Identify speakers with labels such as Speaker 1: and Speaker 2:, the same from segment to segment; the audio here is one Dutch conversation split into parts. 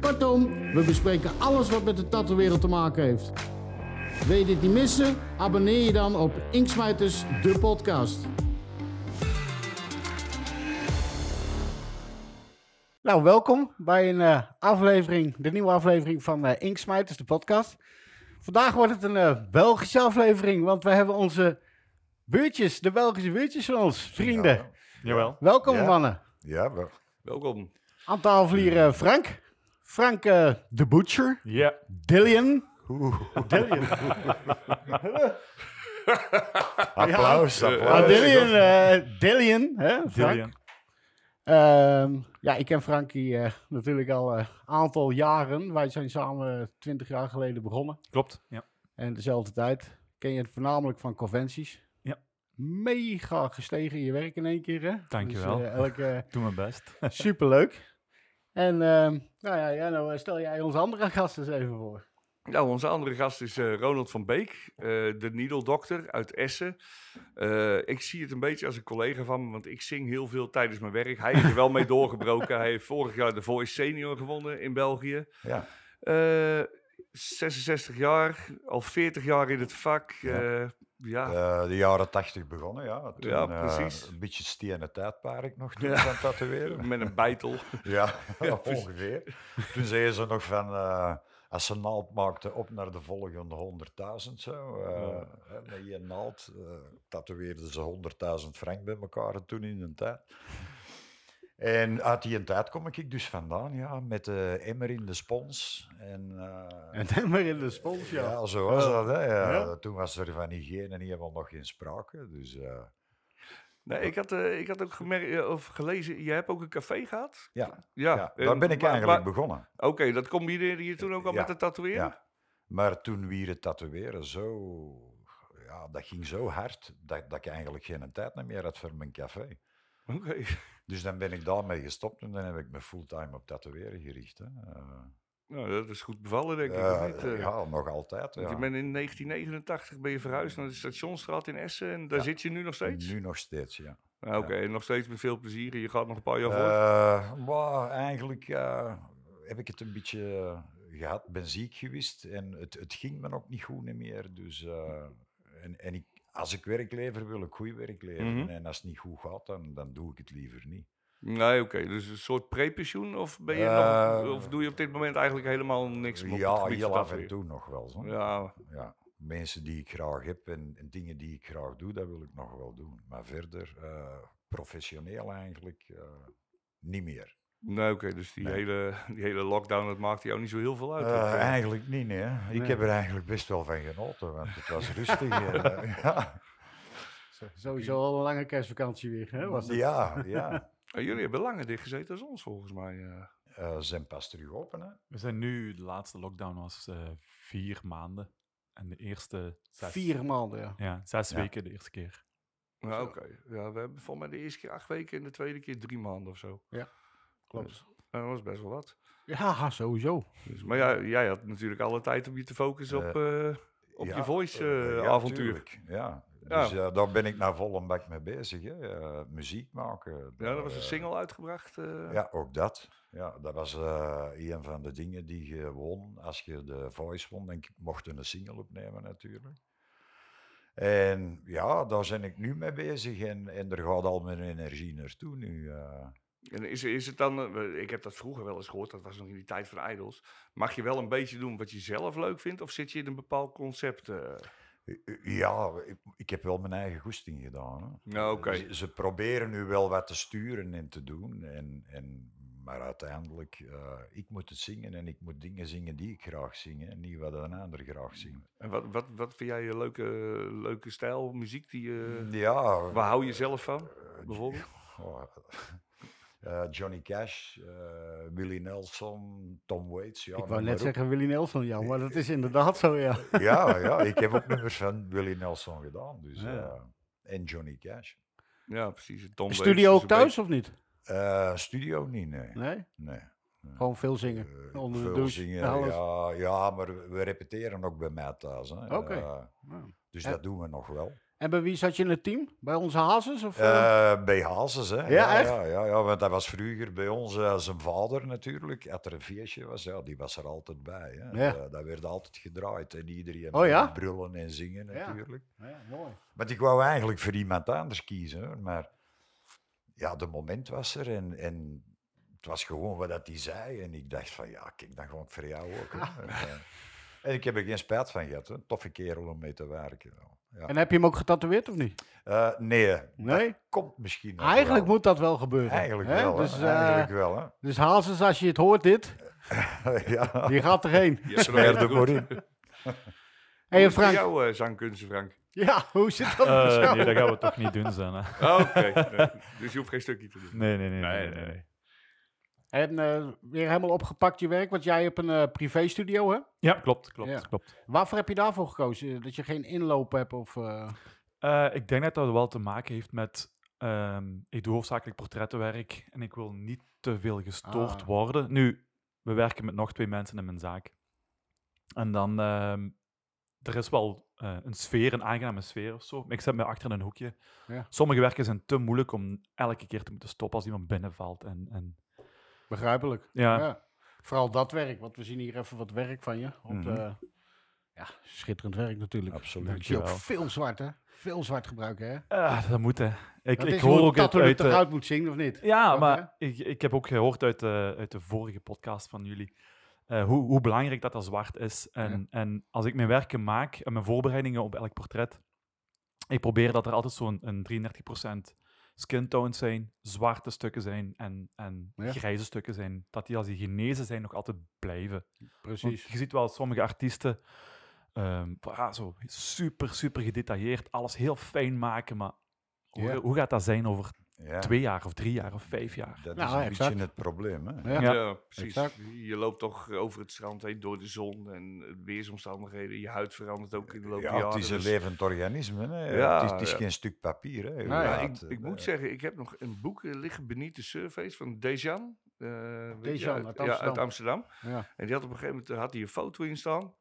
Speaker 1: Kortom, we bespreken alles wat met de tattoo-wereld te maken heeft. Wil je dit niet missen? Abonneer je dan op Inksmijters, de podcast. Nou, welkom bij een eh, aflevering, de nieuwe aflevering van eh Inksmijters, de podcast. Vandaag wordt het een eh, Belgische aflevering, want we hebben onze buurtjes, de Belgische buurtjes van ons, vrienden.
Speaker 2: Jawel.
Speaker 1: Welkom
Speaker 3: Ja.
Speaker 1: mannen.
Speaker 3: Ja, wel.
Speaker 2: Welkom.
Speaker 1: Aan tafel hier eh, Frank. Frank eh, de Butcher.
Speaker 2: Ja.
Speaker 1: Dillian.
Speaker 3: applaus,
Speaker 1: Ah,
Speaker 3: applaus.
Speaker 1: Dillian, eh, Dillian, hè, Frank.
Speaker 2: Dillian.
Speaker 1: Ehm, ja, ik ken Frankie eh, natuurlijk al een aantal jaren. Wij zijn samen twintig jaar geleden begonnen.
Speaker 2: Klopt. Ja.
Speaker 1: En dezelfde tijd. Ken je het voornamelijk van conventies.
Speaker 2: Ja.
Speaker 1: Mega gestegen in je werk in één keer, hè?
Speaker 2: Dankjewel.
Speaker 1: Dus, eh, elke, eh,
Speaker 2: Doe mijn best.
Speaker 1: superleuk. En ehm, nou ja, Janno, eh, stel jij onze andere gasten eens even voor.
Speaker 4: Nou, onze andere gast is eh, Ronald van Beek, eh, de Needle Doctor uit Essen. Eh, ik zie het een beetje als een collega van me, want ik zing heel veel tijdens mijn werk. Hij is er wel mee doorgebroken. Hij heeft vorig jaar de Voice Senior gewonnen in België.
Speaker 3: Ja.
Speaker 4: Eh, 66 jaar, al 40 jaar in het vak. eh, ja.
Speaker 3: Eh, de jaren tachtig begonnen, ja. Toen,
Speaker 4: Ja,
Speaker 3: eh,
Speaker 4: precies.
Speaker 3: een beetje stenen tijdperk nog toen
Speaker 4: Ja.
Speaker 3: aan het tatoeëren.
Speaker 4: Met een bijtel.
Speaker 3: Ja,
Speaker 4: precies.
Speaker 3: ongeveer. Toen zeiden ze nog van, eh, als ze naald maakten, op naar de volgende 100.000 zo. eh, hè, Met je naald eh, tatoeëerden ze 100.000 frank bij elkaar toen in een tijd. En uit die tijd kom ik dus vandaan, ja, met de emmer in de spons. En, eh,
Speaker 1: En dan maar in de spons, ja.
Speaker 3: Ja, zo was dat.
Speaker 4: Eh,
Speaker 3: Hè. Ja,
Speaker 1: Ja.
Speaker 3: Toen was er van hygiëne helemaal nog geen sprake. Dus, eh,
Speaker 4: Nee, ik, had, eh, ik had ook gemerkt, eh, of gelezen, je hebt ook een café gehad?
Speaker 3: ja,
Speaker 4: Ja,
Speaker 3: ja,
Speaker 4: en-
Speaker 3: daar ben ik
Speaker 4: maar-
Speaker 3: eigenlijk
Speaker 4: maar-
Speaker 3: begonnen.
Speaker 4: Oké, dat combineerde je toen ook al
Speaker 3: Ja,
Speaker 4: met het tatoeëren?
Speaker 3: Ja. Maar toen weer het tatoeëren zo... Ja, dat ging zo hard dat, dat ik eigenlijk geen tijd meer had voor mijn café.
Speaker 4: Oké.
Speaker 3: Dus dan ben ik daarmee gestopt en dan heb ik me fulltime op tatoeëren gericht. Hè. Eh,
Speaker 4: Nou, dat is goed bevallen, denk ik. of
Speaker 3: ja,
Speaker 4: niet? Eh,
Speaker 3: ja, nog altijd.
Speaker 4: Want
Speaker 3: Ja.
Speaker 4: je bent in 1989 ben je verhuisd naar de Stationsstraat in Essen en daar
Speaker 3: Ja.
Speaker 4: zit je nu nog steeds?
Speaker 3: Nu nog steeds, ja.
Speaker 4: Ah, Oké, en nog steeds met veel plezier. en Je gaat nog een paar jaar voor.
Speaker 3: Eh, maar eigenlijk eh, heb ik het een beetje eh, gehad, ben ziek geweest en het, het ging me ook niet goed niet meer. Dus, eh, en en ik, als ik werk lever, wil ik goed werk leveren.
Speaker 4: Mhm.
Speaker 3: En als het niet goed gaat, dan, dan doe ik het liever niet.
Speaker 4: Nee, oké. Dus een soort prepensioen of, ben je
Speaker 3: Eh,
Speaker 4: nog, of doe je op dit moment eigenlijk helemaal niks meer op het
Speaker 3: ja,
Speaker 4: gebied
Speaker 3: heel
Speaker 4: van
Speaker 3: af en
Speaker 4: tatoeëren?
Speaker 3: toe nog wel. Zo.
Speaker 4: Ja,
Speaker 3: Ja, Mensen die ik graag heb en, en dingen die ik graag doe, dat wil ik nog wel doen. Maar verder, eh, professioneel eigenlijk, eh, niet meer.
Speaker 4: nee, oké. dus die,
Speaker 3: Nee.
Speaker 4: hele, die hele lockdown, dat maakt jou niet zo heel veel uit.
Speaker 3: Eh,
Speaker 4: Oké.
Speaker 3: eigenlijk niet, nee. hè. Ik
Speaker 1: Nee.
Speaker 3: heb er eigenlijk best wel van genoten, want het was rustig. eh, ja.
Speaker 1: Sowieso al een lange kerstvakantie weer, hè? Was het?
Speaker 3: ja, ja.
Speaker 4: Eh, jullie hebben langer dicht gezeten dan ons, volgens mij. eh.
Speaker 3: Eh, ze zijn pas terug open, hè?
Speaker 2: We zijn nu, de laatste lockdown was eh, vier maanden. En de eerste zes.
Speaker 1: Vier maanden, ja.
Speaker 2: Ja, zes
Speaker 3: Ja.
Speaker 2: weken de eerste keer.
Speaker 4: Ja, Nou, oké. Ja, we hebben volgens mij de eerste keer acht weken en de tweede keer drie maanden of zo.
Speaker 1: Klopt.
Speaker 4: Nou, dat was best wel wat.
Speaker 1: Ja, sowieso.
Speaker 4: Dus, maar ja, jij had natuurlijk alle tijd om je te focussen op, eh,
Speaker 3: Ja,
Speaker 4: op je
Speaker 3: eh, ja,
Speaker 4: voice-avontuur.
Speaker 3: tuurlijk, Ja,
Speaker 4: Ja.
Speaker 3: dus eh, daar ben ik naar volle bak mee bezig, hè. Eh, muziek maken.
Speaker 4: ja,
Speaker 3: daar,
Speaker 4: er was een
Speaker 3: eh,
Speaker 4: single uitgebracht. eh.
Speaker 3: Ja, ook dat. Ja, dat was eh, een van de dingen die je won als je de Voice won. En ik mocht een single opnemen natuurlijk. En ja, daar ben ik nu mee bezig en, en er gaat al mijn energie naartoe nu. eh.
Speaker 4: En is, is het dan, eh, ik heb dat vroeger wel eens gehoord, dat was nog in die tijd van Idols. Mag je wel een beetje doen wat je zelf leuk vindt, of zit je in een bepaald concept? eh?
Speaker 3: Ja, ik, ik heb wel mijn eigen goesting gedaan. Hè.
Speaker 4: Nou, oké.
Speaker 3: Ze, ze proberen nu wel wat te sturen en te doen. En, en, maar uiteindelijk, eh, ik moet het zingen en ik moet dingen zingen die ik graag zing. En niet wat een ander graag zingt.
Speaker 4: En wat, wat, wat vind jij een leuke, leuke stijl, muziek die je...
Speaker 3: Ja,
Speaker 4: Waar hou je zelf van, bijvoorbeeld?
Speaker 3: oh, eh, Johnny Cash, eh, Willie Nelson, Tom Waits. Ja,
Speaker 1: Ik
Speaker 3: noem
Speaker 1: wou
Speaker 3: maar
Speaker 1: net
Speaker 3: op.
Speaker 1: zeggen Willy Nelson, ja, maar dat is inderdaad zo, ja.
Speaker 3: Ja, ja, ik heb ook nummers van Willie Nelson gedaan. Dus,
Speaker 2: Ja.
Speaker 3: eh, en Johnny Cash.
Speaker 4: Ja, precies. Tom Waits is
Speaker 1: Studio ook
Speaker 4: een
Speaker 1: thuis of niet?
Speaker 3: Eh, studio niet, nee.
Speaker 1: Nee?
Speaker 3: nee.
Speaker 1: Gewoon veel zingen.
Speaker 3: Eh,
Speaker 1: Onder de
Speaker 3: veel
Speaker 1: douche,
Speaker 3: zingen,
Speaker 1: alles.
Speaker 3: ja, ja, maar we repeteren ook bij mij thuis. hè.
Speaker 1: Oké. Nou.
Speaker 3: Eh, dus
Speaker 1: En-
Speaker 3: dat doen we nog wel.
Speaker 1: En bij wie zat je in het team? Bij onze hazes? Of, eh?
Speaker 3: Eh, bij Hazes, hè?
Speaker 1: echt?
Speaker 3: Ja, ja, ja, want dat was vroeger bij ons eh, zijn vader natuurlijk. Als er een feestje was, ja, die was er altijd bij. Hè?
Speaker 1: Ja.
Speaker 3: Eh, dat werd altijd gedraaid en iedereen
Speaker 1: Oh, ja?
Speaker 3: brullen en zingen
Speaker 1: Ja.
Speaker 3: natuurlijk.
Speaker 1: ja, mooi.
Speaker 3: Want ik wou eigenlijk voor iemand anders kiezen, hoor. maar ja, de moment was er en, en het was gewoon wat dat hij zei. En ik dacht van, ja, kijk, dan gewoon voor jou ook. hè. En, eh, en ik heb er geen spijt van gehad, hè. toffe kerel om mee te werken. Ja.
Speaker 1: En heb je hem ook getatoeëerd of niet?
Speaker 3: Eh, nee,
Speaker 1: Nee?
Speaker 3: dat komt misschien nog
Speaker 1: Eigenlijk
Speaker 3: wel.
Speaker 1: moet dat wel gebeuren.
Speaker 3: Eigenlijk
Speaker 1: hè?
Speaker 3: wel, hè?
Speaker 1: Dus, eh,
Speaker 3: Eigenlijk wel, hè?
Speaker 1: dus hazes, als je het hoort dit,
Speaker 3: ja.
Speaker 1: die gaat erheen.
Speaker 4: beetje- Ja,
Speaker 3: Smeer er maar in.
Speaker 1: Hé hey,
Speaker 4: Frank.
Speaker 1: Frank,
Speaker 4: Jouw eh, zangkunsten, Frank.
Speaker 1: ja, hoe zit dat?
Speaker 2: Eh,
Speaker 1: Oh, zo?
Speaker 2: nee, dat gaan we toch niet doen, zijn. Hè?
Speaker 4: Oh, Oké. Nee, Dus je hoeft geen stukje te doen.
Speaker 2: Nee, nee, nee.
Speaker 4: Nee,
Speaker 2: nee,
Speaker 4: nee,
Speaker 2: nee,
Speaker 4: nee.
Speaker 2: nee.
Speaker 1: En eh, weer helemaal opgepakt je werk, want jij hebt een eh, privéstudio, hè?
Speaker 2: Ja, klopt, klopt,
Speaker 1: Ja.
Speaker 2: klopt.
Speaker 1: Waarvoor heb je daarvoor gekozen? Eh, Dat je geen inloop hebt of... eh,
Speaker 2: Eh, ik denk dat dat wel te maken heeft met. ehm, ik doe hoofdzakelijk portrettenwerk en ik wil niet te veel gestoord
Speaker 1: Ah.
Speaker 2: worden. Nu, we werken met nog twee mensen in mijn zaak. En dan. ehm, er is wel eh, een sfeer, een aangename sfeer of zo. Maar ik zet me achter in een hoekje.
Speaker 1: Ja.
Speaker 2: Sommige werken zijn te moeilijk om elke keer te moeten stoppen als iemand binnenvalt. En, en,
Speaker 1: Begrijpelijk.
Speaker 2: ja,
Speaker 1: Ja. Vooral dat werk, want we zien hier even wat werk van je. Op,
Speaker 3: Mhm.
Speaker 1: eh, ja, schitterend werk natuurlijk.
Speaker 3: Absoluut.
Speaker 1: Ik zie ook
Speaker 2: Dankjewel.
Speaker 1: veel zwart, hè? Veel zwart gebruiken, hè?
Speaker 2: Eh, dat moet hè. Ik,
Speaker 1: dat
Speaker 2: ik
Speaker 1: is
Speaker 2: hoor
Speaker 1: hoe
Speaker 2: ook
Speaker 1: dat
Speaker 2: uit, uit eh, de-
Speaker 1: eruit moet zingen, of niet?
Speaker 2: Ja,
Speaker 1: Oké.
Speaker 2: maar ik, ik heb ook gehoord uit de, uit de vorige podcast van jullie eh, hoe, hoe belangrijk dat dat zwart is. En, en als ik mijn werken maak en mijn voorbereidingen op elk portret, ik probeer dat er altijd zo'n een 33% skin tones zijn, zwarte stukken zijn en, en
Speaker 1: Ja.
Speaker 2: grijze stukken zijn. Dat die als die genezen zijn nog altijd blijven. Want
Speaker 1: Precies.
Speaker 2: je ziet wel sommige artiesten ehm, van, ah, zo super, super gedetailleerd, alles heel fijn maken, maar hoe,
Speaker 1: Ja.
Speaker 2: hoe gaat dat zijn over
Speaker 3: Ja,
Speaker 2: twee jaar of drie jaar of vijf jaar.
Speaker 3: dat
Speaker 1: Nou,
Speaker 3: is een
Speaker 1: exact.
Speaker 3: beetje het probleem. Hè?
Speaker 1: Ja.
Speaker 4: Ja, precies.
Speaker 1: exact.
Speaker 4: Je loopt toch over het strand heen door de zon en eh, weersomstandigheden. Je huid verandert ook in de loop der
Speaker 3: Ja,
Speaker 4: jaren.
Speaker 3: het is een
Speaker 4: dus-
Speaker 3: levend organisme. Hè?
Speaker 4: Ja,
Speaker 3: het is, het is
Speaker 4: ja.
Speaker 3: geen stuk papier. Hè?
Speaker 1: Ja,
Speaker 4: Nou Ja,
Speaker 3: Inderdaad,
Speaker 4: ik,
Speaker 3: eh,
Speaker 4: ik moet zeggen, ik heb nog een boek eh, liggen beneath de surface van Dejan. eh, weet je,
Speaker 1: Dejan uit
Speaker 4: uit, ja,
Speaker 1: Amsterdam.
Speaker 4: uit Amsterdam.
Speaker 1: Ja.
Speaker 4: En die had op een gegeven moment eh, had hij een foto in staan.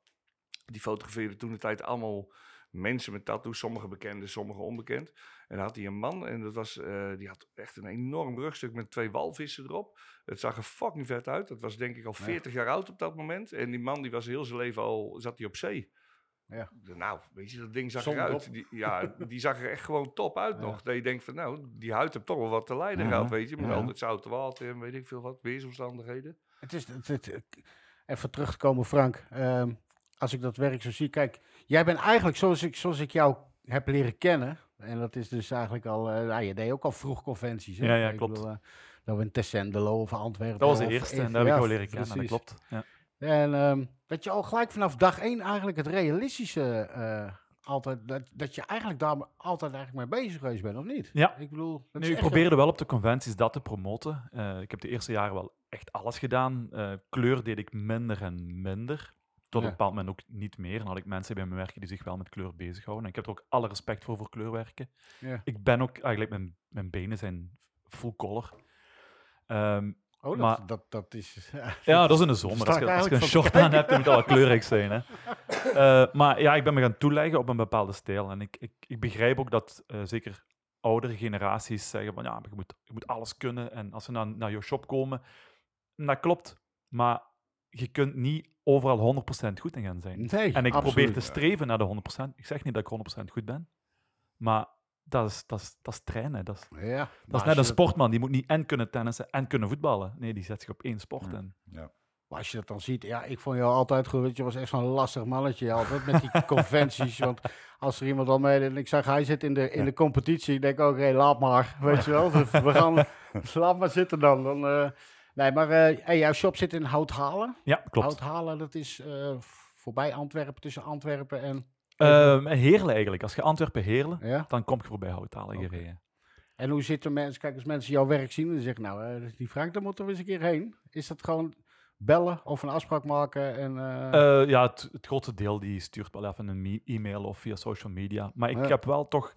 Speaker 4: Die fotografeerde toen de tijd allemaal mensen met tattoos, sommige bekend, sommige onbekend. En dan had hij een man en dat was, eh, die had echt een enorm rugstuk met twee walvissen erop. Het zag er fucking vet uit. Dat was denk ik al
Speaker 1: Ja.
Speaker 4: 40 jaar oud op dat moment. En die man die was heel zijn leven al, zat hij op zee.
Speaker 1: Ja.
Speaker 4: Nou, weet je, dat ding zag
Speaker 1: Zonder
Speaker 4: eruit. Die, ja, die zag er echt gewoon top uit
Speaker 1: Ja.
Speaker 4: nog. Dat je denkt van, nou, die huid heeft toch wel wat te lijden
Speaker 2: Mhm.
Speaker 4: gehad, weet je. Met
Speaker 2: Ja.
Speaker 4: al het zoute water en weet ik veel wat, weersomstandigheden.
Speaker 1: Het is, het, het- het- even terug te komen, Frank. Ehm, als ik dat werk zo zie, kijk, jij bent eigenlijk zoals ik, zoals ik jou heb leren kennen. En dat is dus eigenlijk al, eh, nou, je deed ook al vroeg conventies. Hè?
Speaker 2: Ja, ja,
Speaker 1: Ik
Speaker 2: klopt.
Speaker 1: eh, dat we in Tessendelo of Antwerpen.
Speaker 2: Dat was de
Speaker 1: of
Speaker 2: eerste
Speaker 1: Eh, even-
Speaker 2: en daar heb
Speaker 1: ja,
Speaker 2: ik jou leren kennen.
Speaker 1: precies.
Speaker 2: Dat klopt. Ja.
Speaker 1: En ehm, dat je al gelijk vanaf dag één eigenlijk het realistische eh, altijd, dat, dat je eigenlijk daar altijd eigenlijk mee bezig geweest bent, of niet?
Speaker 2: Ja.
Speaker 1: Ik bedoel, dat
Speaker 2: Nu,
Speaker 1: is
Speaker 2: ik
Speaker 1: echt
Speaker 2: probeerde wel op de conventies dat te promoten. Eh, ik heb de eerste jaren wel echt alles gedaan. Eh, kleur deed ik minder en minder. Tot
Speaker 1: Ja.
Speaker 2: een bepaald moment ook niet meer. Dan had ik mensen bij mijn werken die zich wel met kleur bezighouden. En ik heb er ook alle respect voor, voor kleurwerken.
Speaker 1: Ja.
Speaker 2: Ik ben ook eigenlijk, mijn, mijn benen zijn full color. Ehm,
Speaker 1: een- Oh, dat,
Speaker 2: maar-
Speaker 1: dat, dat is...
Speaker 2: ja, dat is in de zomer.
Speaker 1: Sta
Speaker 2: Als
Speaker 1: ik
Speaker 2: je, als je een
Speaker 1: eigenlijk
Speaker 2: short aan hebt, dan moet al kleurrijk zijn. Hè. Eh, maar ja, ik ben me gaan toeleggen op een bepaalde stijl. En ik, ik, ik begrijp ook dat eh, zeker oudere generaties zeggen van ja, maar je moet, je moet alles kunnen. En als ze naar, naar jouw shop komen, mm, dat klopt. Maar je kunt niet overal 100% goed in gaan zijn.
Speaker 1: Nee,
Speaker 2: En ik probeer
Speaker 1: absoluut.
Speaker 2: te streven naar de 100%. Ik zeg niet dat ik 100% goed ben, maar dat is, dat is, dat is trainen. Dat is,
Speaker 1: Ja,
Speaker 2: dat
Speaker 1: maar
Speaker 2: is
Speaker 1: als
Speaker 2: net een
Speaker 1: je
Speaker 2: sportman. Die moet niet en kunnen tennissen en kunnen voetballen. Nee, die zet zich op één sport.
Speaker 3: Ja.
Speaker 2: En
Speaker 1: Maar als je dat dan ziet, ja, ik vond jou altijd goed. Je was echt zo'n lastig mannetje altijd met die conventies. Want als er iemand al mee en ik zag hij zit in de, in de competitie, ik denk ook, hé, laat maar. Weet je wel, Dus we gaan, laat maar zitten dan. dan eh, nee, maar eh, hey, jouw shop zit in Houthalen.
Speaker 2: Ja, klopt.
Speaker 1: Houthalen, dat is eh, voorbij Antwerpen, tussen Antwerpen en...
Speaker 2: Ehm, Heerlen eigenlijk. Als je Antwerpen Heerlen,
Speaker 1: Ja?
Speaker 2: dan kom je voorbij Houthalen
Speaker 1: Oké.
Speaker 2: gereden.
Speaker 5: En hoe zitten mensen, kijk, als mensen jouw werk zien en zeggen, nou, eh, die Frank, daar moeten we eens een keer heen. Is dat gewoon bellen of een afspraak maken? En, eh,
Speaker 2: Eh, ja, het, het grootste deel die stuurt wel even een me- e-mail of via social media. Maar ik
Speaker 5: Ah, Ja.
Speaker 2: heb wel toch, ik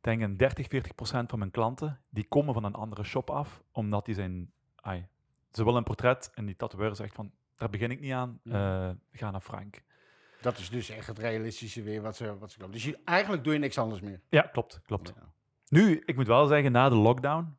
Speaker 2: denk een 30, 40 procent van mijn klanten, die komen van een andere shop af, omdat die zijn, ai, ze willen een portret en die tatoeëur zegt van, daar begin ik niet aan, eh, ga naar Frank.
Speaker 5: dat is dus echt het realistische weer wat ze, wat ze komen. Dus je, eigenlijk doe je niks anders meer.
Speaker 2: Ja, klopt, klopt.
Speaker 5: Ja.
Speaker 2: Nu, ik moet wel zeggen, na de lockdown,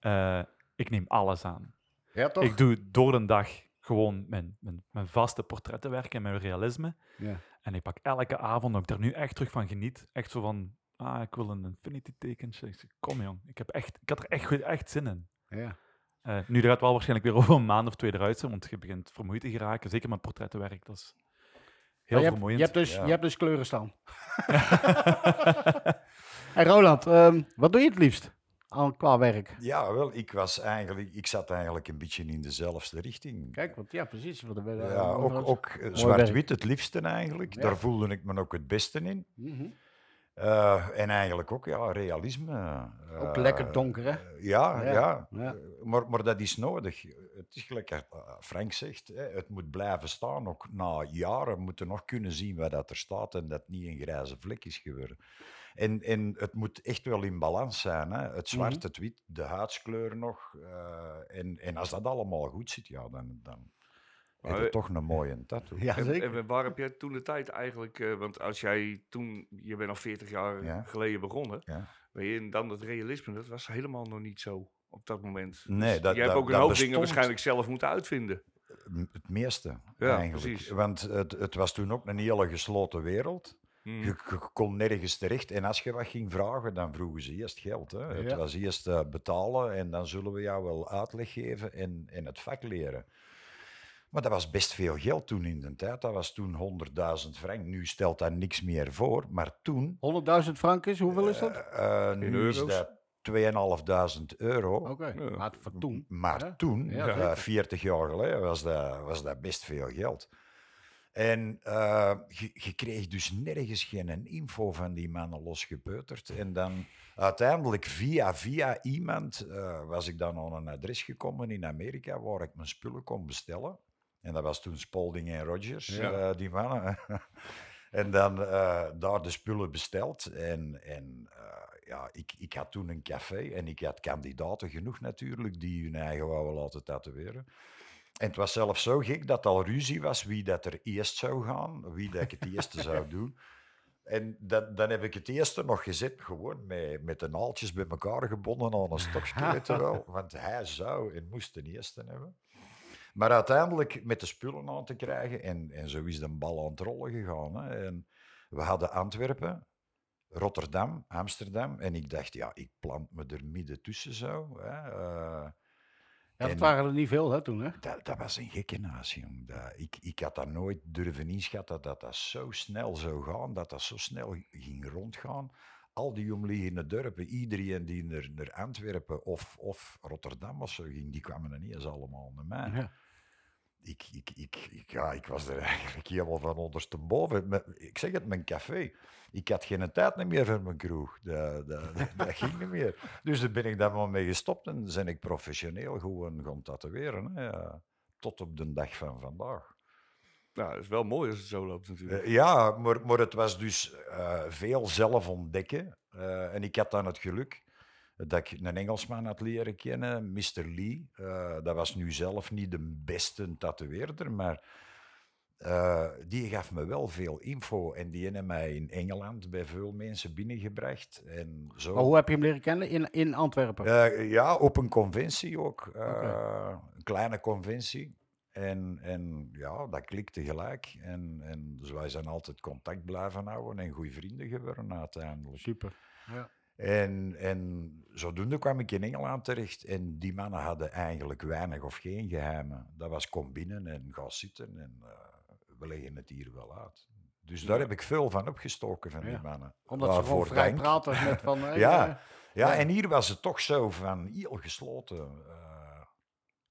Speaker 2: eh, ik neem alles aan.
Speaker 5: Ja, toch?
Speaker 2: Ik doe door de dag gewoon mijn, mijn, mijn vaste portrettenwerk en mijn realisme.
Speaker 5: Ja.
Speaker 2: En ik pak elke avond, dat ik daar nu echt terug van geniet, echt zo van, ah, ik wil een infinity tekentje. Ik zeg, kom jong, ik, heb echt, ik had er echt, goed- echt zin in.
Speaker 5: Ja.
Speaker 2: Eh, nu, dat gaat wel waarschijnlijk weer over een maand of twee eruit zijn, want je begint vermoeid te geraken. Zeker met portrettenwerk, dat is heel
Speaker 5: Maar je, hebt, je,
Speaker 2: vermoeiend.
Speaker 5: hebt dus,
Speaker 3: Ja.
Speaker 5: je hebt dus kleuren staan. en Roland, ehm, wat doe je het liefst aan, qua werk?
Speaker 3: Ja, wel, ik, was eigenlijk, ik zat eigenlijk een beetje in dezelfde richting.
Speaker 5: Kijk, want ja, precies. Wat we,
Speaker 3: Ja, ook, ook eh,
Speaker 5: werk.
Speaker 3: zwart-wit het liefste eigenlijk.
Speaker 5: Ja.
Speaker 3: Daar voelde ik me ook het beste in.
Speaker 5: Mhm.
Speaker 3: Eh, en eigenlijk ook, ja, realisme.
Speaker 5: Ook
Speaker 3: Eh,
Speaker 5: lekker donker, hè?
Speaker 3: Ja,
Speaker 5: Ja,
Speaker 3: ja.
Speaker 5: ja.
Speaker 3: Eh, Maar, maar dat is nodig. Het is gelijk eh, Frank zegt, hè, het moet blijven staan. Ook na jaren moeten nog kunnen zien wat dat er staat en dat niet een grijze vlek is geworden. En, en het moet echt wel in balans zijn. Hè? Het zwart,
Speaker 5: Mhm.
Speaker 3: het wit, de huidskleur nog. eh, en, en als dat allemaal goed zit, ja, dan, dan heb je
Speaker 4: Maar-
Speaker 3: toch een mooie tattoo.
Speaker 5: Ja,
Speaker 4: En,
Speaker 5: zeker.
Speaker 4: en waar heb jij toen de tijd eigenlijk, eh, want als jij toen, je bent al 40 jaar
Speaker 3: Ja.
Speaker 4: geleden begonnen,
Speaker 3: Ja.
Speaker 4: weet je, en dan dat realisme, dat was helemaal nog niet zo op dat moment. Dus
Speaker 3: Nee, dat-
Speaker 4: jij hebt
Speaker 3: dat-
Speaker 4: ook een
Speaker 3: dat
Speaker 4: hoop dingen
Speaker 3: bestond.
Speaker 4: waarschijnlijk zelf moeten uitvinden.
Speaker 3: M- Het meeste,
Speaker 4: Ja,
Speaker 3: eigenlijk.
Speaker 4: precies.
Speaker 3: Want het, het was toen ook een hele gesloten wereld.
Speaker 4: Hmm.
Speaker 3: Je, je kon nergens terecht. En als je wat ging vragen, dan vroegen ze eerst geld. Hè. Het
Speaker 5: Ja.
Speaker 3: was eerst eh, betalen en dan zullen we jou wel uitleg geven en, en het vak leren. Maar dat was best veel geld toen in de tijd. Dat was toen 100.000 frank. Nu stelt dat niks meer voor. Maar toen...
Speaker 5: 100.000 frank is, hoeveel is dat?
Speaker 3: eh, eh, nu
Speaker 4: euro's?
Speaker 3: is dat 2.500 euro.
Speaker 5: Oké,
Speaker 4: ja.
Speaker 5: maar voor toen.
Speaker 3: Maar
Speaker 5: Ja.
Speaker 3: toen,
Speaker 5: Ja,
Speaker 3: eh,
Speaker 5: zeker.
Speaker 3: 40 jaar geleden, was dat, was dat best veel geld. En eh, je, je kreeg dus nergens geen info van die mannen losgepeuterd. En dan uiteindelijk via via iemand eh, was ik dan aan een adres gekomen in Amerika waar ik mijn spullen kon bestellen. En dat was toen Spalding en Rogers,
Speaker 4: Ja.
Speaker 3: eh, die mannen. en dan eh, daar de spullen besteld. En, en eh, ja, ik, ik had toen een café en ik had kandidaten genoeg natuurlijk die hun eigen wouden laten tatoeëren. En het was zelfs zo gek dat al ruzie was wie dat er eerst zou gaan, wie dat ik het eerste zou doen. En dat, dan heb ik het eerste nog gezet, gewoon met, met de naaltjes bij elkaar gebonden aan een stokje, weet je wel. Want hij zou en moest de eerste hebben. Maar uiteindelijk met de spullen aan te krijgen, en, en zo is de bal aan het rollen gegaan. Hè. En we hadden Antwerpen, Rotterdam, Amsterdam. En ik dacht, ja, ik plant me er midden tussen zo. Hè. Eh,
Speaker 5: Ja, dat
Speaker 3: en-
Speaker 5: waren er niet veel hè, toen, hè?
Speaker 3: dat, dat was een gekke naast, jong. Dat, ik, ik had dat nooit durven inschatten dat dat zo snel zou gaan, dat dat zo snel ging rondgaan. Al die omliggende dorpen, iedereen die naar, naar Antwerpen of, of Rotterdam of zo ging, die kwamen dan eens allemaal naar mij.
Speaker 5: Ja.
Speaker 3: Ik, ik, ik, ik, ja, ik was er eigenlijk helemaal van ondersteboven. Me- Ik zeg het, mijn café. Ik had geen tijd meer voor mijn kroeg. Dat, dat, dat, dat ging niet meer. Dus daar ben ik daar maar mee gestopt en ben ik professioneel gewoon gaan tatoeëren. Hè. Ja, Tot op de dag van vandaag.
Speaker 4: Nou, dat is wel mooi als het zo loopt natuurlijk.
Speaker 3: Eh, ja, maar, maar het was dus eh, veel zelf ontdekken. Eh, en ik had dan het geluk dat ik een Engelsman had leren kennen, Mr. Lee. Eh, dat was nu zelf niet de beste tatoeëerder, maar eh, die gaf me wel veel info. En die heeft mij in Engeland bij veel mensen binnengebracht. En zo.
Speaker 5: Maar hoe heb je hem leren kennen? In, in Antwerpen.
Speaker 3: Eh, ja, op een conventie ook. Eh,
Speaker 5: Oké.
Speaker 3: Een kleine conventie. En, en ja, dat klikte gelijk. En, en dus wij zijn altijd contact blijven houden en goede vrienden geworden uiteindelijk.
Speaker 5: Super.
Speaker 3: En, en zodoende kwam ik in Engeland terecht en die mannen hadden eigenlijk weinig of geen geheimen. Dat was kom binnen en ga zitten en eh, we leggen het hier wel uit. Dus daar heb ik veel van opgestoken van die
Speaker 5: Ja.
Speaker 3: mannen.
Speaker 5: Omdat ze gewoon
Speaker 3: Waarvoor
Speaker 5: vrij
Speaker 3: dank.
Speaker 5: praten met van... hey,
Speaker 3: Ja.
Speaker 5: eh,
Speaker 3: Ja,
Speaker 5: Ja.
Speaker 3: en hier was het toch zo van heel gesloten. eh,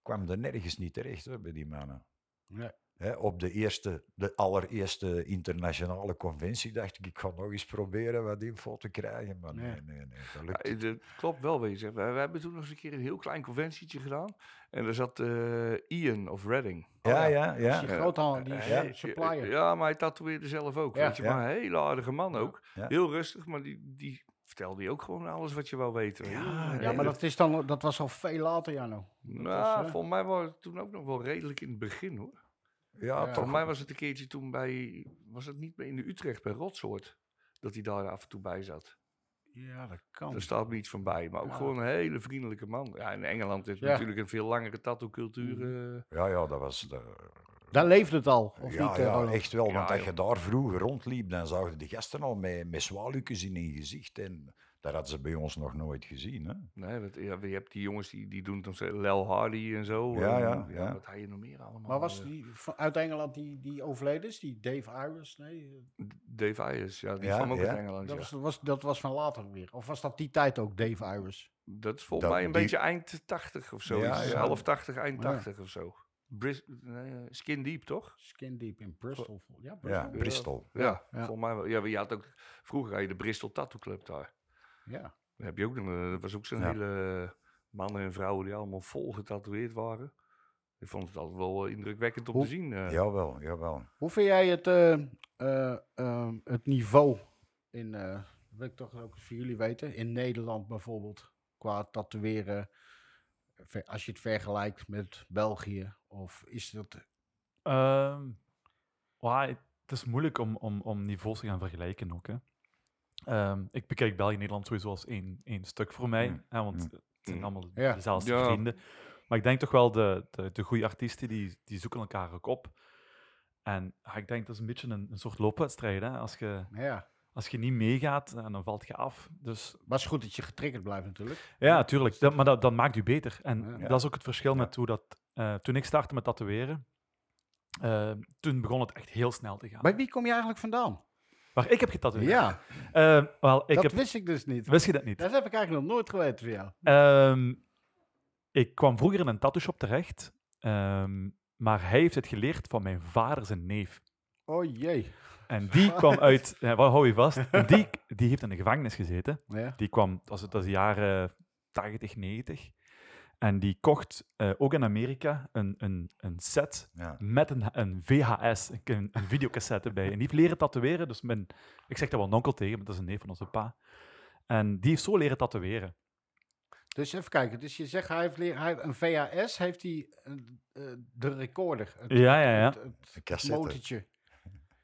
Speaker 3: kwam er nergens niet terecht hè, bij die mannen.
Speaker 1: Nee.
Speaker 3: Hè, op de, eerste, de allereerste internationale conventie dacht ik, ik ga nog eens proberen wat info te krijgen. Maar nee,
Speaker 1: Nee.
Speaker 3: nee, nee. dat
Speaker 4: Ja,
Speaker 3: lukt niet.
Speaker 4: dat klopt wel, weet je. zegt. We, we hebben toen nog eens een keer een heel klein conventietje gedaan. En daar zat eh, Ian of Redding.
Speaker 3: ja, ja,
Speaker 1: Dat
Speaker 3: ja.
Speaker 1: is die groothandel, Oh die
Speaker 3: Ja.
Speaker 1: eh, supplier.
Speaker 4: Ja, maar hij tatoeëerde zelf ook.
Speaker 1: Ja.
Speaker 4: Weet je,
Speaker 3: Ja.
Speaker 4: maar een hele aardige man ook.
Speaker 3: Ja.
Speaker 4: Heel rustig, maar die, die vertelde je ook gewoon alles wat je wou weten. Ja,
Speaker 1: Ja, maar dat, is dan, dat was al veel later, Janno.
Speaker 4: Nou,
Speaker 1: is, eh,
Speaker 4: volgens mij was het toen ook nog wel redelijk in het begin hoor.
Speaker 3: Ja,
Speaker 1: Ja.
Speaker 4: Volgens mij was het een keertje toen bij, was het niet bij in de Utrecht bij Rotsoort, dat hij daar af en toe bij zat.
Speaker 1: Ja, dat kan.
Speaker 4: Daar staat me iets van bij, maar ook
Speaker 1: Ja.
Speaker 4: gewoon een hele vriendelijke man. Ja, in Engeland is
Speaker 1: Ja. Mhm.
Speaker 4: natuurlijk een veel langere tattoo-cultuur. eh,
Speaker 3: ja, ja, dat was... de-
Speaker 1: Daar leefde het al, of
Speaker 3: ja,
Speaker 1: niet, eh,
Speaker 3: ja
Speaker 1: Ronald?
Speaker 3: echt wel.
Speaker 4: Ja,
Speaker 3: Want als
Speaker 4: joh.
Speaker 3: je daar vroeger rondliep, dan zagen de gasten al met, met zwaluwtjes in hun gezicht. En dat hadden ze bij ons nog nooit gezien. Hè?
Speaker 4: nee, eh, want, ja, je hebt die jongens die, die doen het nog steeds, Lel Hardy en zo.
Speaker 3: Ja,
Speaker 4: en,
Speaker 3: ja, ja.
Speaker 4: Wat hij je nog meer allemaal?
Speaker 1: Maar was
Speaker 4: eh,
Speaker 1: die van- uit Engeland die, die overleden is, die Dave Iris? Nee, eh,
Speaker 4: Dave Ayers, ja, die
Speaker 3: Ja,
Speaker 4: kwam ook
Speaker 3: ja.
Speaker 4: uit Engeland.
Speaker 1: dat,
Speaker 4: ja.
Speaker 1: was, was, dat was van later weer. Of was dat die tijd ook Dave Iris?
Speaker 4: Dat is volgens
Speaker 3: Dat-
Speaker 4: mij een
Speaker 3: die-
Speaker 4: beetje eind 80 of zo.
Speaker 3: Ja,
Speaker 4: iets.
Speaker 3: ja.
Speaker 4: Half 80, eind
Speaker 1: Ja.
Speaker 4: 80 of zo. Bris, eh, skin Deep, toch?
Speaker 1: Skin Deep in Bristol. Ja,
Speaker 3: Ja,
Speaker 1: Bristol.
Speaker 3: Bristol.
Speaker 4: Ja,
Speaker 1: ja.
Speaker 4: volgens mij wel. Ja, maar je had ook, vroeger had je de Bristol Tattoo Club daar.
Speaker 1: Ja.
Speaker 4: Daar heb je ook nog, eh, dat was ook zo'n
Speaker 3: Ja.
Speaker 4: hele eh, mannen en vrouwen die allemaal vol getatoeëerd waren. Ik vond het altijd wel eh, indrukwekkend om
Speaker 1: Hoe-
Speaker 4: te zien. eh.
Speaker 3: Jawel, jawel.
Speaker 1: Hoe vind jij het, eh, eh, ehm, het niveau in, eh, dat wil ik toch ook voor jullie weten, in Nederland bijvoorbeeld, qua tatoeëren, ver- als je het vergelijkt met België, of is dat...
Speaker 2: Ehm, ja, het is moeilijk om, om, om niveaus te gaan vergelijken ook. Hè. Ehm, ik bekijk België en Nederland sowieso als één, één stuk voor mij.
Speaker 3: Mm.
Speaker 2: Hè, want
Speaker 3: Mm.
Speaker 2: het zijn
Speaker 4: Mm.
Speaker 2: allemaal
Speaker 1: Ja.
Speaker 2: dezelfde
Speaker 4: Ja.
Speaker 2: vrienden. Maar ik denk toch wel, de, de, de goede artiesten, die, die zoeken elkaar ook op. En ja, ik denk, dat is een beetje een, een soort loopwedstrijd. Hè. Als, je,
Speaker 1: Ja,
Speaker 2: als je niet meegaat, eh, dan valt je af. Dus
Speaker 1: maar het is goed dat je getriggerd blijft natuurlijk.
Speaker 2: ja, tuurlijk. Dat, maar dat, dat maakt u beter. En
Speaker 1: Ja.
Speaker 2: dat is ook het verschil met hoe dat... eh, toen ik startte met tatoeëren, eh, toen begon het echt heel snel te gaan.
Speaker 1: Bij wie kom je eigenlijk vandaan?
Speaker 2: Waar ik heb getatoeëerd?
Speaker 1: Ja,
Speaker 2: Eh, wel, ik
Speaker 1: dat
Speaker 2: heb...
Speaker 1: wist ik dus niet.
Speaker 2: Wist je dat niet?
Speaker 1: Dat heb ik eigenlijk nog nooit geweten van jou.
Speaker 2: Ehm, ik kwam vroeger in een tattoo shop terecht, ehm, maar hij heeft het geleerd van mijn vader zijn neef.
Speaker 1: Oh jee.
Speaker 2: En die kwam uit... eh, waar hou je vast? En Die, die heeft in de gevangenis gezeten.
Speaker 1: Ja.
Speaker 2: Die kwam, dat was, dat was de jaren 80, 90. En die kocht eh, ook in Amerika een, een, een set
Speaker 3: Ja.
Speaker 2: met een, een VHS, een, een een videocassette bij. En die heeft leren tatoeëren. Dus mijn, ik zeg daar wel een onkel tegen, maar dat is een neef van onze pa. En die heeft zo leren tatoeëren.
Speaker 1: Dus even kijken, dus je zegt hij heeft, leer- hij, een VHS, heeft hij een, eh, de recorder, het,
Speaker 2: Ja, ja, ja.
Speaker 1: het, het
Speaker 3: Een cassette.
Speaker 1: motortje.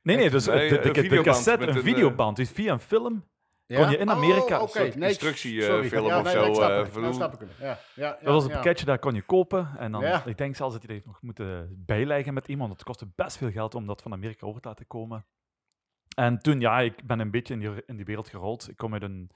Speaker 2: Nee, nee, dus eh,
Speaker 4: Nee,
Speaker 2: de,
Speaker 4: een
Speaker 2: de- de
Speaker 4: videoband
Speaker 2: cassette,
Speaker 4: met
Speaker 2: een
Speaker 4: een, eh,
Speaker 2: videoband. Dus via een film.
Speaker 1: Ja?
Speaker 2: Kon je in Amerika
Speaker 1: Oh,
Speaker 2: een
Speaker 1: oké,
Speaker 2: soort eh,
Speaker 1: nee,
Speaker 4: instructiefilm
Speaker 1: sorry.
Speaker 4: of
Speaker 1: nee,
Speaker 4: zo,
Speaker 1: nee, ik snap
Speaker 4: eh,
Speaker 1: het.
Speaker 4: van
Speaker 1: Nou
Speaker 4: hoe-
Speaker 1: snap ik hem. Ja, ja, ja,
Speaker 2: Dat was een
Speaker 1: ja.
Speaker 2: pakketje, daar kon je kopen. En dan,
Speaker 1: Ja.
Speaker 2: ik denk zelfs dat je dat heeft nog moeten bijleggen met iemand. Het kostte best veel geld om dat van Amerika over te laten komen. En toen, ja, ik ben een beetje in die, in die wereld gerold. Ik kom uit een,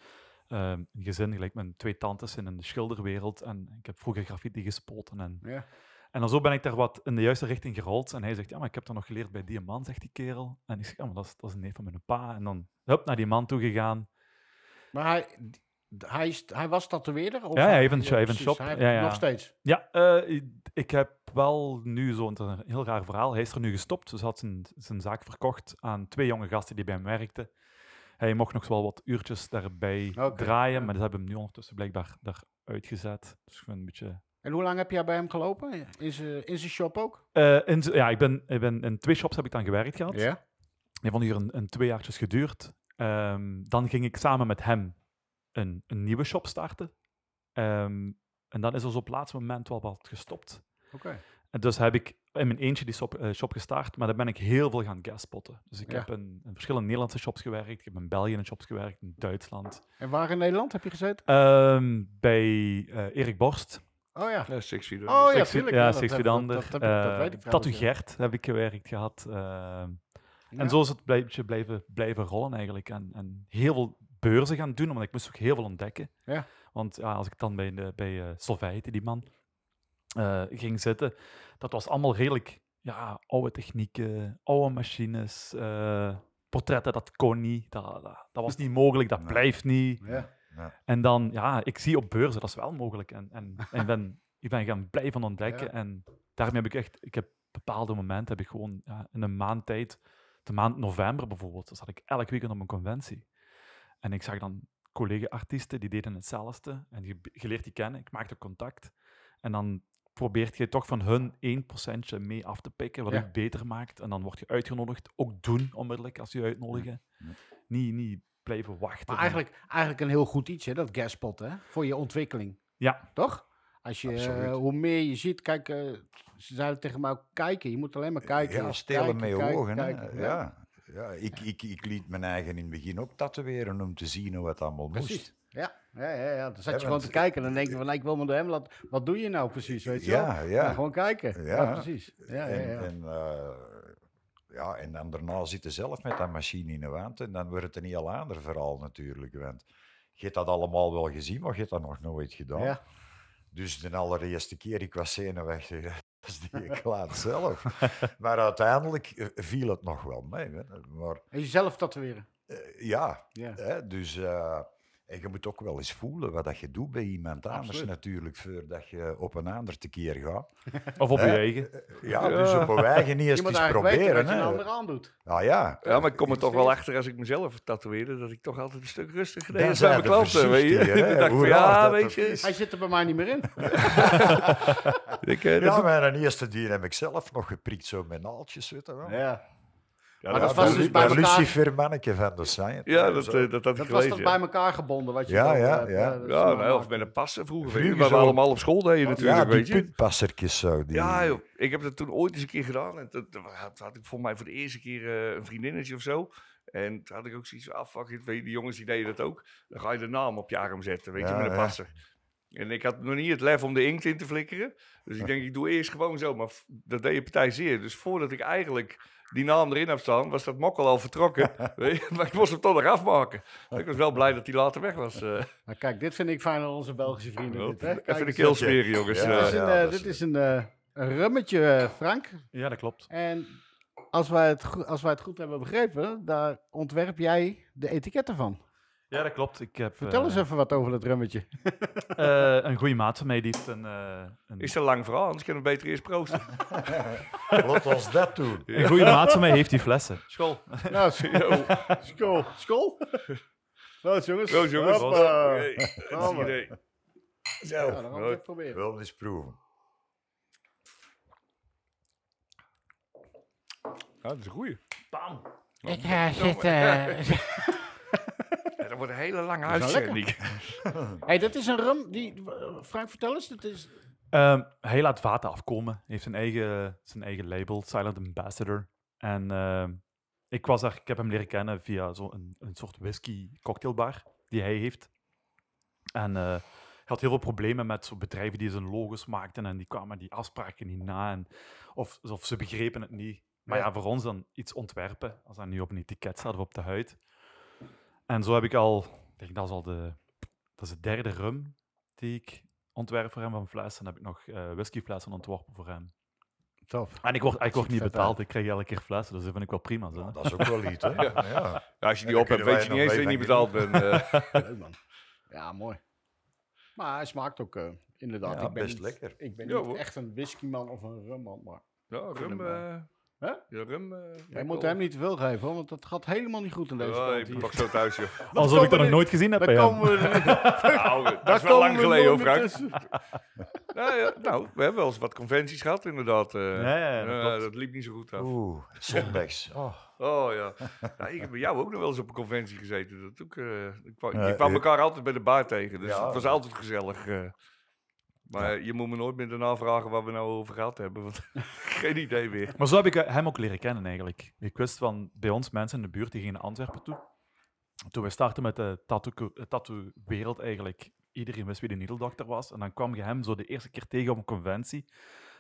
Speaker 2: eh, een gezin, gelijk mijn twee tantes in een schilderwereld. En ik heb vroeger graffiti gespoten. En,
Speaker 1: Ja.
Speaker 2: en dan zo ben ik daar wat in de juiste richting gerold. En hij zegt, ja, maar ik heb dat nog geleerd bij die man, zegt die kerel. En ik zeg, ja, maar dat is, dat is een neef van mijn pa. En dan, hup, naar die man toe gegaan.
Speaker 1: Maar hij, d- hij, is, hij was tatoeëerder? Of
Speaker 2: Ja, hij heeft een- hij heeft een
Speaker 1: precies,
Speaker 2: shop.
Speaker 1: hij heeft
Speaker 2: Ja, ja.
Speaker 1: Nog steeds.
Speaker 2: Ja, eh, i- ik heb wel nu zo'n het is een heel raar verhaal. Hij is er nu gestopt, dus hij had zijn, zijn zaak verkocht aan twee jonge gasten die bij hem werkten. Hij mocht nog wel wat uurtjes daarbij
Speaker 1: Oké, ja.
Speaker 2: draaien, maar dat hebben we hem nu ondertussen blijkbaar eruit gezet. Dus ik ben een beetje...
Speaker 1: En hoe lang heb jij bij hem gelopen? In zijn in zijn shop ook?
Speaker 2: Eh, in, z- ja, ik ben, ik ben in twee shops heb ik dan gewerkt gehad.
Speaker 1: Ja.
Speaker 2: Die van hier een, een twee jaartjes geduurd. Ehm, dan ging ik samen met hem een, een nieuwe shop starten. Ehm, en dan is ons op het laatste moment wel wat gestopt.
Speaker 1: Oké.
Speaker 2: En dus heb ik in mijn eentje die shop, eh, shop gestart, maar daar ben ik heel veel gaan gaspotten. Dus ik
Speaker 1: Ja.
Speaker 2: heb in, in verschillende Nederlandse shops gewerkt, ik heb in België in shops gewerkt, in Duitsland.
Speaker 1: En waar in Nederland heb je gezeten?
Speaker 2: Ehm, bij eh, Erik Borst.
Speaker 1: Oh ja.
Speaker 4: Ja, eh, Six Feet Under.
Speaker 1: Oh ja,
Speaker 2: Six-
Speaker 1: tuurlijk.
Speaker 2: ja,
Speaker 1: dat
Speaker 2: Six
Speaker 1: heb-
Speaker 2: Feet
Speaker 1: dat-
Speaker 2: Under.
Speaker 1: dat heb ik- dat
Speaker 2: Eh,
Speaker 1: weet ik
Speaker 2: Tattoo
Speaker 1: trouwens, ja.
Speaker 2: Gert heb ik gewerkt gehad. ehm.
Speaker 1: Ja.
Speaker 2: En zo is het blijven, blijven, blijven rollen eigenlijk. En, en heel veel beurzen gaan doen, want ik moest ook heel veel ontdekken.
Speaker 1: Ja.
Speaker 2: Want ja, als ik dan bij, de, bij eh, Solvay heette die man, eh, ging zitten, dat was allemaal redelijk ja, oude technieken, oude machines, eh, portretten, dat kon niet, dat, dat, dat was niet mogelijk, dat
Speaker 3: Nee.
Speaker 2: blijft niet.
Speaker 1: Ja.
Speaker 2: En dan, ja, ik zie op beurzen, dat is wel mogelijk. En, en, en ben, ik ben gaan blijven ontdekken.
Speaker 1: Ja.
Speaker 2: En daarmee heb ik echt, ik heb bepaalde momenten heb ik gewoon ja, in een maand tijd, de maand november bijvoorbeeld, dan zat ik elk weekend op een conventie. En ik zag dan collega-artiesten die deden hetzelfde. En je, je leert die kennen, ik maakte contact. En dan probeert je toch van hun 1% mee af te pikken, wat
Speaker 1: Ja.
Speaker 2: het beter maakt. En dan word je uitgenodigd. Ook doen onmiddellijk als ze je uitnodigen. Niet, niet blijven wachten.
Speaker 1: Maar
Speaker 2: en-
Speaker 1: eigenlijk, eigenlijk een heel goed iets, hè, dat gaspot, hè? Voor je ontwikkeling,
Speaker 2: Ja,
Speaker 1: toch? Als je,
Speaker 3: Absoluut.
Speaker 1: eh, hoe meer je ziet, kijk, eh, ze zeiden tegen mij ook, kijken, je moet alleen maar kijken.
Speaker 3: Ja, stelen met je
Speaker 1: kijken,
Speaker 3: ogen. hè.
Speaker 1: kijken.
Speaker 3: ja. Ja, ik, ik, ik liet mijn eigen in het begin ook tatoeëren om te zien hoe het allemaal moest.
Speaker 1: Precies. Ja, ja, ja, ja. Dan zat
Speaker 3: Ja,
Speaker 1: je gewoon
Speaker 3: want-
Speaker 1: te kijken en dan denk je van, nee, ik wil me door hem laten. Wat doe je nou precies, weet je
Speaker 3: Ja,
Speaker 1: wel?
Speaker 3: ja.
Speaker 1: Maar gewoon kijken. Ja,
Speaker 3: Ja.
Speaker 1: precies. Ja, ja,
Speaker 3: en,
Speaker 1: ja.
Speaker 3: En, eh, ja, en dan daarna zitten zelf met dat machine in de wand. En dan wordt het een heel ander verhaal natuurlijk. Want je hebt dat allemaal wel gezien, maar je hebt dat nog nooit gedaan.
Speaker 1: Ja.
Speaker 3: Dus de allereerste keer, ik was zenuwachtig. hè. Dat is die klaat zelf. Maar uiteindelijk eh, viel het nog wel mee. hè. Maar
Speaker 1: En jezelf tatoeëren.
Speaker 3: eh, ja,
Speaker 1: Ja.
Speaker 3: Hè? Dus eh, en je moet ook wel eens voelen wat dat je doet bij iemand anders
Speaker 1: Absoluut.
Speaker 3: natuurlijk, voordat je op een ander tekeer gaat.
Speaker 2: of op je
Speaker 3: Hè?
Speaker 2: eigen.
Speaker 3: Ja, dus op een eigen niet
Speaker 1: Je
Speaker 3: eens
Speaker 1: moet
Speaker 3: eens
Speaker 1: eigenlijk weten
Speaker 3: proberen.
Speaker 1: wat je een
Speaker 3: Hè?
Speaker 1: ander aandoet.
Speaker 3: Ah ja,
Speaker 4: Ja, maar ik kom er toch wel achter als ik mezelf tatoeëerde, dat ik toch altijd een stuk rustiger deed
Speaker 3: Dan
Speaker 4: als bij
Speaker 3: zijn
Speaker 4: mijn
Speaker 3: de
Speaker 4: klanten. Weet je?
Speaker 3: voorzichtiger, hè?
Speaker 4: Dan dacht ik
Speaker 3: Hoe
Speaker 4: van,
Speaker 3: raar
Speaker 4: ja,
Speaker 3: dat
Speaker 4: weet
Speaker 3: dat
Speaker 4: je.
Speaker 3: is.
Speaker 1: Hij zit er bij mij niet meer in.
Speaker 4: Ik, eh, dat
Speaker 3: ja,
Speaker 4: doe-
Speaker 3: mijn eerste dier heb ik zelf nog geprikt, zo met naaltjes, weet je wel.
Speaker 1: Ja.
Speaker 4: Ja,
Speaker 1: Oh. Maar
Speaker 4: dat-
Speaker 1: dat was dus bij
Speaker 3: dat
Speaker 1: elkaar-
Speaker 3: Lucifer manneke van de science.
Speaker 4: Ja, dat, eh, dat had
Speaker 1: Dat
Speaker 4: ik
Speaker 1: was
Speaker 4: gelezen.
Speaker 1: toch
Speaker 4: ja.
Speaker 1: bij elkaar gebonden, wat je
Speaker 3: Ja,
Speaker 1: dan,
Speaker 3: ja,
Speaker 1: eh,
Speaker 3: ja.
Speaker 1: eh,
Speaker 4: Ja,
Speaker 1: zo
Speaker 4: nou, of
Speaker 1: maakt.
Speaker 4: met een passen vroeger.
Speaker 3: Vroeger
Speaker 4: Vroeger wat
Speaker 3: zo.
Speaker 4: we allemaal op school deden natuurlijk,
Speaker 3: ja, die
Speaker 4: weet je.
Speaker 3: puntpassertjes zo. Die...
Speaker 4: Ja, joh. ik heb dat toen ooit eens een keer gedaan. En dat, dat had, had ik volgens mij voor de eerste keer eh, een vriendinnetje of zo. En toen had ik ook zoiets van, ah, fuck it, weet je, die jongens die deden dat ook. Dan ga je de naam op je arm zetten, weet je,
Speaker 3: Ja,
Speaker 4: met een
Speaker 3: ja.
Speaker 4: passer. En ik had nog niet het lef om de inkt in te flikkeren. Dus ik denk, ik doe eerst gewoon zo. Maar f- dat deed je partij zeer. Dus voordat ik eigenlijk die naam erin heb staan, was dat mokkel al vertrokken. weet je, maar ik moest hem toch nog afmaken. Ik was wel blij dat hij later weg was. eh.
Speaker 1: Maar Nou, kijk, dit vind ik fijn aan onze Belgische vrienden. Dit, hè? Kijk
Speaker 4: Even de
Speaker 1: eens.
Speaker 4: keel smeren, jongens.
Speaker 3: Ja,
Speaker 1: Dit
Speaker 4: Eh,
Speaker 1: is een,
Speaker 3: ja,
Speaker 1: eh,
Speaker 3: dat is-
Speaker 1: dit is een eh, een rummetje, eh, Frank.
Speaker 2: Ja, dat klopt.
Speaker 1: En als wij, het goe- als wij het goed hebben begrepen, daar ontwerp jij de etiketten van.
Speaker 2: Ja, dat klopt. Ik heb,
Speaker 1: Vertel
Speaker 2: eh,
Speaker 1: eens even wat over dat rummetje.
Speaker 2: eh, een goede maat van mij die heeft een, eh, een,
Speaker 4: Is dat lang verhaal, anders kunnen we beter eerst proosten.
Speaker 3: Laat ons dat doen.
Speaker 2: een goede maat van mij heeft die flessen.
Speaker 4: School.
Speaker 1: Nou, school. School? Proost jongens.
Speaker 4: Proost, jongens.
Speaker 1: Hoppa.
Speaker 4: Hey, dat is
Speaker 1: Gaan
Speaker 4: een
Speaker 1: we.
Speaker 4: idee.
Speaker 1: Nou, dan gaan we het even proberen.
Speaker 3: Wel eens proeven.
Speaker 4: Ja, dat is een goeie.
Speaker 2: Bam!
Speaker 1: Ik ga zitten.
Speaker 4: Ja, dat wordt een hele lange
Speaker 1: is wel
Speaker 4: uitzending.
Speaker 1: Hey, dat is een rum die... eh, Frank, vertel eens. Dat is...
Speaker 2: Ehm, hij laat vaten afkomen. Hij heeft zijn eigen, zijn eigen label, Silent Ambassador. En ehm, ik, was daar, ik heb hem leren kennen via zo'n een, een soort whisky cocktailbar die hij heeft. En eh, hij had heel veel problemen met zo bedrijven die zijn logos maakten en die kwamen die afspraken niet na. En of, of ze begrepen het niet. Maar ja. voor ons dan iets ontwerpen. Als dat nu op een etiket staat of op de huid. En zo heb ik al, ik denk dat is al de, dat is de derde rum die ik ontwerp voor hem van flessen. Dan heb ik nog eh, whiskyflessen ontworpen voor hem.
Speaker 1: Top.
Speaker 2: En ik word, ik word niet
Speaker 1: vet
Speaker 2: betaald, ik krijg elke keer flessen, dus dat vind ik wel prima. Zo.
Speaker 3: Dat is ook wel iets, hè? Ja.
Speaker 4: Ja, als je die
Speaker 3: Ja,
Speaker 4: op
Speaker 3: dan
Speaker 4: hebt,
Speaker 3: kunnen
Speaker 4: weet je
Speaker 3: wij
Speaker 4: niet
Speaker 3: nog
Speaker 4: eens dat je niet
Speaker 3: leven
Speaker 4: betaald bent. eh.
Speaker 1: Leuk man. Ja, mooi. Maar hij smaakt ook eh, inderdaad.
Speaker 3: Ja,
Speaker 1: ik ben
Speaker 3: best
Speaker 1: niet,
Speaker 3: lekker.
Speaker 1: Ik ben
Speaker 4: Ja,
Speaker 1: niet
Speaker 4: hoor.
Speaker 1: echt een whiskyman of een rumman, maar...
Speaker 4: Ja, rum... eh,
Speaker 1: Hè?
Speaker 4: Ja, rum... eh,
Speaker 1: Wij
Speaker 4: wel.
Speaker 1: moeten hem niet te veel geven, hoor, want dat gaat helemaal niet goed in deze
Speaker 4: Ja,
Speaker 1: kant
Speaker 4: ik ben
Speaker 1: hier.
Speaker 4: nog zo thuis, joh.
Speaker 2: Alsof
Speaker 1: komen
Speaker 2: ik dat nog
Speaker 1: we-
Speaker 2: nooit gezien heb bij hem.
Speaker 1: we er niet-
Speaker 4: Nou, dat is
Speaker 1: daar
Speaker 4: wel lang
Speaker 1: komen we
Speaker 4: geleden, hoor,
Speaker 1: nooit meer
Speaker 4: Frank.
Speaker 1: tussen.
Speaker 4: Nou, ja, nou, we hebben wel eens wat conventies gehad, inderdaad. eh.
Speaker 2: Ja, ja, dat
Speaker 4: Eh,
Speaker 2: klopt.
Speaker 4: dat liep niet zo goed af.
Speaker 3: Oeh, zondags. Oh.
Speaker 4: Oh ja. Ja, ik heb bij jou ook nog wel eens op een conventie gezeten. Dat ook, eh, ik kwam, je
Speaker 3: Eh,
Speaker 4: kwam
Speaker 3: eh.
Speaker 4: elkaar altijd bij de bar tegen, dus
Speaker 3: Ja.
Speaker 4: het was altijd gezellig. eh. Maar je moet me nooit meer daarna vragen waar we nou over gehad hebben, want geen idee meer.
Speaker 2: Maar zo heb ik eh, hem ook leren kennen eigenlijk. Ik wist van bij ons mensen in de buurt die gingen naar Antwerpen toe. Toen we startten met de tattoo- eh, tattoo-wereld eigenlijk, iedereen wist wie de niedeldokter was. En dan kwam je hem zo de eerste keer tegen op een conventie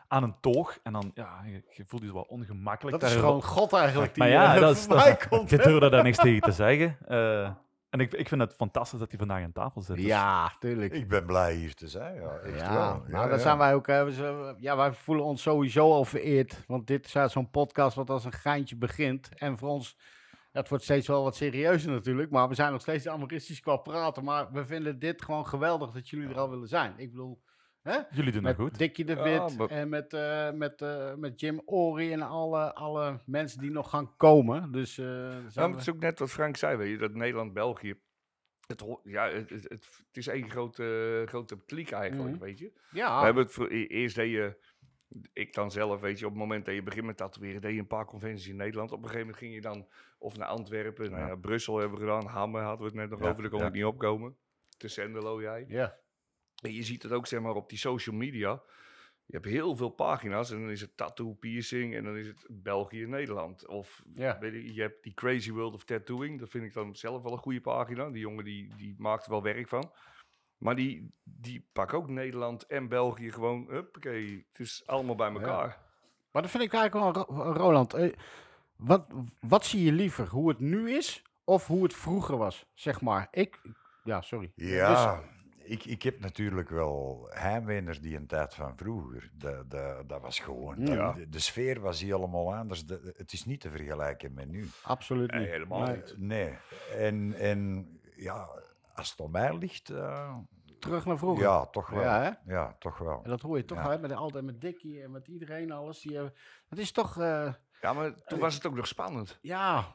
Speaker 2: aan een toog. En dan, ja, je, je voelde je zo wel ongemakkelijk.
Speaker 1: Dat is
Speaker 2: daar-
Speaker 1: gewoon God eigenlijk die
Speaker 2: Maar ja,
Speaker 1: eh,
Speaker 2: dat is, dat
Speaker 1: voorbij
Speaker 2: is,
Speaker 1: komt.
Speaker 2: je durfde daar niks tegen te zeggen. Eh, en ik, ik vind het fantastisch dat hij vandaag aan tafel zit. Dus
Speaker 1: Ja, tuurlijk.
Speaker 3: Ik ben blij hier te zijn, ja. Echt
Speaker 1: ja,
Speaker 3: wel.
Speaker 1: maar
Speaker 3: Ja,
Speaker 1: daar
Speaker 3: ja.
Speaker 1: zijn wij ook. eh, we zijn- ja, wij voelen ons sowieso al vereerd. Want dit is uit zo'n podcast wat als een geintje begint. En voor ons, ja, het wordt steeds wel wat serieuzer natuurlijk. Maar we zijn nog steeds amateuristisch qua praten. Maar we vinden dit gewoon geweldig dat jullie er al willen zijn. Ik bedoel, Hè?
Speaker 2: Jullie doen
Speaker 1: Met
Speaker 2: dat
Speaker 4: Nou,
Speaker 2: goed.
Speaker 1: Dickie de
Speaker 4: Ja,
Speaker 1: Wit
Speaker 4: maar-
Speaker 1: en met, eh, met, eh, met Jim Ory en alle, alle mensen die nog gaan komen. Dus, eh,
Speaker 4: Ja,
Speaker 1: zijn
Speaker 4: maar
Speaker 1: we-
Speaker 4: het is ook net wat Frank zei, weet je, dat Nederland-België. Het, ho- ja, het, het, het- het is één grote, grote kliek eigenlijk,
Speaker 1: Mhm.
Speaker 4: weet je.
Speaker 1: ja.
Speaker 4: We hebben het voor, e- eerst deed je, ik dan zelf, weet je, op het moment dat je begint met tatoeëren, deed je een paar conventies in Nederland. Op een gegeven moment ging je dan of naar Antwerpen, nou
Speaker 3: Ja.
Speaker 4: ja, Brussel hebben we gedaan, Hammen hadden we het net nog
Speaker 3: Ja,
Speaker 4: over, daar kon
Speaker 3: ja.
Speaker 4: ik niet opkomen. Te Sendelo jij.
Speaker 1: ja.
Speaker 4: En je ziet het ook zeg maar op die social media. Je hebt heel veel pagina's en dan is het tattoo piercing en dan is het België Nederland. Of
Speaker 1: Ja.
Speaker 4: weet je, je hebt die Crazy World of Tattooing. Dat vind ik dan zelf wel een goede pagina. Die jongen die, die maakt er wel werk van. Maar die, die pakken ook Nederland en België gewoon. Huppakee, het is allemaal bij elkaar.
Speaker 1: Maar dat vind ik eigenlijk wel, Ro- Roland, eh, wat, wat zie je liever? Hoe het nu is of hoe het vroeger was, zeg maar? Ik, ja, sorry.
Speaker 3: Ja,
Speaker 1: dus-
Speaker 3: ik, ik heb natuurlijk wel heimwee naar die een tijd van vroeger. De, de, dat was gewoon...
Speaker 1: Ja.
Speaker 3: De, de sfeer was hier allemaal anders. De- het is niet te vergelijken met nu.
Speaker 1: Absoluut niet.
Speaker 4: Nee, helemaal
Speaker 1: Nee.
Speaker 4: niet.
Speaker 3: Nee. En, en ja, als het om mij ligt... eh,
Speaker 1: Terug naar vroeger.
Speaker 3: ja, toch wel.
Speaker 1: Ja, hè?
Speaker 3: Ja, toch wel.
Speaker 1: En dat hoor je toch
Speaker 3: Ja.
Speaker 1: uit, met, altijd met Dickie en met iedereen alles. Die, hebben- het is toch, eh,
Speaker 4: Ja, maar toen was het ook nog spannend.
Speaker 1: ja,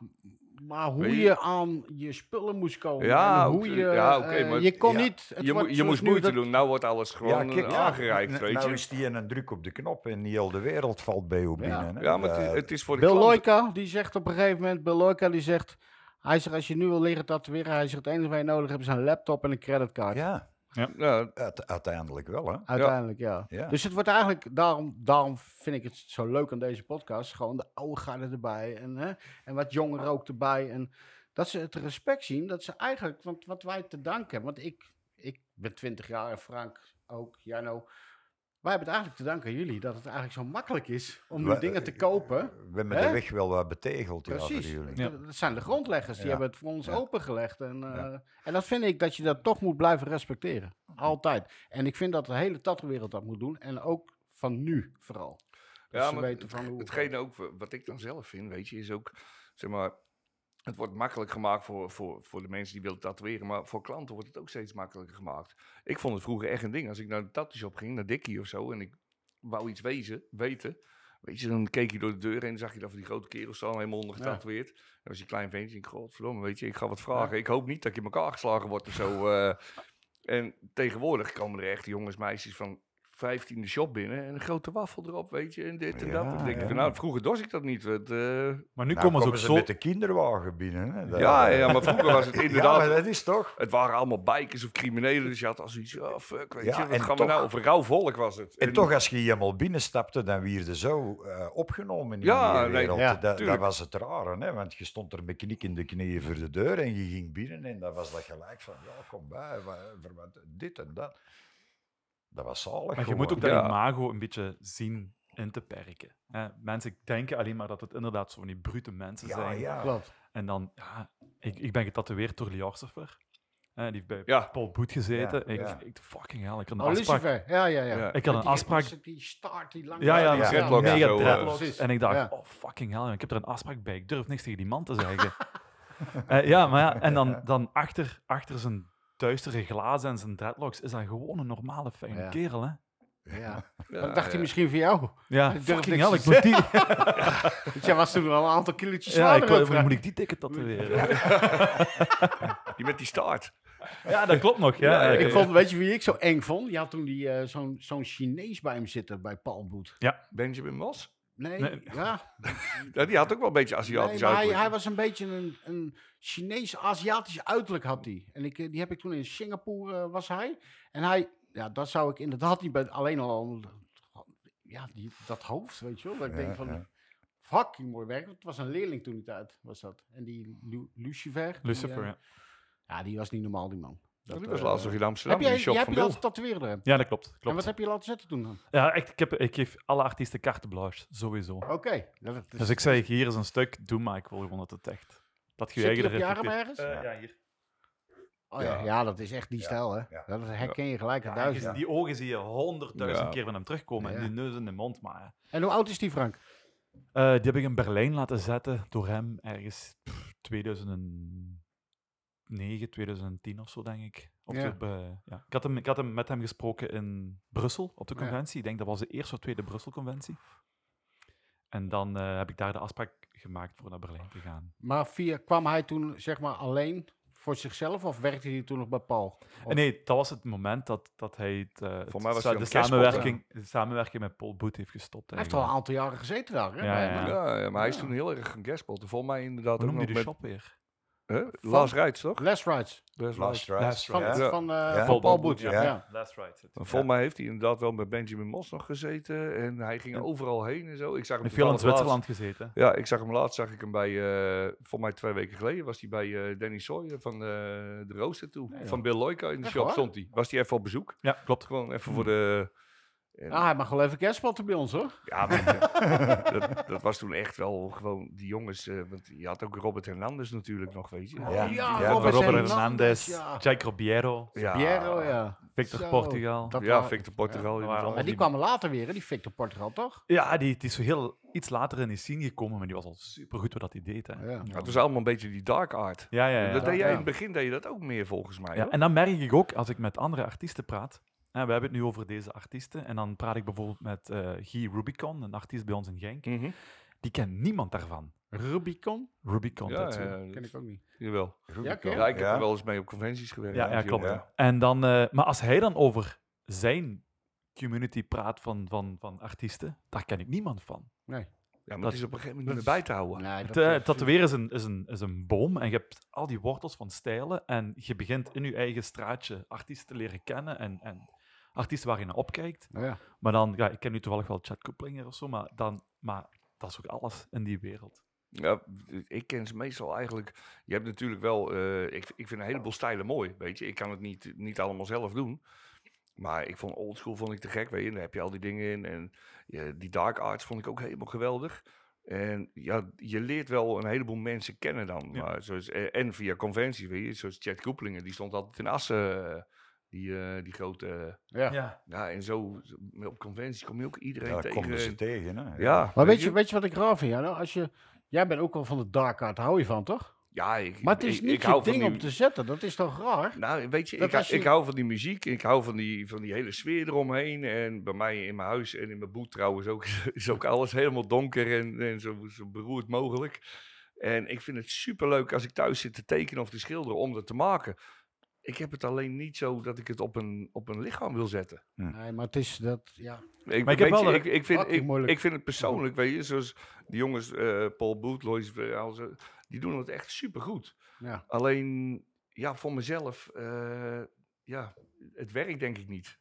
Speaker 1: maar hoe
Speaker 4: Weet
Speaker 1: je,
Speaker 4: je-
Speaker 1: aan je spullen moest komen.
Speaker 4: Ja,
Speaker 1: en hoe
Speaker 4: oké,
Speaker 1: je,
Speaker 4: ja, oké,
Speaker 1: eh,
Speaker 4: maar
Speaker 1: je kon
Speaker 3: ja,
Speaker 1: niet... het
Speaker 4: Je, mo-
Speaker 1: wordt
Speaker 4: je
Speaker 1: zoals
Speaker 4: moest
Speaker 1: nu
Speaker 4: moeite
Speaker 1: dat-
Speaker 4: doen. Nou wordt alles gewoon eh, aangereikt,
Speaker 3: n-
Speaker 4: weet
Speaker 3: nou
Speaker 4: je.
Speaker 3: is die een druk op de knop en heel de wereld valt bij jou
Speaker 1: Ja.
Speaker 3: binnen. hè.
Speaker 4: Ja, maar het,
Speaker 3: Eh,
Speaker 4: is- het is voor de
Speaker 1: Bill
Speaker 4: klanten-
Speaker 1: Loika, die zegt op een gegeven moment, Bill Loika, die zegt, hij zegt, als je nu wil leren tatoeëren, hij zegt, het enige wat je nodig hebt is een laptop en een creditcard.
Speaker 3: ja,
Speaker 4: Ja,
Speaker 3: uite- uiteindelijk wel, hè.
Speaker 1: Uiteindelijk, ja.
Speaker 3: Ja.
Speaker 1: Dus het wordt eigenlijk, daarom, daarom vind ik het zo leuk aan deze podcast, gewoon de oude garde erbij en, hè, en wat jongeren ook erbij. En dat ze het respect zien, dat ze eigenlijk, want wat wij te danken hebben, want ik, ik ben 20 jaar en Frank ook, Jano, wij hebben het eigenlijk te danken aan jullie, dat het eigenlijk zo makkelijk is om nu
Speaker 3: We-
Speaker 1: dingen te kopen.
Speaker 3: We hebben
Speaker 1: Hè?
Speaker 3: de weg wel wat betegeld ja, voor
Speaker 1: Precies.
Speaker 3: jullie.
Speaker 2: Ja.
Speaker 1: Dat dat zijn de grondleggers, die
Speaker 3: Ja.
Speaker 1: hebben het voor ons
Speaker 3: Ja.
Speaker 1: opengelegd. En, eh,
Speaker 3: Ja.
Speaker 1: en dat vind ik dat je dat toch moet blijven respecteren. Altijd. En ik vind dat de hele tattoo-wereld dat moet doen. En ook van nu vooral. Dat
Speaker 4: Ja,
Speaker 1: Dus ze
Speaker 4: maar
Speaker 1: weten van hoe.
Speaker 4: Hetgene ook wa- wat ik dan zelf vind, weet je, is ook, zeg maar, het wordt makkelijk gemaakt voor, voor, voor de mensen die willen tatoeëren, maar voor klanten wordt het ook steeds makkelijker gemaakt. Ik vond het vroeger echt een ding. Als ik naar de tattoo shop ging, naar Dickie of zo, en ik wou iets wezen, weten, weet je, dan keek je door de deur en dan zag je dat van die grote kerels staan, helemaal ondergetatoeëerd. Dan was je klein ventje, ik godverdomme, weet je, ik ga wat vragen. Ik hoop niet dat ik in elkaar geslagen wordt of zo. eh. en tegenwoordig komen er echt jongens, meisjes van 15e shop binnen en een grote waffel erop, weet je, en dit en dat.
Speaker 3: Ja,
Speaker 4: Dan denk ik van,
Speaker 3: ja.
Speaker 4: nou, vroeger dorst ik dat niet. want, eh,
Speaker 2: Maar nu
Speaker 3: Nou,
Speaker 2: komen ze ook zo...
Speaker 3: met de kinderwagen binnen. Hè? Dat-
Speaker 4: ja, ja, maar vroeger was het
Speaker 3: Ja,
Speaker 4: inderdaad...
Speaker 3: maar dat is toch?
Speaker 4: Het waren allemaal bikers of criminelen, dus je had al zoiets, oh fuck, weet
Speaker 3: Ja,
Speaker 4: je, wat
Speaker 3: en
Speaker 4: gaan we
Speaker 3: toch-
Speaker 4: nou? Of rauw volk was het.
Speaker 3: En toch, als je helemaal binnenstapte, dan werd je zo eh, opgenomen in
Speaker 4: Ja,
Speaker 3: die
Speaker 4: nee,
Speaker 3: wereld.
Speaker 1: ja,
Speaker 3: Dat- dat,
Speaker 4: tuurlijk.
Speaker 3: was het rare, hè? want je stond er met knik in de knieën voor de deur en je ging binnen en dan was dat gelijk van, ja, kom bij, wa- voor wat- dit en dat. Dat was zalig
Speaker 2: Maar je moet ook dat
Speaker 4: Ja.
Speaker 2: imago een beetje zien in te perken. Hè, mensen denken alleen maar dat het inderdaad zo van die brute mensen
Speaker 3: Ja,
Speaker 2: zijn.
Speaker 3: ja.
Speaker 1: Klopt.
Speaker 2: En dan, ja, ik, ik ben getatoeëerd door Liarsofer. Die heeft bij
Speaker 4: Ja.
Speaker 2: Paul Boet gezeten.
Speaker 3: Ja,
Speaker 2: ik,
Speaker 3: ja.
Speaker 2: ik, fucking hell, ik had een
Speaker 1: Oh,
Speaker 2: afspraak.
Speaker 1: Lucifer. Ja, ja, ja.
Speaker 4: Ja.
Speaker 2: Ik had een
Speaker 1: Die-
Speaker 2: afspraak.
Speaker 1: Die, die staart die lang.
Speaker 2: Ja, ja,
Speaker 3: die
Speaker 2: met zo'n
Speaker 3: dreadlocks
Speaker 2: mega
Speaker 4: zo, eh.
Speaker 2: dreadlocks.
Speaker 1: Precies,
Speaker 2: En ik dacht,
Speaker 1: ja.
Speaker 2: oh fucking hell, ik heb er een afspraak bij. Ik durf niks tegen die man te zeggen. Eh, ja, maar ja, en dan, dan achter, achter zijn duistere glazen en zijn dreadlocks is hij gewoon een normale fijne
Speaker 1: Ja.
Speaker 2: kerel, hè?
Speaker 1: Ja.
Speaker 4: Ja,
Speaker 1: Dat dacht hij
Speaker 4: ja.
Speaker 1: misschien van jou.
Speaker 2: Ja,
Speaker 1: durf
Speaker 2: fucking
Speaker 1: niks
Speaker 2: hell,
Speaker 1: te
Speaker 2: ik moet die...
Speaker 1: Want jij was toen wel een aantal kilootjes
Speaker 2: Ja, ik,
Speaker 1: zwaarder. ook,
Speaker 2: wil- moet
Speaker 1: Frank.
Speaker 2: ik die ticket tatoeëren?
Speaker 4: Die met die staart.
Speaker 2: Ja, dat klopt nog. Ja,
Speaker 4: Ja,
Speaker 2: ik
Speaker 1: Ik
Speaker 2: heb-
Speaker 1: vond, weet je wie ik zo eng vond? Je had toen die, eh, zo'n, zo'n Chinees bij hem zitten, bij Paul Boet.
Speaker 4: Benjamin Moss.
Speaker 1: Nee,
Speaker 2: Nee.
Speaker 1: ja,
Speaker 4: Ja, die had ook wel een beetje Aziatisch
Speaker 1: Nee, maar hij,
Speaker 4: uiterlijk.
Speaker 1: hij was een beetje een, een Chinees-Aziatisch uiterlijk had hij. En ik, eh, die heb ik toen in Singapore eh, was hij. En hij, ja, dat zou ik inderdaad niet bij alleen al om- ja, die, dat hoofd, weet je wel. Dat ik
Speaker 3: Ja,
Speaker 1: denk van,
Speaker 3: ja.
Speaker 1: fucking mooi werk. Want het was een leerling toen die tijd, was dat. En die Lu- Lucifer. die,
Speaker 2: Lucifer,
Speaker 1: eh,
Speaker 2: ja.
Speaker 1: ja. die was niet normaal, die man.
Speaker 4: Ja, die
Speaker 1: Dat,
Speaker 4: was
Speaker 1: eh,
Speaker 4: laatst nog in Amsterdam,
Speaker 1: Heb
Speaker 4: in
Speaker 1: jij,
Speaker 4: die shop
Speaker 1: jij
Speaker 4: van
Speaker 1: hebt je
Speaker 4: Bill.
Speaker 1: laten tatoeëren hem.
Speaker 2: Ja, dat klopt.
Speaker 1: En wat
Speaker 2: klopt.
Speaker 1: heb je laten zetten toen dan?
Speaker 2: Ja, echt, ik, heb, ik geef alle artiesten carte blanche, sowieso.
Speaker 1: Oké. Nou, dat is-
Speaker 2: Oh, Dus ik zei, hier is een stuk, doe maar, ik wil gewoon dat het echt... Dat je
Speaker 1: Zit
Speaker 2: je eigen
Speaker 1: die op je
Speaker 2: reflecteert.
Speaker 1: arm ergens?
Speaker 2: Eh, ja, hier.
Speaker 1: Oh ja,
Speaker 4: Ja.
Speaker 1: ja, dat is echt die
Speaker 3: Ja,
Speaker 1: stijl, hè?
Speaker 3: ja.
Speaker 1: Dat herken je gelijk aan
Speaker 2: Ja, je
Speaker 1: duizend.
Speaker 2: ziet- Die ogen zie je honderdduizend
Speaker 4: Ja.
Speaker 2: keer van hem terugkomen.
Speaker 1: Ja.
Speaker 2: En die neus in de mond. Maar, eh,
Speaker 1: En hoe oud is die, Frank?
Speaker 2: die heb ik in Berlijn laten zetten door hem ergens pff, 2009 2009, 2010 of zo, denk ik. Op
Speaker 1: Ja.
Speaker 2: de, bij- ja. ik, had hem, ik had hem met hem gesproken in Brussel op de
Speaker 1: Ja.
Speaker 2: conventie. Ik denk dat was de eerste of tweede Brussel-conventie. En dan eh, heb ik daar de afspraak gemaakt voor naar Berlijn te gaan.
Speaker 1: Maar via, kwam hij toen zeg maar alleen voor zichzelf of werkte hij toen nog bij Paul? Of-
Speaker 2: En nee, dat was het moment dat, dat hij het, eh, het
Speaker 4: Voor mij was
Speaker 2: sa- de,
Speaker 4: hij aan het kerstbotten.
Speaker 2: samenwerking, de samenwerking met Paul Boet heeft gestopt.
Speaker 1: Hij heeft al een aantal jaren gezeten daar. Hè?
Speaker 2: Ja,
Speaker 1: bij
Speaker 2: ja,
Speaker 1: hem.
Speaker 2: ja.
Speaker 4: Ja, ja, maar hij is
Speaker 1: Ja.
Speaker 4: toen heel erg een gaspot. Volgens mij inderdaad
Speaker 2: Hoe
Speaker 4: ook
Speaker 2: noemde
Speaker 4: nog
Speaker 2: hij de
Speaker 4: met...
Speaker 2: shop weer?
Speaker 4: Huh?
Speaker 1: Van-
Speaker 4: Last Rides, toch?
Speaker 1: eh, Les Rides.
Speaker 4: Last
Speaker 3: Last Rides,
Speaker 2: Last
Speaker 1: Van,
Speaker 3: ja.
Speaker 4: Ja.
Speaker 1: van, eh,
Speaker 3: Ja.
Speaker 1: van
Speaker 2: Paul
Speaker 1: Paul
Speaker 2: Boet,
Speaker 1: Boet.
Speaker 3: ja.
Speaker 1: ja.
Speaker 3: Ja.
Speaker 2: Last Right.
Speaker 4: Maar Volgens mij heeft hij inderdaad wel met Benjamin Moss nog gezeten. En hij ging overal heen en zo. Ik zag hem
Speaker 2: Hij veel in
Speaker 4: toevallig
Speaker 2: Zwitserland
Speaker 4: laatst-
Speaker 2: gezeten.
Speaker 4: Ja, ik zag hem laatst, zag ik hem bij, eh voor mij twee weken geleden, was hij bij eh, Danny Sawyer van eh, de Rooster toe.
Speaker 2: Ja, ja.
Speaker 4: Van Bill Loika in de
Speaker 1: Echt
Speaker 4: shop
Speaker 1: waar? Hmm.
Speaker 4: stond hij. Was hij even op bezoek.
Speaker 2: Ja, klopt.
Speaker 4: Gewoon even voor de... en-
Speaker 1: Ah, hij mag wel even kerstspotten bij ons hoor.
Speaker 4: Ja, maar dat, dat was toen echt wel gewoon die jongens. eh, want je had ook Robert Hernandez natuurlijk nog, weet je.
Speaker 1: Oh,
Speaker 3: Ja. Ja,
Speaker 2: Robert,
Speaker 3: Robert
Speaker 2: Hernandez,
Speaker 1: Ja.
Speaker 2: Jake Robiero,
Speaker 1: Piero, ja.
Speaker 2: Victor
Speaker 1: Zo,
Speaker 2: Portugal.
Speaker 1: dat
Speaker 4: Ja,
Speaker 1: wa-
Speaker 4: Victor Portugal.
Speaker 2: Ja,
Speaker 4: Ja,
Speaker 2: maar-
Speaker 1: Maar die kwam later weer, hè? die Victor Portugal toch?
Speaker 2: Ja, die, die is zo heel iets later in die scene gekomen, maar die was al supergoed wat dat hij deed. Hè.
Speaker 1: Ja.
Speaker 4: het was allemaal een beetje die dark art.
Speaker 2: Ja, ja, ja.
Speaker 4: dat deed
Speaker 1: ja.
Speaker 4: jij in het begin deed je dat ook meer volgens mij.
Speaker 2: Ja,
Speaker 4: Ja,
Speaker 2: en dan merk ik ook, als ik met andere artiesten praat, hè, we hebben het nu over deze artiesten, en dan praat ik bijvoorbeeld met eh Guy Rubicon, een artiest bij ons in Genk,
Speaker 4: Mhm.
Speaker 2: die kent niemand daarvan.
Speaker 1: Rubicon?
Speaker 2: Rubicon,
Speaker 4: ja,
Speaker 2: dat zo.
Speaker 4: ja,
Speaker 1: eh, Ken ik ook niet.
Speaker 4: jawel.
Speaker 1: Ja, ken je?
Speaker 4: Ja, ik heb er wel eens mee op conventies gewerkt.
Speaker 2: Ja, ja,
Speaker 4: als
Speaker 2: klopt.
Speaker 4: jongen.
Speaker 2: En dan, eh, maar als hij dan over zijn community praat van, van, van artiesten, daar ken ik niemand van.
Speaker 4: Ja, maar
Speaker 2: Dat-
Speaker 4: het is op een gegeven moment niet meer bij te houden.
Speaker 1: Nee,
Speaker 2: Het
Speaker 1: dat
Speaker 2: eh, tatoeëren is een, is, een, is een boom en je hebt al die wortels van stijlen en je begint in je eigen straatje artiesten te leren kennen en, en artiesten waar je naar opkijkt.
Speaker 1: Oh, Ja.
Speaker 2: Maar dan, ja, ik ken nu toevallig wel Chad Koeplinger of zo, maar, dan, maar dat is ook alles in die wereld.
Speaker 4: Ja, ik ken ze meestal eigenlijk. Je hebt natuurlijk wel. eh, ik, ik vind een heleboel stijlen mooi. Weet je, ik kan het niet, niet allemaal zelf doen. Maar ik vond oldschool vond ik te gek. Weet je, daar heb je al die dingen in. En ja, die dark arts vond ik ook helemaal geweldig. En ja, je leert wel een heleboel mensen kennen dan.
Speaker 2: Ja.
Speaker 4: Maar zoals, eh, en via conventies, weet je. Zoals Chad Koeplingen, die stond altijd in Assen. eh, Die, eh, die grote...
Speaker 1: Ja.
Speaker 4: ja, en zo zo- op conventies kom je ook iedereen
Speaker 3: Ja, daar
Speaker 4: tegen.
Speaker 3: komen ze tegen. Hè?
Speaker 4: ja,
Speaker 1: Maar weet je, weet je wat ik raar vind? Ja, nou, als je, jij bent ook wel van de dark art, hou je van toch?
Speaker 4: ja, ik,
Speaker 1: Maar het is
Speaker 4: ik-
Speaker 1: niet
Speaker 4: ik
Speaker 1: je
Speaker 4: hou van
Speaker 1: ding
Speaker 4: die-
Speaker 1: om te zetten, dat is toch raar?
Speaker 4: Nou, weet je,
Speaker 1: Dat
Speaker 4: ik, hou-
Speaker 1: als je-
Speaker 4: ik hou van die muziek. Ik hou van die, van die hele sfeer eromheen. En bij mij in mijn huis en in mijn boet trouwens ook, is ook alles helemaal donker en, en zo, zo beroerd mogelijk. En ik vind het superleuk als ik thuis zit te tekenen of te schilderen om dat te maken. Ik heb het alleen niet zo dat ik het op een, op een lichaam wil zetten.
Speaker 1: Nee, maar het is dat, ja.
Speaker 4: Ik,
Speaker 2: Maar ik
Speaker 4: weet
Speaker 2: heb wel
Speaker 4: je,
Speaker 2: een-
Speaker 4: ik, ik, vind,
Speaker 1: fucking
Speaker 4: ik,
Speaker 1: moeilijk.
Speaker 4: ik vind het persoonlijk, weet je, zoals die jongens, eh, Paul Boet, Lois, eh, al zo, die doen het echt supergoed.
Speaker 1: Ja.
Speaker 4: Alleen, ja, voor mezelf, eh, ja, het werkt denk ik niet.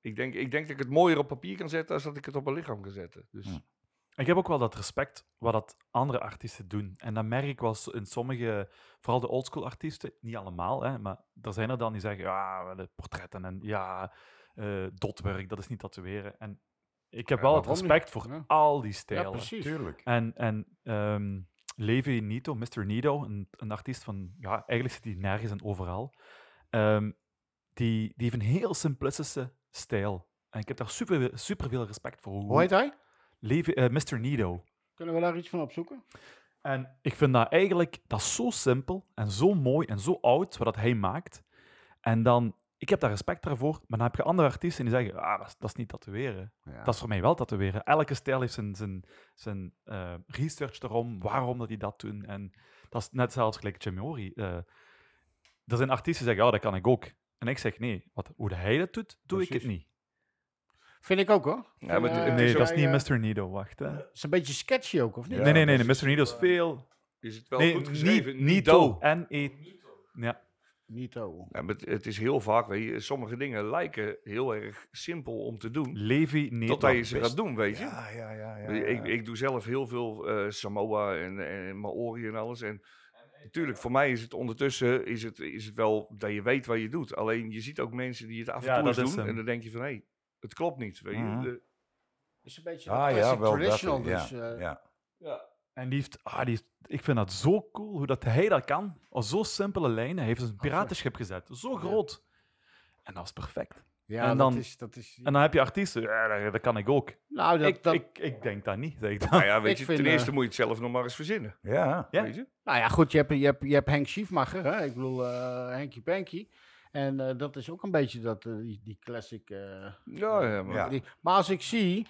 Speaker 4: Ik denk, ik denk dat ik het mooier op papier kan zetten als dat ik het op mijn lichaam kan zetten. Dus,
Speaker 3: Hm.
Speaker 2: Ik heb ook wel dat respect wat dat andere artiesten doen. En dat merk ik wel s- in sommige, vooral de oldschool artiesten, niet allemaal, hè, maar er zijn er dan die zeggen, ja, wel, eh, portretten en ja, eh, dotwerk, dat is niet tatoeëren. En ik heb
Speaker 1: Ja,
Speaker 2: wel het
Speaker 1: waarom niet?
Speaker 2: respect voor
Speaker 1: Ja.
Speaker 2: al die
Speaker 1: ja,
Speaker 2: stijlen.
Speaker 1: precies.
Speaker 3: tuurlijk.
Speaker 2: en en ehm, Levi Nito, Mr. Nito, een, een artiest van, ja, eigenlijk zit hij nergens en overal. Ehm, die, die heeft een heel simplistische stijl. En ik heb daar super, super veel respect voor.
Speaker 1: Hoe heet hij?
Speaker 2: Levi, eh, Mr. Nido.
Speaker 1: Kunnen we daar iets van opzoeken?
Speaker 2: En ik vind dat eigenlijk, dat is zo simpel en zo mooi en zo oud, wat dat hij maakt. En dan, ik heb daar respect daarvoor, maar dan heb je andere artiesten die zeggen, ah, dat is, dat is niet tatoeëren.
Speaker 1: Ja.
Speaker 2: Dat is voor mij wel tatoeëren. Elke stijl heeft zijn, zijn, zijn eh, research erom, waarom dat die dat doen. En dat is net zelfs gelijk Jim Mori. eh, er zijn artiesten die zeggen, ja, dat kan ik ook. En ik zeg, nee, wat, hoe hij dat doet, doe ik het
Speaker 1: Precies.
Speaker 2: niet.
Speaker 1: Vind ik ook hoor.
Speaker 4: Ja, maar
Speaker 1: Eh,
Speaker 4: het
Speaker 2: Nee,
Speaker 4: is,
Speaker 1: zo-
Speaker 2: dat is
Speaker 1: hij, eh,
Speaker 2: niet Mr. Nido, wacht. Hè.
Speaker 1: Het is een beetje sketchy ook, of niet?
Speaker 3: Ja,
Speaker 2: nee, nee, nee,
Speaker 3: dat
Speaker 2: nee, Mr. Nido is veel
Speaker 4: is het wel
Speaker 2: nee,
Speaker 4: dus goed geschreven?
Speaker 2: Ni- Nito. N-E... Ja.
Speaker 1: Niet oh.
Speaker 4: Ja, maar het, het is heel vaak, weet je, sommige dingen lijken heel erg simpel om te doen.
Speaker 2: Levi Nito.
Speaker 4: Totdat je ze gaat doen, weet je.
Speaker 3: Ja, ja, ja. ja,
Speaker 4: Ik-
Speaker 3: ja.
Speaker 4: Ik, ik doe zelf heel veel eh, Samoa en, en Maori en alles. En natuurlijk, voor mij is het ondertussen is het, is het wel dat je weet wat je doet. Alleen je ziet ook mensen die het af en
Speaker 2: Ja,
Speaker 4: toe eens
Speaker 2: dat is
Speaker 4: doen.
Speaker 2: hem.
Speaker 4: En dan denk je van, hé, het klopt niet. Weet je?
Speaker 3: Mhm.
Speaker 4: De-
Speaker 1: is een beetje
Speaker 3: Ah,
Speaker 1: classic
Speaker 3: ja, wel
Speaker 1: traditional,
Speaker 3: dat, ja,
Speaker 1: dus eh,
Speaker 3: ja.
Speaker 2: En die heeft, ah, die heeft- ik vind dat zo cool hoe dat hij dat kan. Op zo'n simpele lijnen. Hij heeft een piratenschip gezet. Zo groot. En dat is perfect.
Speaker 1: Ja,
Speaker 2: En
Speaker 1: dat
Speaker 2: dan-
Speaker 1: is... Dat is
Speaker 2: En dan heb je artiesten, ja, dat, dat kan ik ook.
Speaker 1: nou, dat,
Speaker 2: ik,
Speaker 1: dat,
Speaker 2: ik, ik denk dat niet, zeg ik dan.
Speaker 4: Nou ja,
Speaker 1: Ik
Speaker 4: weet je,
Speaker 1: vind,
Speaker 4: ten
Speaker 1: eh,
Speaker 4: eerste moet je het zelf nog maar eens verzinnen.
Speaker 3: Ja.
Speaker 2: Ja.
Speaker 4: Weet je?
Speaker 1: nou ja, goed, je hebt, je hebt, je hebt Henk Schiefmacher, hè? ik bedoel eh Henkie Panky. En eh, dat is ook een beetje dat, eh, die, die classic... eh,
Speaker 4: Ja, ja, maar-
Speaker 3: Ja.
Speaker 1: Die- maar als ik zie,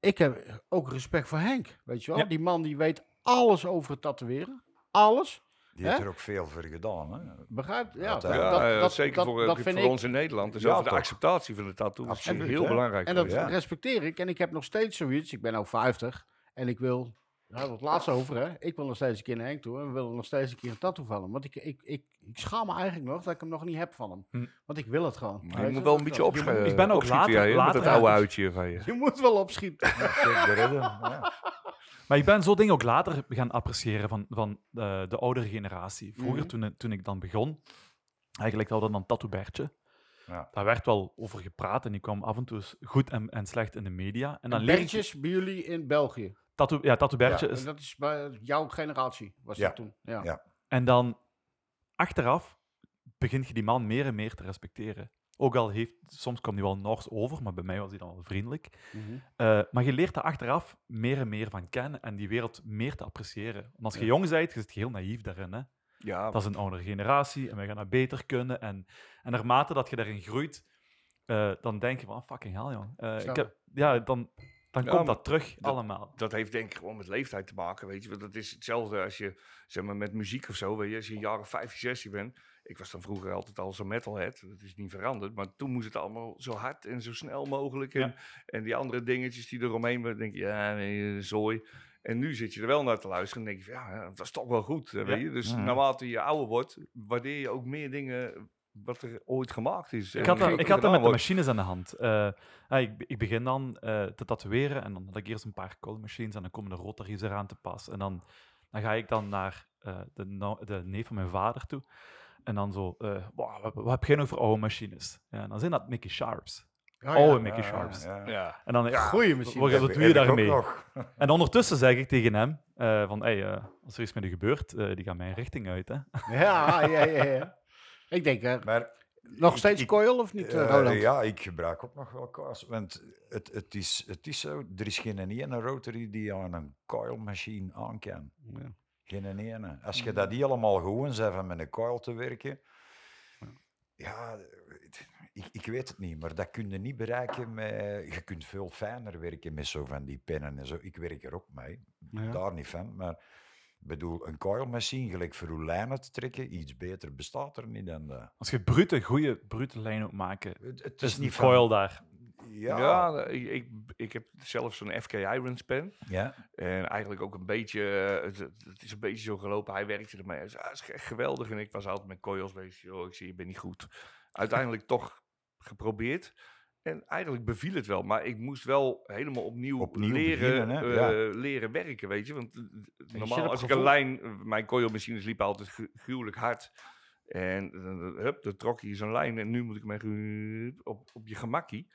Speaker 1: ik heb ook respect voor Henk, weet je wel.
Speaker 2: Ja.
Speaker 1: Die man die weet alles over het tatoeëren. Alles.
Speaker 3: Die heeft
Speaker 1: Hè?
Speaker 3: er ook veel voor gedaan. Hè?
Speaker 1: Begrijp je? Ja,
Speaker 3: Dat,
Speaker 1: dat,
Speaker 3: eh,
Speaker 4: Ja,
Speaker 1: dat,
Speaker 4: eh,
Speaker 1: dat-
Speaker 4: zeker
Speaker 1: dat-
Speaker 4: voor, eh,
Speaker 1: dat
Speaker 4: voor
Speaker 1: vind ik.
Speaker 4: ons in Nederland. Dus
Speaker 3: Ja,
Speaker 4: over de
Speaker 3: toch.
Speaker 4: acceptatie van de tattoo. Dat is
Speaker 3: Absoluut,
Speaker 4: heel
Speaker 3: hè.
Speaker 4: belangrijk.
Speaker 1: En dat
Speaker 4: geworden.
Speaker 3: Ja.
Speaker 1: respecteer ik. En ik heb nog steeds zoiets. Ik ben nou 50 en ik wil. Daar hadden we het laatst over, hè? Ik wil nog steeds een keer naar Henk toe en we willen nog steeds een keer een tattoo van hem. Want ik, ik, ik, ik schaam me eigenlijk nog dat ik hem nog niet heb van hem.
Speaker 2: Hm.
Speaker 1: Want ik wil het gewoon.
Speaker 4: Maar
Speaker 1: Weet
Speaker 4: je
Speaker 1: je,
Speaker 4: moet wel een
Speaker 1: dat-
Speaker 4: beetje
Speaker 1: dat-
Speaker 4: opschieten.
Speaker 2: Ik ben ook
Speaker 4: opschieten,
Speaker 2: later-
Speaker 4: jij, hè, met
Speaker 2: later
Speaker 4: dat oude
Speaker 2: uit.
Speaker 4: uitje van je.
Speaker 1: Je moet wel opschieten.
Speaker 3: Jack de Ridder, ja.
Speaker 2: Maar ik ben zo dingen ook later gaan appreciëren van, van eh, de oudere generatie. Vroeger,
Speaker 1: Mhm.
Speaker 2: toen, toen ik dan begon, eigenlijk hadden we dan Tattoo Bertje.
Speaker 3: Ja.
Speaker 2: Daar werd wel over gepraat en die kwam af en toe eens goed en, en slecht in de media. En dan leer ik- Dus-
Speaker 1: Bertjes bij jullie in België.
Speaker 2: Tattoo, ja, Tattoo Bertje
Speaker 1: En
Speaker 2: is...
Speaker 1: dat is bij jouw generatie, was
Speaker 3: Ja.
Speaker 1: dat toen. Ja.
Speaker 3: Ja.
Speaker 2: En dan, achteraf, begint je die man meer en meer te respecteren. Ook al heeft... Soms kwam hij wel nors over, maar bij mij was hij dan wel vriendelijk.
Speaker 1: Mhm.
Speaker 4: Oh,
Speaker 2: Eh, maar je leert daar achteraf meer en meer van kennen en die wereld meer te appreciëren. Want als je jong bent, je zit heel naïef daarin. Hè?
Speaker 4: Ja,
Speaker 2: Dat is een oudere generatie en wij gaan dat beter kunnen. En, en naarmate dat je daarin groeit, eh, dan denk je van, ah, fucking hell, jong. Eh,
Speaker 1: Snap
Speaker 2: ik
Speaker 1: je?
Speaker 2: heb, ja, dan, dan
Speaker 4: Ja,
Speaker 2: komt
Speaker 4: maar
Speaker 2: dat terug allemaal.
Speaker 4: dat heeft denk ik gewoon met leeftijd te maken, weet je. Want dat is hetzelfde als je, zeg maar, met muziek of zo, weet je. Als je een jaar of 15, 16 bent. Ik was dan vroeger altijd al zo'n metalhead. Dat is niet veranderd. Maar toen moest het allemaal zo hard en zo snel mogelijk. En, en die andere dingetjes die eromheen waren, denk je, ja, nee, eh, zooi. En nu zit je er wel naar te luisteren en denk je, van, ja, dat is toch wel goed, eh, weet je. Dus
Speaker 3: Mhm.
Speaker 4: naarmate je ouder wordt, waardeer je ook meer dingen wat er ooit gemaakt
Speaker 2: Ik
Speaker 4: is. en
Speaker 2: had,
Speaker 4: wat
Speaker 2: dat,
Speaker 4: er
Speaker 2: ik had dat met
Speaker 4: gedaan
Speaker 2: de
Speaker 4: wordt.
Speaker 2: machines aan de hand. Eh, ah, ik, ik begin dan eh, te tatoeëren en dan had ik eerst een paar cold machines en dan komen de rotaries eraan te pas. En dan, dan ga ik dan naar eh, de, no- de neef van mijn vader toe en dan zo, eh, "Wow, wat, wat heb jij nog voor oude machines? Ja, en dan zijn dat Mickey Sharps. oude Mickey Sharps.
Speaker 3: Ja.
Speaker 4: Ja,
Speaker 2: En dan, ja,
Speaker 1: Goeie
Speaker 2: wat,
Speaker 1: machine.
Speaker 2: wat
Speaker 3: Heb-
Speaker 2: doe
Speaker 3: heb
Speaker 2: je
Speaker 3: ik ook
Speaker 2: daarmee?
Speaker 3: nog.
Speaker 2: En ondertussen zeg ik tegen hem eh, van, hey, eh, als er iets met u gebeurt, eh, die gaan mijn richting uit. Hè?
Speaker 1: Ja, ja, ja, ja. Ik denk, eh,
Speaker 3: Maar
Speaker 1: nog steeds
Speaker 3: ik-
Speaker 1: coil of niet, eh,
Speaker 3: Eh,
Speaker 1: Roland?
Speaker 3: ja, ik gebruik ook nog wel kaars. Want het, het, is, het is zo, er is geen ene rotary die aan een coil machine aan kan.
Speaker 1: Ja.
Speaker 3: Geen ene. Als je dat helemaal gewoon bent van met een coil te werken, ja, het- ik, ik weet het niet, maar dat kun je niet bereiken met... Je kunt veel fijner werken met zo van die pennen en zo. Ik werk er ook mee,
Speaker 1: Ja.
Speaker 3: daar niet van, maar... Ik bedoel, een coil machine, gelijk voor uw lijnen te trekken, iets beter bestaat er niet dan dat.
Speaker 2: Als je brute, goede brute lijn ook maken,
Speaker 3: Het, het
Speaker 2: is die
Speaker 3: van-
Speaker 2: coil daar.
Speaker 4: ja.
Speaker 3: ja.
Speaker 4: ik, ik, ik heb zelf zo'n FK Irons pen.
Speaker 3: ja.
Speaker 4: En eigenlijk ook een beetje, eh, het, het- het is een beetje zo gelopen. Hij werkte ermee. Hij zei, ah, het is echt geweldig. En ik was altijd met coils bezig. Joh, ik zie, je bent niet goed. Uiteindelijk toch geprobeerd. En eigenlijk beviel het wel. Maar ik moest wel helemaal opnieuw,
Speaker 3: Opnieuw
Speaker 4: leren,
Speaker 3: beginnen, hè?
Speaker 4: eh, leren werken, weet je. Want eh,
Speaker 1: zit
Speaker 4: normaal
Speaker 1: op
Speaker 4: als ik
Speaker 1: gevoel.
Speaker 4: een lijn... eh, Mijn coilmachines liepen altijd gru- gruwelijk hard. En eh, hup, dan trok hij zijn lijn. En nu moet ik hem echt hup, op, op je gemakkie.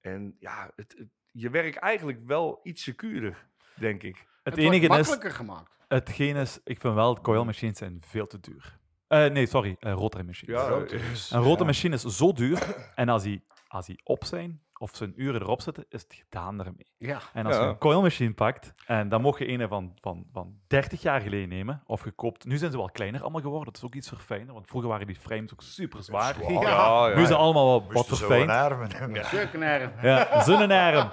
Speaker 4: En ja, het, het- je werkt eigenlijk wel iets secuurder, denk ik.
Speaker 2: Het,
Speaker 1: wordt
Speaker 2: enige is,
Speaker 1: makkelijker gemaakt.
Speaker 2: hetgeen is, ik vind wel, coil machines zijn veel te duur. Eh, nee, sorry, eh rotary machines.
Speaker 4: Ja,
Speaker 3: Rood
Speaker 4: eh,
Speaker 3: is,
Speaker 2: Een rotary
Speaker 3: ja.
Speaker 2: machine is zo duur, en als die, als die op zijn, of zijn uren erop zitten, is het gedaan ermee.
Speaker 1: Ja.
Speaker 2: En als je
Speaker 4: Ja.
Speaker 2: een coil machine pakt, en dan mocht je een van, van, van 30 jaar geleden nemen, of je koopt, nu zijn ze wel kleiner allemaal geworden, dat is ook iets verfijner, want vroeger waren die frames ook super zwaar.
Speaker 3: Zwaar. Ja.
Speaker 2: Nu zijn ze allemaal wat, wat
Speaker 3: Moesten zo
Speaker 2: verfijnd.
Speaker 3: een armen hebben.
Speaker 1: Jurkenaren.
Speaker 2: Ja, zonnenerm.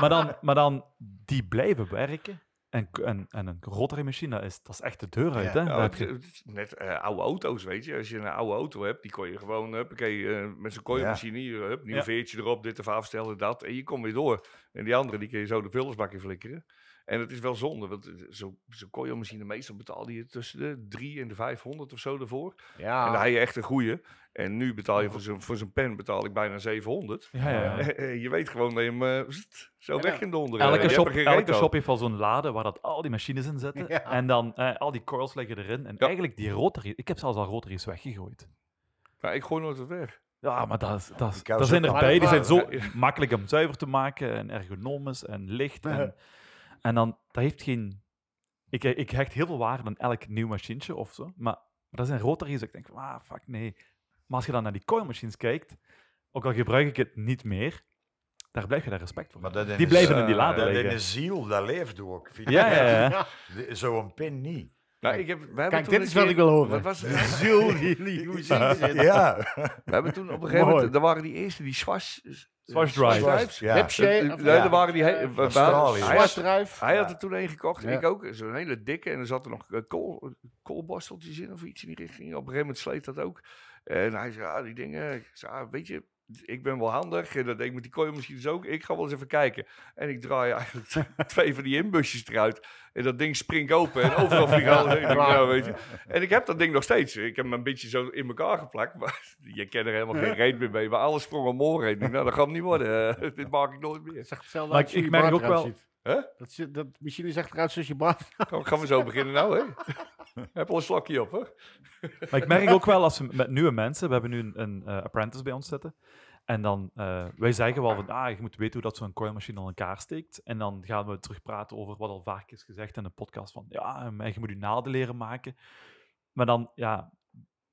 Speaker 2: maar, dan, maar dan, die blijven werken. En, en, en een rotary machine, dat is, dat is echt de deur uit.
Speaker 3: Ja,
Speaker 2: hè?
Speaker 4: Ja,
Speaker 2: Daar heb
Speaker 4: het,
Speaker 2: je-
Speaker 4: het is net eh, oude auto's, weet je. Als je een oude auto hebt, die kon je gewoon huppakee, eh, met zo'n kooimachine hier, eh, hup, nieuw
Speaker 2: Ja.
Speaker 4: veertje erop, dit of afstellen, dat. En je komt weer door. En die andere, die kun je zo de vullersbak in flikkeren. En het is wel zonde, want eh, zo- zo'n kooimachine, meestal betaalde je tussen de 3 en de 500 of zo ervoor.
Speaker 2: Ah.
Speaker 4: En dan
Speaker 1: Ja.
Speaker 4: had je echt een goeie. En nu betaal je voor zo'n, voor zo'n pen betaal ik bijna 700.
Speaker 2: ja, ja, ja.
Speaker 4: je weet gewoon dat je hem eh, pst, zo
Speaker 1: Ja.
Speaker 4: weg kunt donderen. Je
Speaker 2: Elke,
Speaker 4: hebt
Speaker 2: shop,
Speaker 4: er geen reet
Speaker 2: elke
Speaker 4: aan.
Speaker 2: shop heeft wel zo'n lade waar dat al die machines in zitten.
Speaker 1: Ja.
Speaker 2: En dan eh, al die coils liggen erin. En
Speaker 4: Ja.
Speaker 2: eigenlijk die rotary, ik heb zelfs al rotaries weggegooid.
Speaker 4: Maar ik gooi nooit wat weg.
Speaker 2: Ja, maar dat, is, dat, is,
Speaker 3: Ik hou
Speaker 2: dat
Speaker 3: ze
Speaker 2: zijn
Speaker 3: ook
Speaker 2: erbij. Die
Speaker 1: allemaal.
Speaker 2: zijn zo
Speaker 4: Ja,
Speaker 2: makkelijk om zuiver te maken en ergonomisch en licht. En, en dan, dat heeft geen... Ik, ik hecht heel veel waarde aan elk nieuw machientje of zo. Maar, maar dat zijn rotaries. dat Ik denk, van, ah, fuck, nee. Maar als je dan naar die coil machines kijkt, ook al gebruik ik het niet meer, daar blijf je daar respect voor.
Speaker 3: Maar
Speaker 2: hebben.
Speaker 3: dat
Speaker 2: die
Speaker 3: is,
Speaker 2: blijven in die
Speaker 4: eh,
Speaker 2: lade
Speaker 3: Dat in
Speaker 2: liggen.
Speaker 3: de ziel, dat leeft ook. vind ik.
Speaker 2: Ja, ja, ja.
Speaker 3: De- Zo'n pin niet.
Speaker 4: Nou, ik heb, wij hebben
Speaker 1: Kijk,
Speaker 4: toen
Speaker 1: dit
Speaker 4: een
Speaker 1: is wat
Speaker 4: keer-
Speaker 1: ik wil horen.
Speaker 4: Wat was het?
Speaker 1: Ziel die niet hoe zit het?
Speaker 3: Ja.
Speaker 4: We hebben toen op een gegeven moment, er waren die eerste, die Swash...
Speaker 2: Swash Drive.
Speaker 4: Drives.
Speaker 3: Ja.
Speaker 1: Hepshay,
Speaker 4: Nee,
Speaker 1: of- Eh,
Speaker 4: er waren die... he- we- we-
Speaker 3: Australië.
Speaker 4: hij had-
Speaker 1: Zwart drijf.
Speaker 4: Hij had er toen een gekocht, en
Speaker 1: Ja.
Speaker 4: ik ook. Zo'n hele dikke. En er zat er nog eh, kool, koolborsteltjes in of iets in die richting. Op een gegeven moment sleet dat ook. En hij zei, ah, die dingen... Ik zei, ah, weet je, ik ben wel handig. En dat deed ik met die kooi misschien dus ook. Ik ga wel eens even kijken. En ik draai eigenlijk t- twee van die inbusjes eruit. En dat ding springt open. En overal vliegen alles heen. Ik denk, nou, weet je. En ik heb dat ding nog steeds. Ik heb hem een beetje zo in elkaar geplakt. Maar je kent er helemaal geen reet meer mee. Maar alles sprong om oren heen. Ik denk, nou, dat gaat hem niet worden. Eh, dit maak ik nooit meer.
Speaker 1: Het zegt hetzelfde
Speaker 2: Maar
Speaker 1: uit
Speaker 2: ik-
Speaker 1: als je
Speaker 2: ik merk
Speaker 1: baard
Speaker 2: ook wel-
Speaker 1: eruit ziet.
Speaker 4: Hè?
Speaker 1: Dat, zit- dat machine zegt eruit zoals je baard.
Speaker 4: Gaan gaan we zo beginnen nou, hè? Heb al een slokje op, hoor.
Speaker 2: Maar ik merk ook wel als we met nieuwe mensen, we hebben nu een, een eh, apprentice bij ons zitten. En dan, eh, wij zeggen wel van, ah, je moet weten hoe dat zo'n coilmachine aan elkaar steekt. En dan gaan we terug praten over wat al vaak is gezegd in de podcast. Van, ja, en je moet je naalden leren maken. Maar dan, ja,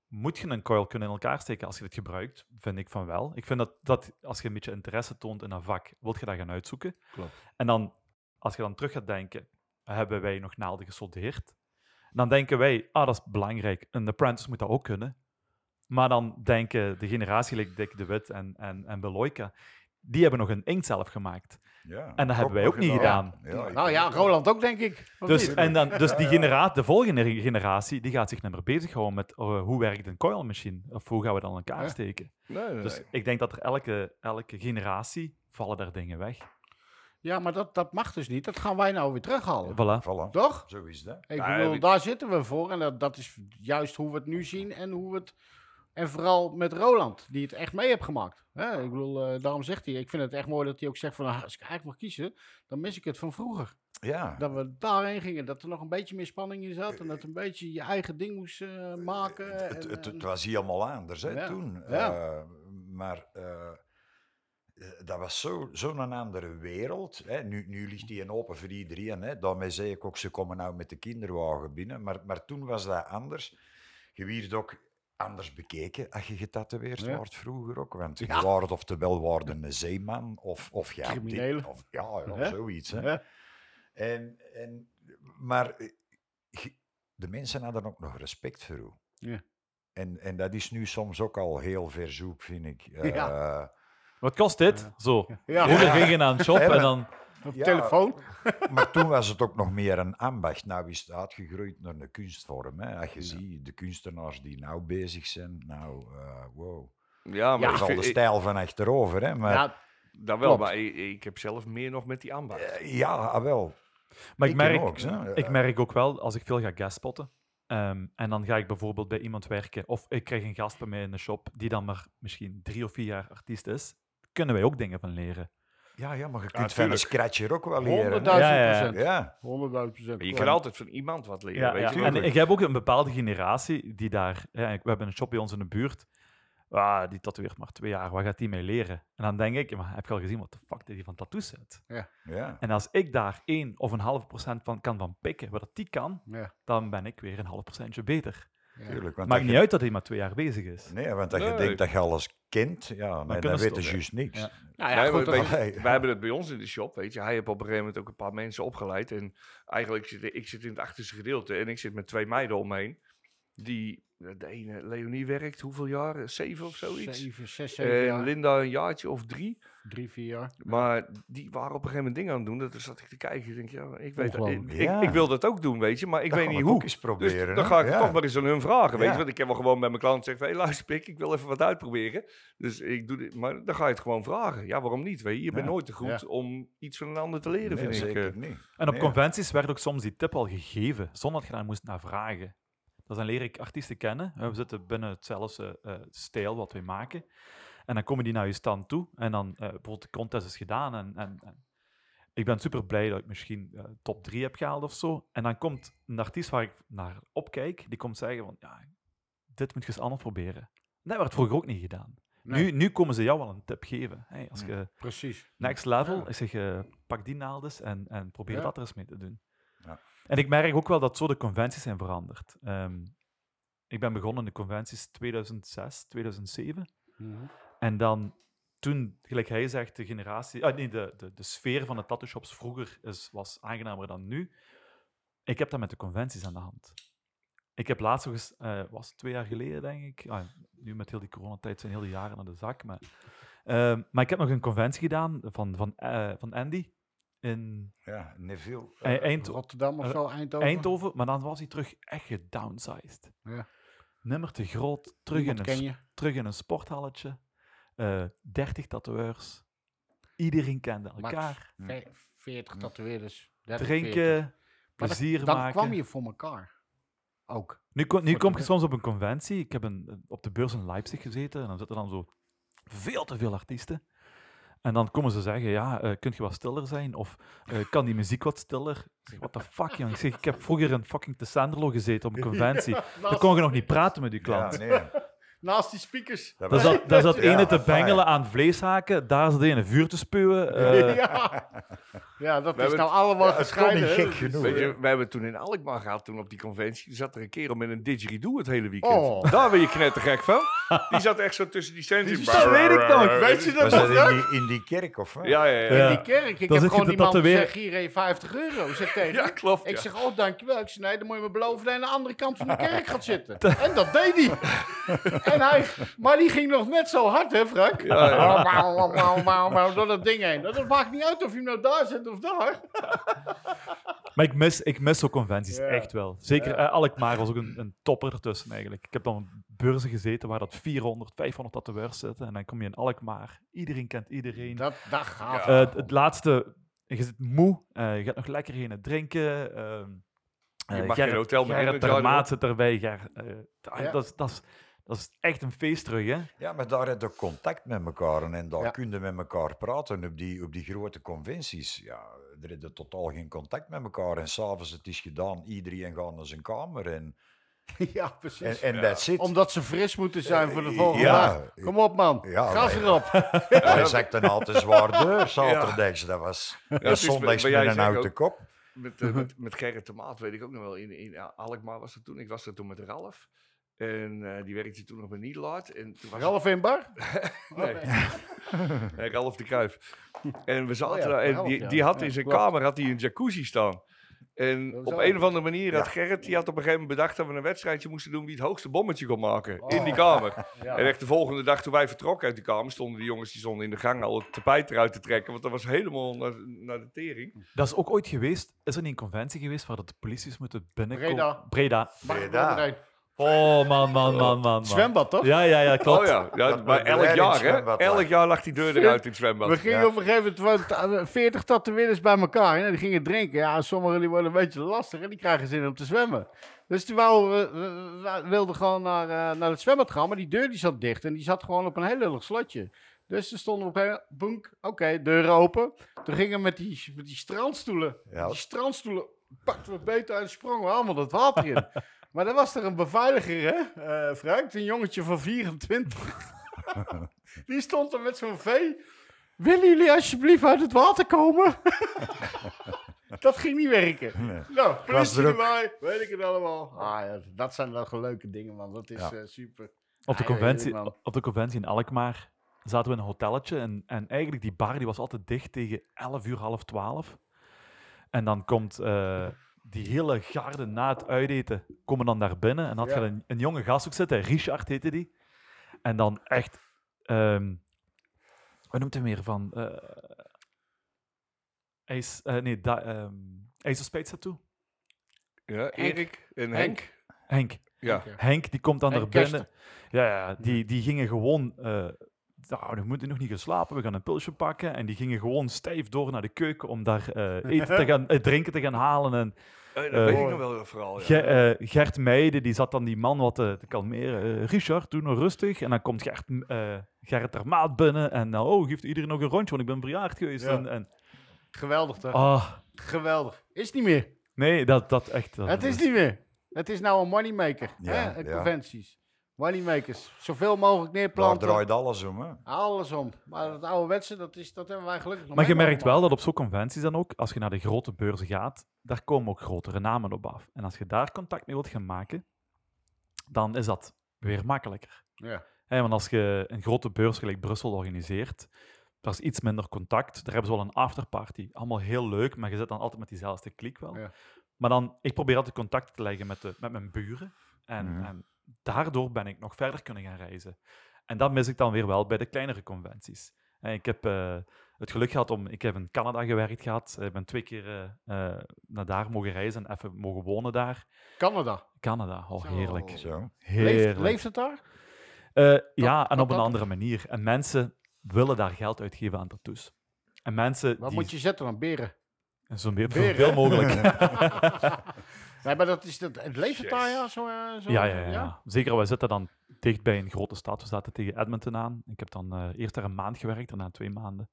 Speaker 2: moet je een coil kunnen in elkaar steken als je dit gebruikt? Vind ik van wel. Ik vind dat, dat als je een beetje interesse toont in een vak, wilt je dat gaan uitzoeken.
Speaker 4: Klopt.
Speaker 2: En dan, als je dan terug gaat denken, hebben wij nog naalden gesoldeerd? Dan denken wij, ah, dat is belangrijk. Een apprentice moet dat ook kunnen. Maar dan denken de generatie, like Dick de Wit en, en, en Beloika, die hebben nog een inkt zelf gemaakt.
Speaker 3: ja.
Speaker 2: En dat hebben wij
Speaker 3: nog
Speaker 2: ook niet gedaan.
Speaker 3: Ja, ik-
Speaker 1: Nou ja, Roland ook, denk ik. Of
Speaker 2: Dus,
Speaker 1: niet?
Speaker 2: en dan, dus die genera de volgende re- generatie, die gaat zich niet meer bezighouden met eh, hoe werkt een coil machine? Of hoe gaan we dat aan elkaar
Speaker 1: Ja.
Speaker 2: steken?
Speaker 4: Nee, nee,
Speaker 2: Dus
Speaker 4: nee.
Speaker 2: ik denk dat er elke, elke generatie vallen daar dingen weg.
Speaker 1: Ja, maar dat, dat mag dus niet. Dat gaan wij nou weer terughalen.
Speaker 2: Voilà.
Speaker 3: Voilà.
Speaker 1: Toch?
Speaker 3: Zo is dat.
Speaker 1: Ik
Speaker 4: Ja,
Speaker 1: bedoel,
Speaker 4: ik-
Speaker 1: daar zitten we voor. En dat, dat is juist hoe we het nu zien en hoe we het... En vooral met Roland, die het echt mee heeft gemaakt. Hè, ik bedoel, eh, daarom zegt hij, ik vind het echt mooi dat hij ook zegt van... "Ah, Als ik eigenlijk mag kiezen, dan mis ik het van vroeger.
Speaker 3: Ja.
Speaker 1: Dat we daarheen gingen, dat er nog een beetje meer spanning in zat... en dat een beetje je eigen ding moest eh, maken.
Speaker 3: Het, het,
Speaker 1: en-
Speaker 3: het-
Speaker 1: en-
Speaker 3: het was helemaal anders hè,
Speaker 1: Ja,
Speaker 3: toen.
Speaker 1: ja.
Speaker 3: Eh, maar eh, eh, dat was zo- zo'n andere wereld. Hè. Nu, nu ligt die een open voor iedereen. Hè. Daarmee zei ik ook, ze komen nou met de kinderwagen binnen. Maar, maar toen was dat anders. Je wierd ook anders bekeken als je getatoeëerd
Speaker 1: Ja.
Speaker 3: wordt vroeger ook. Want je waard oftewel waarde een zeeman of, of ja,
Speaker 1: Crimineel.
Speaker 3: of, ja, ja,
Speaker 1: Ja.
Speaker 3: zoiets. Hè.
Speaker 1: Ja.
Speaker 3: En, en, maar eh, je- de mensen hadden ook nog respect voor u.
Speaker 1: Ja.
Speaker 3: En, en dat is nu soms ook al heel verzoek, vind ik.
Speaker 1: Ja.
Speaker 3: Eh,
Speaker 2: Wat kost dit? Zo.
Speaker 1: Ja.
Speaker 2: Vroeger ging je naar een shop en dan...
Speaker 1: Op
Speaker 3: Ja.
Speaker 1: telefoon.
Speaker 3: maar toen was het ook nog meer een ambacht. Nou is het uitgegroeid naar een kunstvorm. Hè. Als je ziet, de kunstenaars die nou bezig zijn, nou, eh, wow.
Speaker 4: Ja, maar
Speaker 3: Dat
Speaker 4: ik
Speaker 3: is al de
Speaker 4: vind- ik-
Speaker 3: stijl van achterover, hè. Maar,
Speaker 1: Ja,
Speaker 4: dat wel,
Speaker 1: Klopt.
Speaker 4: maar ik, ik heb zelf meer nog met die ambacht.
Speaker 3: Eh, ja, wel.
Speaker 2: Maar ik,
Speaker 3: Ik
Speaker 2: merk,
Speaker 3: ook, hè.
Speaker 2: ik
Speaker 3: Eh.
Speaker 2: merk ook wel, als ik veel ga gaspotten, ehm, en dan ga ik bijvoorbeeld bij iemand werken, of ik krijg een gast bij mij in de shop, die dan maar misschien drie of vier jaar artiest is, kunnen wij ook dingen van leren.
Speaker 3: Ja, ja, maar je kunt
Speaker 4: tuurlijk.
Speaker 3: van een scratcher ook wel leren.
Speaker 1: 100.000
Speaker 3: hè.
Speaker 2: Ja, ja, ja.
Speaker 1: procent.
Speaker 3: Ja,
Speaker 1: 100.000 procent.
Speaker 4: Maar je kan altijd van iemand wat leren, weet je.
Speaker 2: En
Speaker 4: wel.
Speaker 2: ik heb ook een bepaalde generatie die daar... Ja, ik- we hebben een shop bij ons in de buurt, ah, die tatoeëert maar twee jaar, wat gaat die mee leren? En dan denk ik, maar heb je al gezien wat de fuck die van tattoos zet?
Speaker 3: ja.
Speaker 2: En als ik daar één of een half procent van kan van pikken, wat dat die kan,
Speaker 1: Ja.
Speaker 2: dan ben ik weer een half procentje beter.
Speaker 3: tuurlijk. Want
Speaker 2: Maakt
Speaker 3: dat
Speaker 2: niet
Speaker 3: je-
Speaker 2: uit dat hij maar twee jaar bezig is.
Speaker 3: Nee, want als je
Speaker 4: Nee.
Speaker 3: denkt dat je alles kent, ja, nee,
Speaker 2: kunnen
Speaker 3: dan
Speaker 2: ze
Speaker 3: weet je
Speaker 2: toch, hè.
Speaker 3: juist niks.
Speaker 2: Ja.
Speaker 1: Nou
Speaker 4: Nee,
Speaker 1: ja,
Speaker 4: maar
Speaker 1: goed, dat
Speaker 4: weet
Speaker 1: is-
Speaker 4: je,
Speaker 3: Nee.
Speaker 4: Wij hebben het bij ons in de shop, weet je. Hij heeft op een gegeven moment ook een paar mensen opgeleid. En eigenlijk zit ik zit in het achterste gedeelte. En ik zit met twee meiden omheen. Die, eh, de ene, Leonie werkt hoeveel jaar? Zeven of zoiets.
Speaker 1: zeven, zes,
Speaker 2: Eh,
Speaker 1: zeven
Speaker 4: En
Speaker 1: jaar.
Speaker 4: Linda een jaartje of drie.
Speaker 1: Drie, vier jaar.
Speaker 4: Maar die waren op een gegeven moment dingen aan het doen. Dat toen zat ik te kijken. Ik denk, ja, ik, weet, dat- ik,
Speaker 1: Ongelooflijk.
Speaker 4: ik-
Speaker 3: Ja.
Speaker 4: ik wil dat ook doen, weet je. Maar ik
Speaker 3: Dat
Speaker 4: weet
Speaker 3: gaan
Speaker 4: niet
Speaker 3: we
Speaker 4: hoe.
Speaker 3: ook eens proberen,
Speaker 4: dus
Speaker 3: hè?
Speaker 4: dan ga ik
Speaker 3: Ja.
Speaker 4: toch maar eens aan hun vragen, weet je.
Speaker 3: Ja.
Speaker 4: Want ik heb wel gewoon bij mijn klant gezegd, van, hey, luister pik, ik wil even wat uitproberen. Dus ik doe dit. Maar dan ga je het gewoon vragen. Ja, waarom niet, weet je. Je bent
Speaker 3: Ja.
Speaker 4: nooit te goed
Speaker 1: Ja.
Speaker 4: om iets van een ander te leren,
Speaker 3: Nee,
Speaker 4: vind ik.
Speaker 3: zeker
Speaker 4: eh.
Speaker 3: niet.
Speaker 2: En op
Speaker 3: Nee.
Speaker 2: conventies werd ook soms die tip al gegeven, zonder dat je daar moest naar vragen. Dus dan leer ik artiesten kennen. Eh, We zitten binnen hetzelfde eh, stijl wat wij maken. En dan komen die naar je stand toe. En dan, eh, bijvoorbeeld, de contest is gedaan. En, en, en ik ben super blij dat ik misschien eh, top 3 heb gehaald of zo. En dan komt een artiest waar ik naar opkijk, die komt zeggen van, ja, dit moet je eens anders proberen. Dat werd vroeger ook niet gedaan.
Speaker 1: Nee.
Speaker 2: Nu, nu komen ze jou al een tip geven. Hey, als je...
Speaker 1: Precies.
Speaker 2: Next level.
Speaker 1: Ja.
Speaker 2: Ik zeg, eh, pak die naaldes en, en probeer
Speaker 1: Ja.
Speaker 2: dat er eens mee te doen.
Speaker 3: Ja.
Speaker 2: En ik merk ook wel dat zo de conventies zijn veranderd. Ehm,
Speaker 1: Mhm.
Speaker 2: ik ben begonnen in de conventies 2006, 2007. En dan toen, gelijk hij zegt, de generatie, ah, nee, de, de, de sfeer van de tattoo shops vroeger is, was aangenamer dan nu. Ik heb dat met de conventies aan de hand. Ik heb laatst nog eens, eh, was het twee jaar geleden denk ik, ah, nu met heel die coronatijd zijn heel die jaren naar de zak, maar, ehm, maar ik heb nog een conventie gedaan van, van, eh, van Andy in
Speaker 3: Ja, Neville.
Speaker 2: eh,
Speaker 3: eh,
Speaker 2: Eind-
Speaker 1: Rotterdam of
Speaker 2: Eh,
Speaker 1: zo, Eindhoven.
Speaker 2: Eindhoven, maar dan was hij terug echt gedownsized.
Speaker 1: Ja.
Speaker 2: Nummer te groot, terug in,
Speaker 1: Niemand ken
Speaker 2: een, sp-
Speaker 1: je.
Speaker 2: terug in een sporthalletje, eh 30 tatoeërs, iedereen kende
Speaker 1: Max.
Speaker 2: elkaar,
Speaker 1: Ve- 40 tatoeëerders. 30, 40.
Speaker 2: drinken,
Speaker 1: Maar
Speaker 2: plezier
Speaker 1: dan
Speaker 2: maken.
Speaker 1: kwam je voor elkaar. Ook.
Speaker 2: Nu, ko- nu
Speaker 1: Voor de
Speaker 2: kom ik
Speaker 1: rest.
Speaker 2: soms op een conventie. Ik heb een, eh, op de beurs in Leipzig gezeten en dan zitten dan zo veel te veel artiesten. En dan komen ze zeggen, ja, eh kunt je wat stiller zijn? Of eh, kan die muziek wat stiller? Ik zeg, what the fuck, jong? Ik zeg, ik heb vroeger in fucking Tessanderlo gezeten op een conventie. Dan kon je nog niet praten met je
Speaker 3: ja,
Speaker 2: klant.
Speaker 3: nee.
Speaker 1: Naast die speakers.
Speaker 3: Dat
Speaker 2: Daar
Speaker 3: was-
Speaker 2: zat, daar zat
Speaker 3: Ja,
Speaker 2: ene te
Speaker 3: dat is waar.
Speaker 2: bengelen aan vleeshaken, daar zat ene vuur te spuwen. eh,
Speaker 1: ja. ja, dat
Speaker 4: We
Speaker 1: is
Speaker 4: hebben
Speaker 1: nou allemaal
Speaker 3: Ja, het kon
Speaker 1: gescheiden.
Speaker 3: niet
Speaker 1: hè.
Speaker 3: gek
Speaker 1: Dat is,
Speaker 3: genoeg.
Speaker 1: eh,
Speaker 4: Weet je, we hebben toen in Alkmaar gehad, toen op die conventie, zat er een kerel met een didgeridoo het hele weekend.
Speaker 1: Oh.
Speaker 4: Daar ben je knettergek van. Die zat echt zo tussen die stands.
Speaker 2: Dat weet ik nog.
Speaker 1: Weet je
Speaker 3: Was
Speaker 1: dat
Speaker 3: dat
Speaker 1: nog?
Speaker 3: in die, in die kerk of wat?
Speaker 4: Ja, ja, ja.
Speaker 2: Ja.
Speaker 4: ja.
Speaker 1: In die kerk. Ik
Speaker 2: Dan
Speaker 1: heb
Speaker 2: zit je
Speaker 1: gewoon
Speaker 2: te
Speaker 1: die man
Speaker 2: tatoeëren.
Speaker 1: gezegd, hier heb je 50 euro. Zeg tegen
Speaker 4: Ja,
Speaker 1: hem.
Speaker 4: klopt.
Speaker 1: Ik
Speaker 4: ja.
Speaker 1: zeg, oh dankjewel. Ik zei, nee, dan moet je me beloven dat je aan de andere kant van de kerk gaat zitten. En dat deed hij. en hij. Maar die ging nog net zo hard, hè Frank?
Speaker 4: Ja, ja.
Speaker 1: Wauw, wauw, wauw, wauw, wauw, door dat ding heen. Dat maakt niet uit of je hem nou daar zit of daar.
Speaker 2: Maar ik mis, ik mis zo'n conventies,
Speaker 1: Ja.
Speaker 2: echt wel. Zeker eh, Alkmaar was ook een, een topper ertussen eigenlijk. Ik heb dan op beurzen gezeten waar dat 400, 500 tatoeërs zitten. En dan kom je in Alkmaar. Iedereen kent iedereen.
Speaker 1: Dat, dat gaat.
Speaker 2: Eh, het, het laatste, je zit moe. eh, je gaat nog lekker heen drinken. ehm,
Speaker 4: Je
Speaker 2: eh,
Speaker 4: mag
Speaker 2: Gerrit-
Speaker 4: geen hotel meer
Speaker 2: Gerrit
Speaker 4: hebben,
Speaker 2: Termaat zit erbij. Ger- eh, ah,
Speaker 1: Ja.
Speaker 2: dat, is- dat, is, dat is echt een feest terug, hè?
Speaker 3: Ja, maar daar heb je contact met elkaar en- en daar
Speaker 1: Ja.
Speaker 3: kun je met elkaar praten op die, op die grote conventies. Ja, er is totaal geen contact met elkaar en s'avonds het is gedaan, iedereen gaat naar zijn kamer en,
Speaker 1: Ja,
Speaker 3: Eh. en,
Speaker 1: precies.
Speaker 3: en that's it.
Speaker 1: Omdat ze fris moeten zijn voor de
Speaker 3: Eh,
Speaker 1: volgende
Speaker 3: ja.
Speaker 1: dag. Kom op, man.
Speaker 3: Ja,
Speaker 1: Gas
Speaker 3: maar-
Speaker 1: erop.
Speaker 3: Hij zakte altijd zwaar door, zaterdags. Dat was
Speaker 4: het
Speaker 3: ja,
Speaker 4: is
Speaker 3: zondags
Speaker 4: wat
Speaker 3: met
Speaker 4: jij
Speaker 3: een
Speaker 4: zegt
Speaker 3: houten
Speaker 4: ook.
Speaker 3: kop.
Speaker 4: Met, eh, met, met Gerrit de Maat weet ik ook nog wel. In, in Alkmaar was dat toen. Ik was er toen met Ralf. En eh, die werkte toen nog bij Nielaard. En toen was
Speaker 1: Ralf in bar? Oh,
Speaker 4: Nee. Nee, Ralf de Kruif. En we zaten
Speaker 1: Oh ja,
Speaker 4: daar. En
Speaker 1: Ralf,
Speaker 4: die,
Speaker 1: ja.
Speaker 4: die had
Speaker 1: Ja,
Speaker 4: in zijn
Speaker 1: klopt.
Speaker 4: kamer had hij een jacuzzi staan. En
Speaker 1: Dat is
Speaker 4: op
Speaker 1: ook-
Speaker 4: een of andere manier had
Speaker 3: Ja.
Speaker 4: Gerrit, die had op een gegeven moment bedacht dat we een wedstrijdje moesten doen wie het hoogste bommetje kon maken in
Speaker 1: Oh.
Speaker 4: die kamer. En echt de volgende dag toen wij vertrokken uit die kamer, stonden die jongens die stonden in de gang al het tapijt eruit te trekken, want dat was helemaal naar, naar de tering.
Speaker 2: Dat is ook ooit geweest. Is er niet een conventie geweest waar dat de polities moeten binnenkomen?
Speaker 1: Breda.
Speaker 2: Breda.
Speaker 1: Mag ik
Speaker 3: Breda.
Speaker 1: er een?
Speaker 2: Oh, man, man, man, man. man.
Speaker 1: Zwembad, toch?
Speaker 2: Ja, ja, ja, klopt.
Speaker 4: Oh ja, ja
Speaker 3: Dat
Speaker 4: maar
Speaker 3: we bij
Speaker 4: elk
Speaker 3: Leiden
Speaker 4: jaar hè,
Speaker 3: zwembad
Speaker 4: elk
Speaker 3: lag.
Speaker 4: jaar lag die deur eruit in het zwembad.
Speaker 1: We gingen
Speaker 3: Ja.
Speaker 1: op een gegeven moment wat, eh, 40 tatoeëerders bij elkaar. En die gingen drinken. Ja, sommigen die worden een beetje lastig en die krijgen zin om te zwemmen. Dus die wou, eh, eh, wilden gewoon naar, eh, naar het zwembad gaan. Maar die deur die zat dicht en die zat gewoon op een heel lullig slotje. Dus er stonden op een gegeven moment, boenk, oké, deuren open. Toen gingen we met die, met die strandstoelen.
Speaker 3: Ja.
Speaker 1: Die strandstoelen pakten we beter uit en sprongen we allemaal dat water in. Maar dan was er een beveiliger, hè, eh, Frank, een jongetje van 24. Die stond er met zo'n vee. Willen jullie alsjeblieft uit het water komen? dat ging niet werken.
Speaker 3: Nee.
Speaker 1: Nou, politie
Speaker 3: druk.
Speaker 1: erbij, weet ik het allemaal. Ah, ja, dat zijn wel gewoon leuke dingen, man. Dat is
Speaker 3: Ja.
Speaker 1: eh, super.
Speaker 2: Op de,
Speaker 1: Ah, joh,
Speaker 2: conventie,
Speaker 1: heerlijk, man.
Speaker 2: op de conventie in Alkmaar zaten we in een hotelletje. En, en eigenlijk die bar die was altijd dicht tegen 11 uur, half 12. En dan komt eh, die hele garde na het uiteten, komen dan naar binnen. En had
Speaker 1: Ja.
Speaker 2: je een, een jonge gast ook zitten, Richard heette die. En dan echt, ehm hoe noemt hij meer van? eh hij is, eh, nee, da, ehm hij is een spijtstattoo.
Speaker 4: Ja, Erik en Henk.
Speaker 2: Henk.
Speaker 4: Ja.
Speaker 2: Henk, die komt dan
Speaker 1: Henk
Speaker 2: naar binnen. Ja, ja, die, die gingen gewoon... eh nou, we moeten nog niet geslapen, we gaan een pilsje pakken. En die gingen gewoon stijf door naar de keuken om daar eh, eten te gaan, eh, drinken te gaan halen. En
Speaker 4: Eh,
Speaker 2: Eh,
Speaker 4: dat weet ik nog wel dat verhaal. Ja.
Speaker 2: Ge- eh, Gert Meijden, die zat dan die man wat te, te kalmeren. Eh, Richard, doe nog rustig. En dan komt Gert, eh Gerrit Termaat binnen. En nou, oh, geeft iedereen nog een rondje, want ik ben verjaard geweest.
Speaker 1: Ja.
Speaker 2: En, en,
Speaker 1: Geweldig, toch?
Speaker 2: ah,
Speaker 1: Geweldig. Is niet meer.
Speaker 2: nee, dat, dat echt... Dat,
Speaker 1: Het is niet meer. Het is nou een moneymaker.
Speaker 3: Ja,
Speaker 1: hè? eh,
Speaker 3: ja.
Speaker 1: Conventies. Moneymakers. Zoveel mogelijk
Speaker 3: Daar
Speaker 1: neerplanten.
Speaker 3: draait alles om, hè.
Speaker 1: Alles om. Maar dat ouderwetse, dat, is, dat hebben wij gelukkig nog
Speaker 2: Maar je merkt
Speaker 1: meegemaakt,
Speaker 2: wel dat op zo'n conventies dan ook, als je naar de grote beurzen gaat, daar komen ook grotere namen op af. En als je daar contact mee wilt gaan maken, dan is dat weer makkelijker.
Speaker 1: man. Ja.
Speaker 2: Hè, want als je een grote beurs gelijk Brussel organiseert, daar is iets minder contact. Daar hebben ze wel een afterparty. Allemaal heel leuk, maar je zit dan altijd met diezelfde klik wel.
Speaker 1: Ja.
Speaker 2: Maar dan, ik probeer altijd contact te leggen met, de, met mijn buren. En,
Speaker 3: Mhm.
Speaker 2: en daardoor ben ik nog verder kunnen gaan reizen. En dat mis ik dan weer wel bij de kleinere conventies. En ik heb eh, het geluk gehad om... Ik heb in Canada gewerkt gehad. Ik ben twee keer eh, eh, naar daar mogen reizen en even mogen wonen daar.
Speaker 1: Canada.
Speaker 2: Canada, oh
Speaker 1: Zo.
Speaker 2: heerlijk.
Speaker 3: Zo.
Speaker 2: Heerlijk.
Speaker 1: Leeft, leeft het daar?
Speaker 2: Eh, ja,
Speaker 1: dat-
Speaker 2: en op een
Speaker 1: dat-
Speaker 2: andere manier. En mensen willen daar geld uitgeven aan tattoos. En mensen
Speaker 1: Wat
Speaker 2: die...
Speaker 1: moet je zetten dan? Beren?
Speaker 2: Zo meer-
Speaker 1: Weer,
Speaker 2: zoveel
Speaker 1: hè?
Speaker 2: mogelijk.
Speaker 1: Nee, maar dat is dat, het leeft het daar, ja? Zo, eh, zo,
Speaker 2: Ja, ja, ja, ja. Zeker, wij zitten dan dicht bij een grote stad. We zaten tegen Edmonton aan. Ik heb dan eh, eerst daar een maand gewerkt, daarna twee maanden.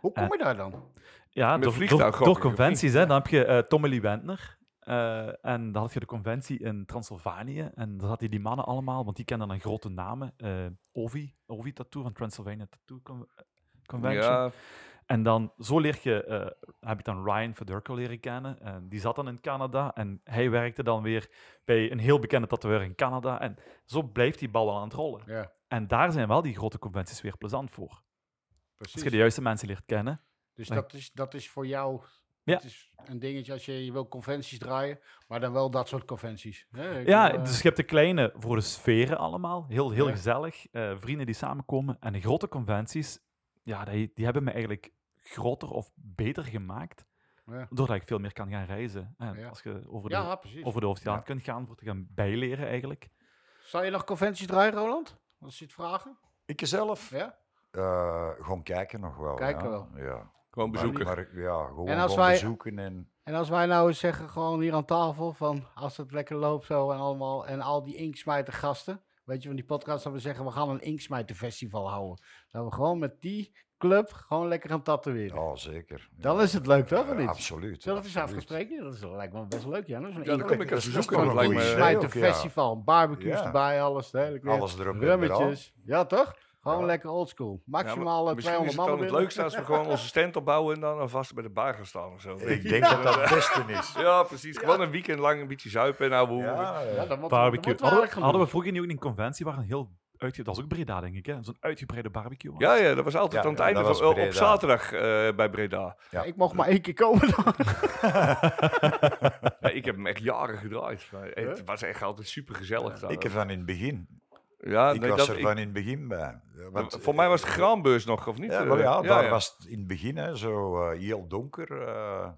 Speaker 1: Hoe kom je
Speaker 2: Eh.
Speaker 1: daar dan?
Speaker 2: Ja,
Speaker 4: Met
Speaker 2: door,
Speaker 4: vliegtuig
Speaker 2: door,
Speaker 4: gok
Speaker 2: door
Speaker 4: ik, of niet?
Speaker 2: conventies. Hè. Dan heb je eh Tommy Lee Wendner. eh, en dan had je de conventie in Transylvanië. En daar zaten die mannen allemaal, want die kenden dan grote namen. eh, Ovi, Ovi Tattoo van Transylvania Tattoo Con- eh, Convention.
Speaker 4: Ja,
Speaker 2: En dan, zo leer je, eh, heb ik dan Ryan Fedurko leren kennen. En die zat dan in Canada en hij werkte dan weer bij een heel bekende tatoeëur in Canada. En zo blijft die bal wel aan het rollen.
Speaker 1: Ja,
Speaker 2: En daar zijn wel die grote conventies weer plezant voor. Als je de
Speaker 1: precies.
Speaker 2: juiste mensen leert kennen.
Speaker 1: Dus dat is, dat is voor jou
Speaker 2: Ja.
Speaker 1: dat is een dingetje als je, je wil conventies draaien, maar dan wel dat soort conventies. hè? Ik
Speaker 2: Ja,
Speaker 1: wil, eh,
Speaker 2: dus je hebt de kleine voor de sferen allemaal. Heel, heel
Speaker 1: Ja.
Speaker 2: gezellig. eh, vrienden die samenkomen. En de grote conventies, ja, die, die hebben me eigenlijk groter of beter gemaakt.
Speaker 1: Ja.
Speaker 2: Doordat ik veel meer kan gaan reizen. En
Speaker 1: Ja.
Speaker 2: als je over de,
Speaker 1: eh, ja, precies.
Speaker 2: over de oceaan kunt gaan, voor te gaan bijleren eigenlijk.
Speaker 1: Zou je nog conventies draaien, Roland? Als je het vragen?
Speaker 3: Ik zelf?
Speaker 1: Ja?
Speaker 3: Eh, gewoon kijken nog wel.
Speaker 1: Kijken
Speaker 3: ja.
Speaker 1: wel.
Speaker 3: Ja.
Speaker 4: gewoon bezoeken.
Speaker 3: Maar, maar ja, gewoon,
Speaker 1: En als
Speaker 3: gewoon
Speaker 1: wij-
Speaker 3: bezoeken en...
Speaker 1: En als wij nou eens zeggen, gewoon hier aan tafel, van als het lekker loopt zo en allemaal, en al die inksmijter gasten, weet je, van die podcast, dat we zeggen, we gaan een inksmijter festival houden. Dat we gewoon met die club gewoon lekker gaan tatoeëren.
Speaker 4: Oh.
Speaker 3: Ja, zeker. Ja.
Speaker 1: Dan is het leuk, toch? of
Speaker 3: Eh,
Speaker 1: niet?
Speaker 3: absoluut.
Speaker 1: Zullen we het eens
Speaker 3: absoluut.
Speaker 1: afgespreken? Ja, Dat is, lijkt me best leuk, ja. Zo'n
Speaker 4: Ja, dat
Speaker 1: inksmijter-
Speaker 4: kan ik eens
Speaker 3: Dat is
Speaker 4: bezoeken.
Speaker 3: wel
Speaker 4: Dat
Speaker 3: een
Speaker 4: lijkt
Speaker 3: goeie
Speaker 4: me...
Speaker 3: idee.
Speaker 1: inksmijter
Speaker 3: ook, ja.
Speaker 1: festival, barbecues
Speaker 3: Ja.
Speaker 1: erbij, alles, hè.
Speaker 3: Alles erop en eraan.
Speaker 1: Rummetjes. Ja, toch? Gewoon
Speaker 3: Ja.
Speaker 1: lekker oldschool.
Speaker 4: Ja, maar
Speaker 1: Maximaal eh,
Speaker 4: misschien
Speaker 1: 200
Speaker 4: is het
Speaker 1: man.
Speaker 4: dan het leukste als we gewoon onze stand opbouwen en dan alvast bij de bar gaan staan of zo.
Speaker 3: Ik denk dat dat het beste is.
Speaker 4: Ja, precies. Gewoon een weekend lang een beetje zuipen en ouwe hoeren.
Speaker 3: Ja, ja.
Speaker 2: Barbecue. Hadden, we- hadden we
Speaker 1: we
Speaker 2: vroeger niet ook een conventie waar een heel uitge... Dat was ook Breda, denk ik, hè? Zo'n uitgebreide barbecue. was?
Speaker 4: Ja, ja, dat was altijd
Speaker 3: Ja,
Speaker 4: aan het
Speaker 3: ja,
Speaker 4: einde
Speaker 3: dat
Speaker 4: van,
Speaker 3: was
Speaker 4: op- op
Speaker 3: Breda.
Speaker 4: zaterdag eh, bij Breda.
Speaker 3: Ja.
Speaker 1: Ik mocht maar één keer komen dan.
Speaker 4: Ja, ik heb hem echt jaren gedraaid. Maar het was echt altijd super gezellig.
Speaker 3: Ik ervan in het begin.
Speaker 4: ja,
Speaker 3: ik
Speaker 4: Ah, nee,
Speaker 3: was
Speaker 4: dat,
Speaker 3: er
Speaker 4: ik-
Speaker 3: van in het begin bij. Ja, want-
Speaker 4: voor mij was het Graanbeurs nog, of niet?
Speaker 3: Ja,
Speaker 4: Eh,
Speaker 3: maar ja, daar
Speaker 4: ja.
Speaker 3: was het in het begin hè, zo eh, heel donker. eh,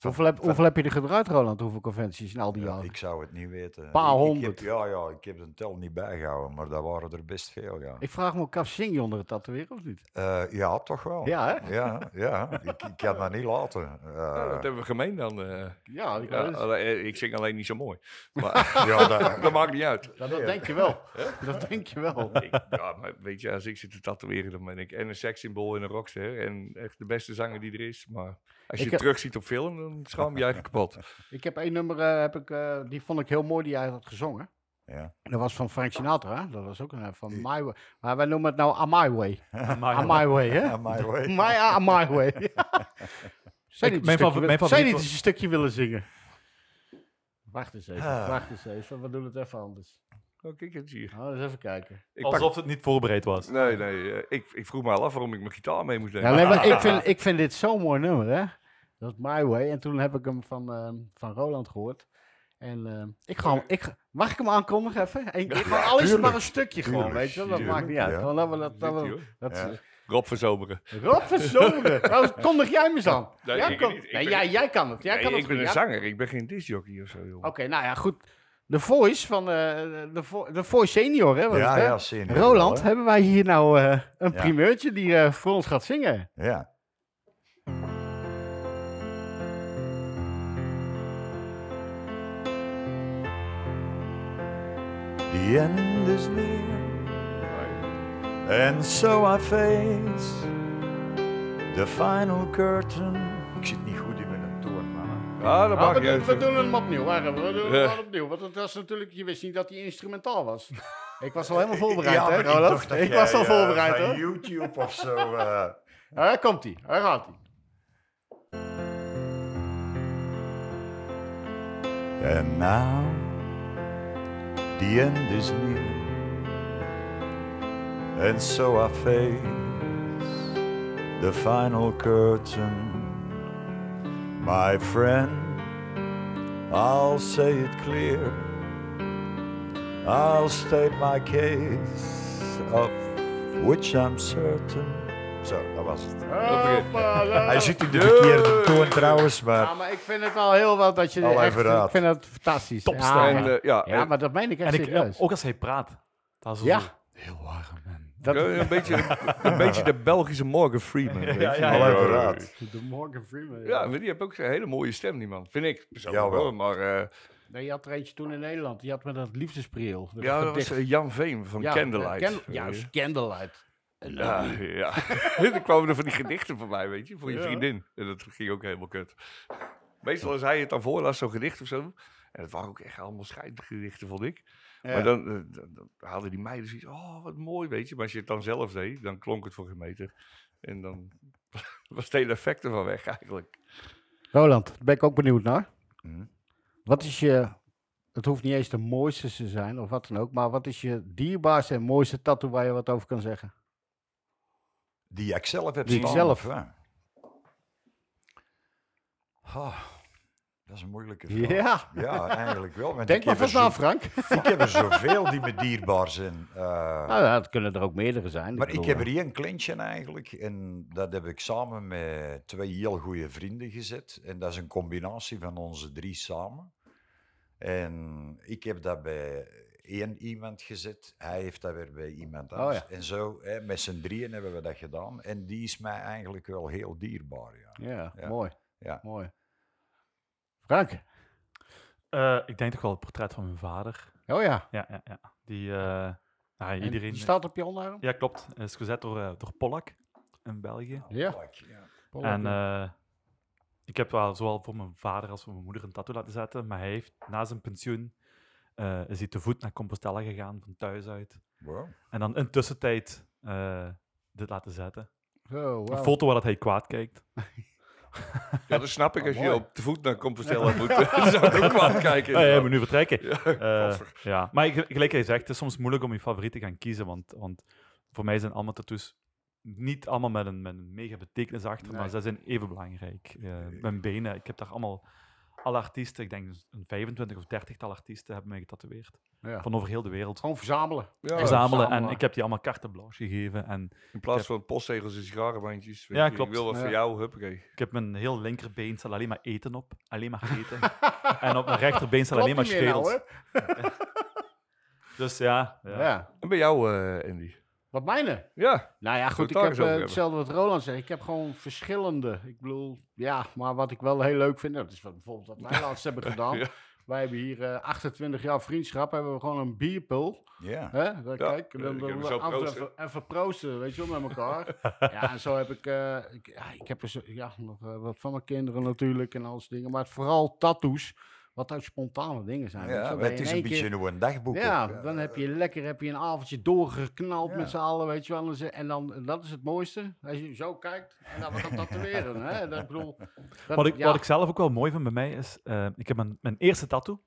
Speaker 1: Hoeveel heb, hoeveel heb je er gedraaid, Roland? Hoeveel conventies in al die jaren?
Speaker 3: ik zou het niet weten.
Speaker 1: Paar
Speaker 3: Ik- ik
Speaker 1: honderd.
Speaker 3: heb- ja, ja, ik heb de tel niet bijgehouden, maar daar waren er best veel. Ja,
Speaker 1: Ik vraag me ook af, zing je onder het tatoeëren of niet?
Speaker 3: Eh, ja toch wel.
Speaker 1: Ja, hè?
Speaker 3: Ja, ja. ik, ik kan dat niet laten. Eh,
Speaker 4: Ja, dat hebben we gemeen dan. eh.
Speaker 1: Ja, ik
Speaker 4: Ja,
Speaker 1: weet het.
Speaker 4: alleen- eh, ik zing alleen niet zo mooi. Maar
Speaker 3: ja, dat-
Speaker 4: dat maakt niet uit.
Speaker 1: Nou, dat denk je wel. Dat denk je wel.
Speaker 4: Ik- ja, maar weet je, als ik zit te tatoeëren, dan ben ik en een sekssymbool en een rockster. En echt de beste zanger die er is. Maar als je
Speaker 1: Ik
Speaker 4: het
Speaker 1: heb-
Speaker 4: terug ziet op film, dan schaam je je eigen kapot.
Speaker 1: Ik heb één nummer, eh, heb ik, eh, die vond ik heel mooi, die jij had gezongen.
Speaker 3: ja.
Speaker 1: Dat was van Frank Sinatra, hè? Dat was ook een eh, van My Way. Maar wij noemen het nou On My Way.
Speaker 2: Maar-
Speaker 1: On My Way, hè?
Speaker 3: Ah, Ja, my way.
Speaker 1: My, ah, my Way. Zou je
Speaker 2: Ik-
Speaker 1: niet, een stukje
Speaker 2: mijn favor- mijn
Speaker 1: willen- zou je
Speaker 2: favoriet
Speaker 1: niet
Speaker 2: was-
Speaker 1: eens een stukje willen zingen? Wacht eens even,
Speaker 3: Ah.
Speaker 1: wacht eens even. We doen het even anders.
Speaker 4: Oh, kijk eens hier.
Speaker 1: Nou, eens even kijken.
Speaker 4: Ik pak-
Speaker 2: Alsof het niet voorbereid was.
Speaker 4: Nee, nee. eh, ik, ik vroeg me al af waarom ik mijn gitaar mee moest
Speaker 1: Ja,
Speaker 4: nemen. Ah,
Speaker 1: nee, maar ik, vind, ik vind dit zo'n mooi nummer, hè? Dat is My Way. En toen heb ik hem van, ehm, van Roland gehoord. En ehm, ik ga hem, ik, ga- mag ik hem aankondigen even? Eén keer, gewoon, al is het maar een stukje gewoon,
Speaker 3: tuurlijk,
Speaker 1: weet je wel. Dat
Speaker 3: tuurlijk,
Speaker 1: maakt niet uit.
Speaker 3: ja.
Speaker 1: Gewoon dat we dat... dat,
Speaker 4: Zit
Speaker 1: we-
Speaker 4: hij, hoor.
Speaker 1: dat
Speaker 3: Ja.
Speaker 4: Rob verzoberen.
Speaker 1: Rob verzonnen. Nou, kondig jij me eens aan.
Speaker 4: Nee,
Speaker 1: jij,
Speaker 4: ik
Speaker 1: kon-
Speaker 4: niet. Ik
Speaker 1: nee,
Speaker 4: ben-
Speaker 1: jij, jij kan het. Jij
Speaker 4: Nee,
Speaker 1: kan het
Speaker 4: ik ben
Speaker 1: goed.
Speaker 4: een
Speaker 1: Jij-
Speaker 4: zanger, ik ben geen discjockey of zo, joh.
Speaker 1: Oké, nou ja, goed. De Voice van eh, de, Vo- de Voice Senior, hè? was
Speaker 3: Ja,
Speaker 1: het, hè?
Speaker 3: ja, senior wel,
Speaker 1: Roland,
Speaker 3: hè.
Speaker 1: hebben wij hier nou eh, een
Speaker 3: Ja.
Speaker 1: primeurtje die eh, voor ons gaat zingen?
Speaker 3: Ja. The end is near, and so I face the final curtain. Ik zit niet goed in mijn toon, man.
Speaker 4: Ah, dat
Speaker 1: Ja,
Speaker 4: mag
Speaker 1: we,
Speaker 4: je
Speaker 1: doen, we
Speaker 4: even.
Speaker 1: doen hem opnieuw. Wacht even, we doen hem
Speaker 4: Ja.
Speaker 1: opnieuw. Want het was natuurlijk, je wist niet dat hij instrumentaal was. Ik was al helemaal voorbereid, hè,
Speaker 3: maar ik
Speaker 1: Roland?
Speaker 3: dacht dat
Speaker 1: Ik,
Speaker 3: jij,
Speaker 1: was al
Speaker 3: eh,
Speaker 1: voorbereid,
Speaker 3: van
Speaker 1: hoor.
Speaker 3: YouTube of zo. eh,
Speaker 1: Daar komt hij, daar gaat hij.
Speaker 3: And now the end is near, And so I face the final curtain. My friend, I'll say it clear. I'll state my case, of which I'm certain. Zo, dat was het. Hij ziet u de verkeerde toon trouwens, maar
Speaker 1: Ja, maar ik vind het al heel wat dat je
Speaker 3: Al
Speaker 1: echt...
Speaker 3: even raad.
Speaker 1: Ik vind het fantastisch.
Speaker 2: Topstijl.
Speaker 1: Ja,
Speaker 4: En,
Speaker 1: ja.
Speaker 4: eh, ja,
Speaker 1: Ja,
Speaker 4: en- oh.
Speaker 1: maar dat meen ik echt
Speaker 2: En ik, ja,
Speaker 1: serieus.
Speaker 2: ook als hij praat. Dat is
Speaker 1: Ja.
Speaker 2: zo heel warm. En
Speaker 1: Dat,
Speaker 4: eh, een, beetje, een beetje de Belgische Morgan Freeman. weet je.
Speaker 2: ja, ja.
Speaker 3: al even raad.
Speaker 1: de Morgan Freeman.
Speaker 4: Ja,
Speaker 1: Ja.
Speaker 4: maar die heeft ook een hele mooie stem, die man. Vind ik persoonlijk
Speaker 3: Jawel.
Speaker 4: hoor, maar... eh,
Speaker 1: Nee, je had er eentje toen in Nederland. Die had met dat liefdespriel. dat
Speaker 4: ja, dat was
Speaker 1: gedicht.
Speaker 4: eh, Jan Veem van
Speaker 1: Ja,
Speaker 4: Candlelight.
Speaker 1: eh, Candle-
Speaker 4: Weet je.
Speaker 1: Juist, Candlelight.
Speaker 4: Ja, ja. er kwamen er van die gedichten van mij, weet je, voor je vriendin. En dat ging ook helemaal kut. Meestal als hij het dan voorlas, zo'n gedicht of zo. En het waren ook echt allemaal scheidgedichten, vond ik. Maar dan, eh, dan, dan hadden die meiden zoiets, oh, wat mooi, weet je. Maar als je het dan zelf deed, dan klonk het voor geen meter. En dan was het hele effect ervan weg, eigenlijk.
Speaker 1: Roland, daar ben ik ook benieuwd naar.
Speaker 3: Hm?
Speaker 1: Wat is je... Het hoeft niet eens de mooiste te zijn of wat dan ook. Maar wat is je dierbaarste en mooiste tattoo waar je wat over kan zeggen?
Speaker 3: Die ik zelf heb
Speaker 1: Die ik
Speaker 3: staan.
Speaker 1: zelf.
Speaker 3: of, eh? Ah, dat is een moeilijke vraag.
Speaker 1: Ja.
Speaker 3: Ja, eigenlijk wel. want
Speaker 1: Denk
Speaker 3: ik
Speaker 1: maar
Speaker 3: heb er
Speaker 1: vanaf,
Speaker 3: zo-
Speaker 1: Frank.
Speaker 3: Ik heb er zoveel die me dierbaar zijn. eh.
Speaker 1: Nou, ja, het kunnen er ook meerdere zijn.
Speaker 3: maar ik
Speaker 1: bedoel,
Speaker 3: heb
Speaker 1: eh,
Speaker 3: er één klintje eigenlijk. En dat heb ik samen met twee heel goede vrienden gezet. En dat is een combinatie van onze drie samen. En ik heb dat bij één iemand gezet. Hij heeft dat weer bij iemand
Speaker 1: Oh,
Speaker 3: anders.
Speaker 1: ja.
Speaker 3: En zo, hè, met z'n drieën hebben we dat gedaan. En die is mij eigenlijk wel heel dierbaar. Ja.
Speaker 1: eh, Ja,
Speaker 3: Ja.
Speaker 1: mooi.
Speaker 3: Ja.
Speaker 1: Mooi. Frank.
Speaker 2: Eh, ik denk toch wel het portret van mijn vader.
Speaker 1: Oh ja.
Speaker 2: Ja, ja, ja. Die, eh, nou,
Speaker 1: En
Speaker 2: iedereen...
Speaker 1: Die staat op je onderarm?
Speaker 2: Ja, klopt. Dat is gezet door, eh, door Pollak in België.
Speaker 1: Ja.
Speaker 2: En eh, ik heb wel zowel voor mijn vader als voor mijn moeder een tattoo laten zetten. Maar hij heeft na zijn pensioen eh, is hij te voet naar Compostela gegaan, van thuis uit.
Speaker 3: Wow.
Speaker 2: En dan in tussentijd eh, dit laten zetten.
Speaker 1: Zo,
Speaker 2: Een
Speaker 1: wauw.
Speaker 2: foto waar dat hij kwaad kijkt.
Speaker 4: Ja, dat snap ik als je
Speaker 1: mooi.
Speaker 4: op de voet naar Compostela moet. Dan zou ik ook kwaad kijken.
Speaker 2: Hey, hey,
Speaker 4: inderdaad.
Speaker 2: maar nu vertrekken.
Speaker 4: Ja,
Speaker 2: Eh,
Speaker 4: koffer.
Speaker 2: ja, maar ik- gelijk hij zegt, het is soms moeilijk om je favoriet te gaan kiezen, want, want voor mij zijn allemaal tattoos niet allemaal met een, met een mega betekenis achter, maar
Speaker 1: Nee.
Speaker 2: ze zijn even belangrijk. Eh, mijn benen, ik heb daar allemaal alle artiesten, ik denk een 25 of 30 tal artiesten hebben mij getatoeëerd.
Speaker 1: Ja.
Speaker 2: Van over heel de wereld.
Speaker 1: Gewoon verzamelen.
Speaker 4: Ja,
Speaker 2: Verzamelen en
Speaker 1: verzamelen.
Speaker 2: ik heb die allemaal carte blanche gegeven en
Speaker 4: in plaats van postzegels en sigarenbandjes. weet
Speaker 2: Ja,
Speaker 4: je,
Speaker 2: klopt.
Speaker 4: Ik wil wat
Speaker 1: Ja.
Speaker 4: voor jou, huppakee.
Speaker 2: ik heb mijn heel linkerbeen staat alleen maar eten op, alleen maar eten. en op mijn rechterbeen staat alleen maar
Speaker 1: Klopt niet meer nou,
Speaker 2: schedels. Dus ja, ja.
Speaker 1: hè? Ja.
Speaker 4: En bij jou, eh, Andy?
Speaker 1: Wat mijne?
Speaker 4: Ja.
Speaker 1: Nou ja, goed,
Speaker 4: het
Speaker 1: ik
Speaker 4: daar
Speaker 1: heb
Speaker 4: eens over
Speaker 1: eh,
Speaker 4: hebben.
Speaker 1: hetzelfde wat Roland zegt. Ik heb gewoon verschillende. Ik bedoel, ja, maar wat ik wel heel leuk vind, nou, dat is wat bijvoorbeeld wat wij laatst hebben gedaan.
Speaker 4: Ja.
Speaker 1: Wij hebben hier eh, 28 jaar vriendschap, hebben we gewoon een bierpul.
Speaker 3: Ja.
Speaker 1: Hè? Dan
Speaker 4: Ja,
Speaker 1: kijk,
Speaker 4: eh,
Speaker 1: dan, dan,
Speaker 4: kunnen we zo
Speaker 1: af-
Speaker 4: proosten.
Speaker 1: even, even proosten, weet je wel, met elkaar. ja, en zo heb ik, eh, ik, ja, ik heb er zo, ja, nog eh, wat van mijn kinderen natuurlijk en alles dingen. Maar vooral tattoos, wat ook spontane dingen zijn. weet je
Speaker 3: Ja,
Speaker 1: wel.
Speaker 3: maar
Speaker 1: Dat
Speaker 3: het
Speaker 1: je in
Speaker 3: is een
Speaker 1: één keer-
Speaker 3: beetje hoe een dagboek.
Speaker 1: Ja,
Speaker 3: ook, eh.
Speaker 1: dan heb je lekker heb je een avondje doorgeknald
Speaker 3: Ja.
Speaker 1: met z'n allen, weet je wel. En ze- En dan, en dat is het mooiste, als je zo kijkt en dan wat aan tatoeëren. hè. Dat, ik bedoel, dat,
Speaker 2: Wat ik,
Speaker 1: ja,
Speaker 2: wat ik zelf ook wel mooi vind bij mij is, eh, ik heb mijn, mijn eerste tattoo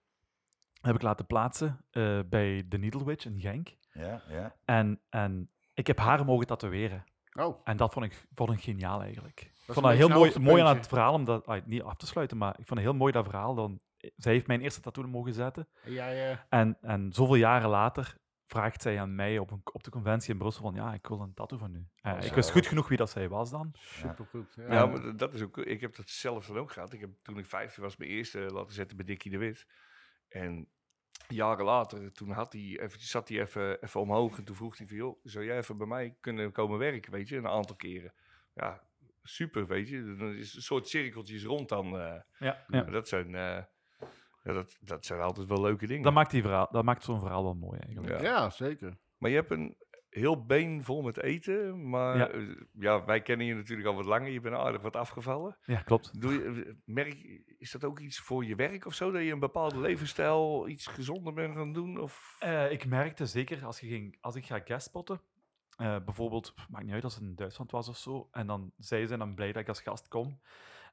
Speaker 2: heb ik laten plaatsen eh, bij de Needle Witch in Genk.
Speaker 3: Ja, ja.
Speaker 2: En, en ik heb haar mogen tatoeëren.
Speaker 1: oh,
Speaker 2: En dat vond ik, vond ik geniaal eigenlijk. ik
Speaker 1: een
Speaker 2: vond dat
Speaker 1: beetje
Speaker 2: heel
Speaker 1: een
Speaker 2: mooi, mooi
Speaker 1: hoogtepuntje.
Speaker 2: aan het verhaal, om dat ah, niet af te sluiten, maar ik vond het heel mooi dat verhaal. Dan, eh, zij heeft mijn eerste tattoo mogen zetten.
Speaker 1: jij, eh,
Speaker 2: En, en zoveel jaren later vraagt zij aan mij op, een, op de conventie in Brussel van, ja, ik wil een tattoo van u. Eh, ik wist goed genoeg wie dat zij was dan.
Speaker 1: supergoed. Ja.
Speaker 4: Ja, nou, maar dat- dat is ook. Ik heb dat zelf dan ook gehad. Ik heb toen ik 15 was, mijn eerste laten zetten bij Dickie de Wit. En jaren later, toen had hij even, zat hij even, even omhoog. En toen vroeg hij van, joh, zou jij even bij mij kunnen komen werken, weet je, een aantal keren. Ja, super, weet je. Dan is een soort cirkeltjes rond dan. eh.
Speaker 2: Ja, ja.
Speaker 4: Dat zijn... eh, ja, dat, dat zijn altijd wel leuke dingen.
Speaker 2: Dat maakt, die verhaal, dat maakt zo'n verhaal wel mooi eigenlijk.
Speaker 4: Ja.
Speaker 1: ja, zeker.
Speaker 4: Maar je hebt een heel been vol met eten. Maar
Speaker 2: Ja.
Speaker 4: eh, ja, wij kennen je natuurlijk al wat langer. Je bent aardig wat afgevallen.
Speaker 2: Ja, klopt.
Speaker 4: Doe je, eh, merk, is dat ook iets voor je werk of zo? Dat je een bepaalde levensstijl iets gezonder bent gaan doen? Of?
Speaker 2: Eh, ik merkte zeker als, je ging, als ik ga guestpotten, eh bijvoorbeeld, pff, maakt niet uit als het in Duitsland was of zo, en dan zij zijn dan blij dat ik als gast kom.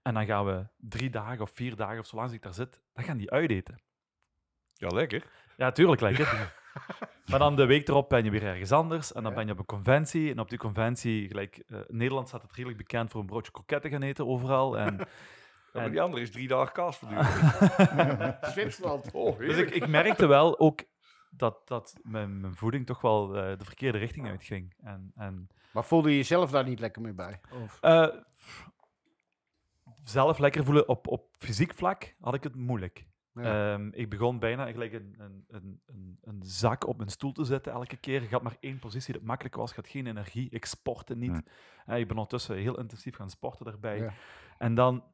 Speaker 2: En dan gaan we drie dagen of vier dagen of zolang als ik daar zit, dan gaan die uiteten.
Speaker 4: Ja, lekker.
Speaker 2: Ja, tuurlijk lekker. Maar dan de week erop ben je weer ergens anders. En dan
Speaker 4: Ja.
Speaker 2: ben je op een conventie. En op die conventie, gelijk, eh, Nederland staat het redelijk bekend voor een broodje kroketten gaan eten overal. En,
Speaker 4: Ja, maar
Speaker 2: en-
Speaker 4: die andere is drie dagen kaas verduurd.
Speaker 1: Zwitserland.
Speaker 4: Oh,
Speaker 2: dus ik, ik merkte wel ook dat, dat mijn, mijn voeding toch wel eh, de verkeerde richting uitging. En, en
Speaker 1: Maar voelde je jezelf daar niet lekker mee bij? Of?
Speaker 2: eh, zelf lekker voelen op, op fysiek vlak had ik het moeilijk.
Speaker 1: Ja.
Speaker 2: Ehm, ik begon bijna gelijk een, een, een, een, een zak op mijn stoel te zetten elke keer. Ik had maar één positie dat makkelijk was. Ik had geen energie. Ik sportte niet.
Speaker 3: Hmm.
Speaker 2: Eh, ik ben ondertussen heel intensief gaan sporten daarbij.
Speaker 1: Ja.
Speaker 2: En dan,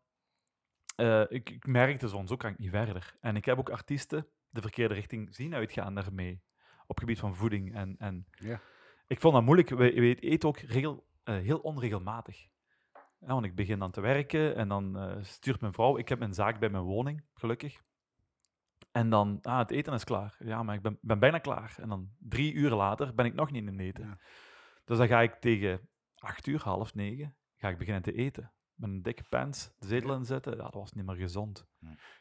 Speaker 2: eh, ik, ik merkte zo'n, zo kan ik niet verder. En ik heb ook artiesten de verkeerde richting zien uitgaan daarmee. Op gebied van voeding. En, en
Speaker 1: Ja.
Speaker 2: ik vond dat moeilijk. We, we eten ook regel, eh, heel onregelmatig. Ja, want ik begin dan te werken en dan eh, stuurt mijn vrouw. Ik heb mijn zaak bij mijn woning, gelukkig. En dan, ah, het eten is klaar. Ja, maar ik ben, ben bijna klaar. En dan drie uur later ben ik nog niet in het eten.
Speaker 1: Ja.
Speaker 2: Dus dan ga ik tegen acht uur, half negen, ga ik beginnen te eten. Met een dikke pens, de zetel inzetten. Ja, dat was niet meer gezond.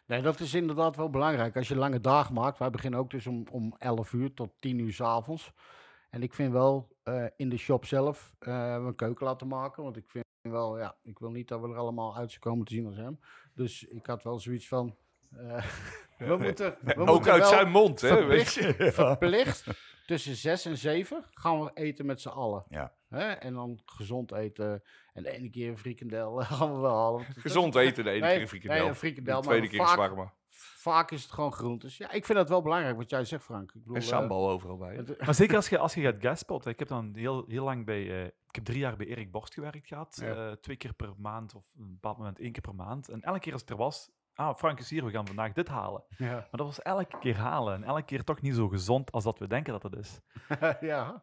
Speaker 1: Nee, dat is inderdaad wel belangrijk. Als je lange dagen maakt, wij beginnen ook dus om, om 11 uur tot 10 uur 's avonds. En ik vind wel eh, in de shop zelf eh, een keuken laten maken. Want ik vind wel, ja, ik wil niet dat we er allemaal uit zijn komen te zien als hem. Dus ik had wel zoiets van. eh, we moeten. We
Speaker 4: ook
Speaker 1: moeten
Speaker 4: uit
Speaker 1: wel
Speaker 4: zijn mond, hè? Weet
Speaker 1: verplicht,
Speaker 4: je.
Speaker 1: verplicht tussen 6 en 7 gaan we eten met z'n allen.
Speaker 3: Ja.
Speaker 1: Hè? En dan gezond eten. En de ene keer een frikandel gaan we wel halen. want dat-
Speaker 4: Gezond eten, de ene
Speaker 1: Nee,
Speaker 4: keer een frikandel.
Speaker 1: nee, een frikandel,
Speaker 4: De
Speaker 1: maar
Speaker 4: tweede keer
Speaker 1: vaak-
Speaker 4: shawarma.
Speaker 1: Vaak is het gewoon groentes. Ja, ik vind dat wel belangrijk wat jij zegt, Frank. Ik bedoel,
Speaker 4: En
Speaker 1: eh,
Speaker 4: sambal overal bij.
Speaker 1: het-
Speaker 2: Maar zeker als je, als je gaat gaspotten. Ik heb dan heel, heel lang bij... eh, ik heb drie jaar bij Erik Borst gewerkt gehad.
Speaker 1: Ja.
Speaker 2: eh, twee keer per maand of op een bepaald moment één keer per maand. En elke keer als het er was... Ah, Frank is hier, we gaan vandaag dit halen.
Speaker 1: ja.
Speaker 2: Maar dat was elke keer halen. En elke keer toch niet zo gezond als dat we denken dat het is.
Speaker 1: ja. Maar
Speaker 4: Maar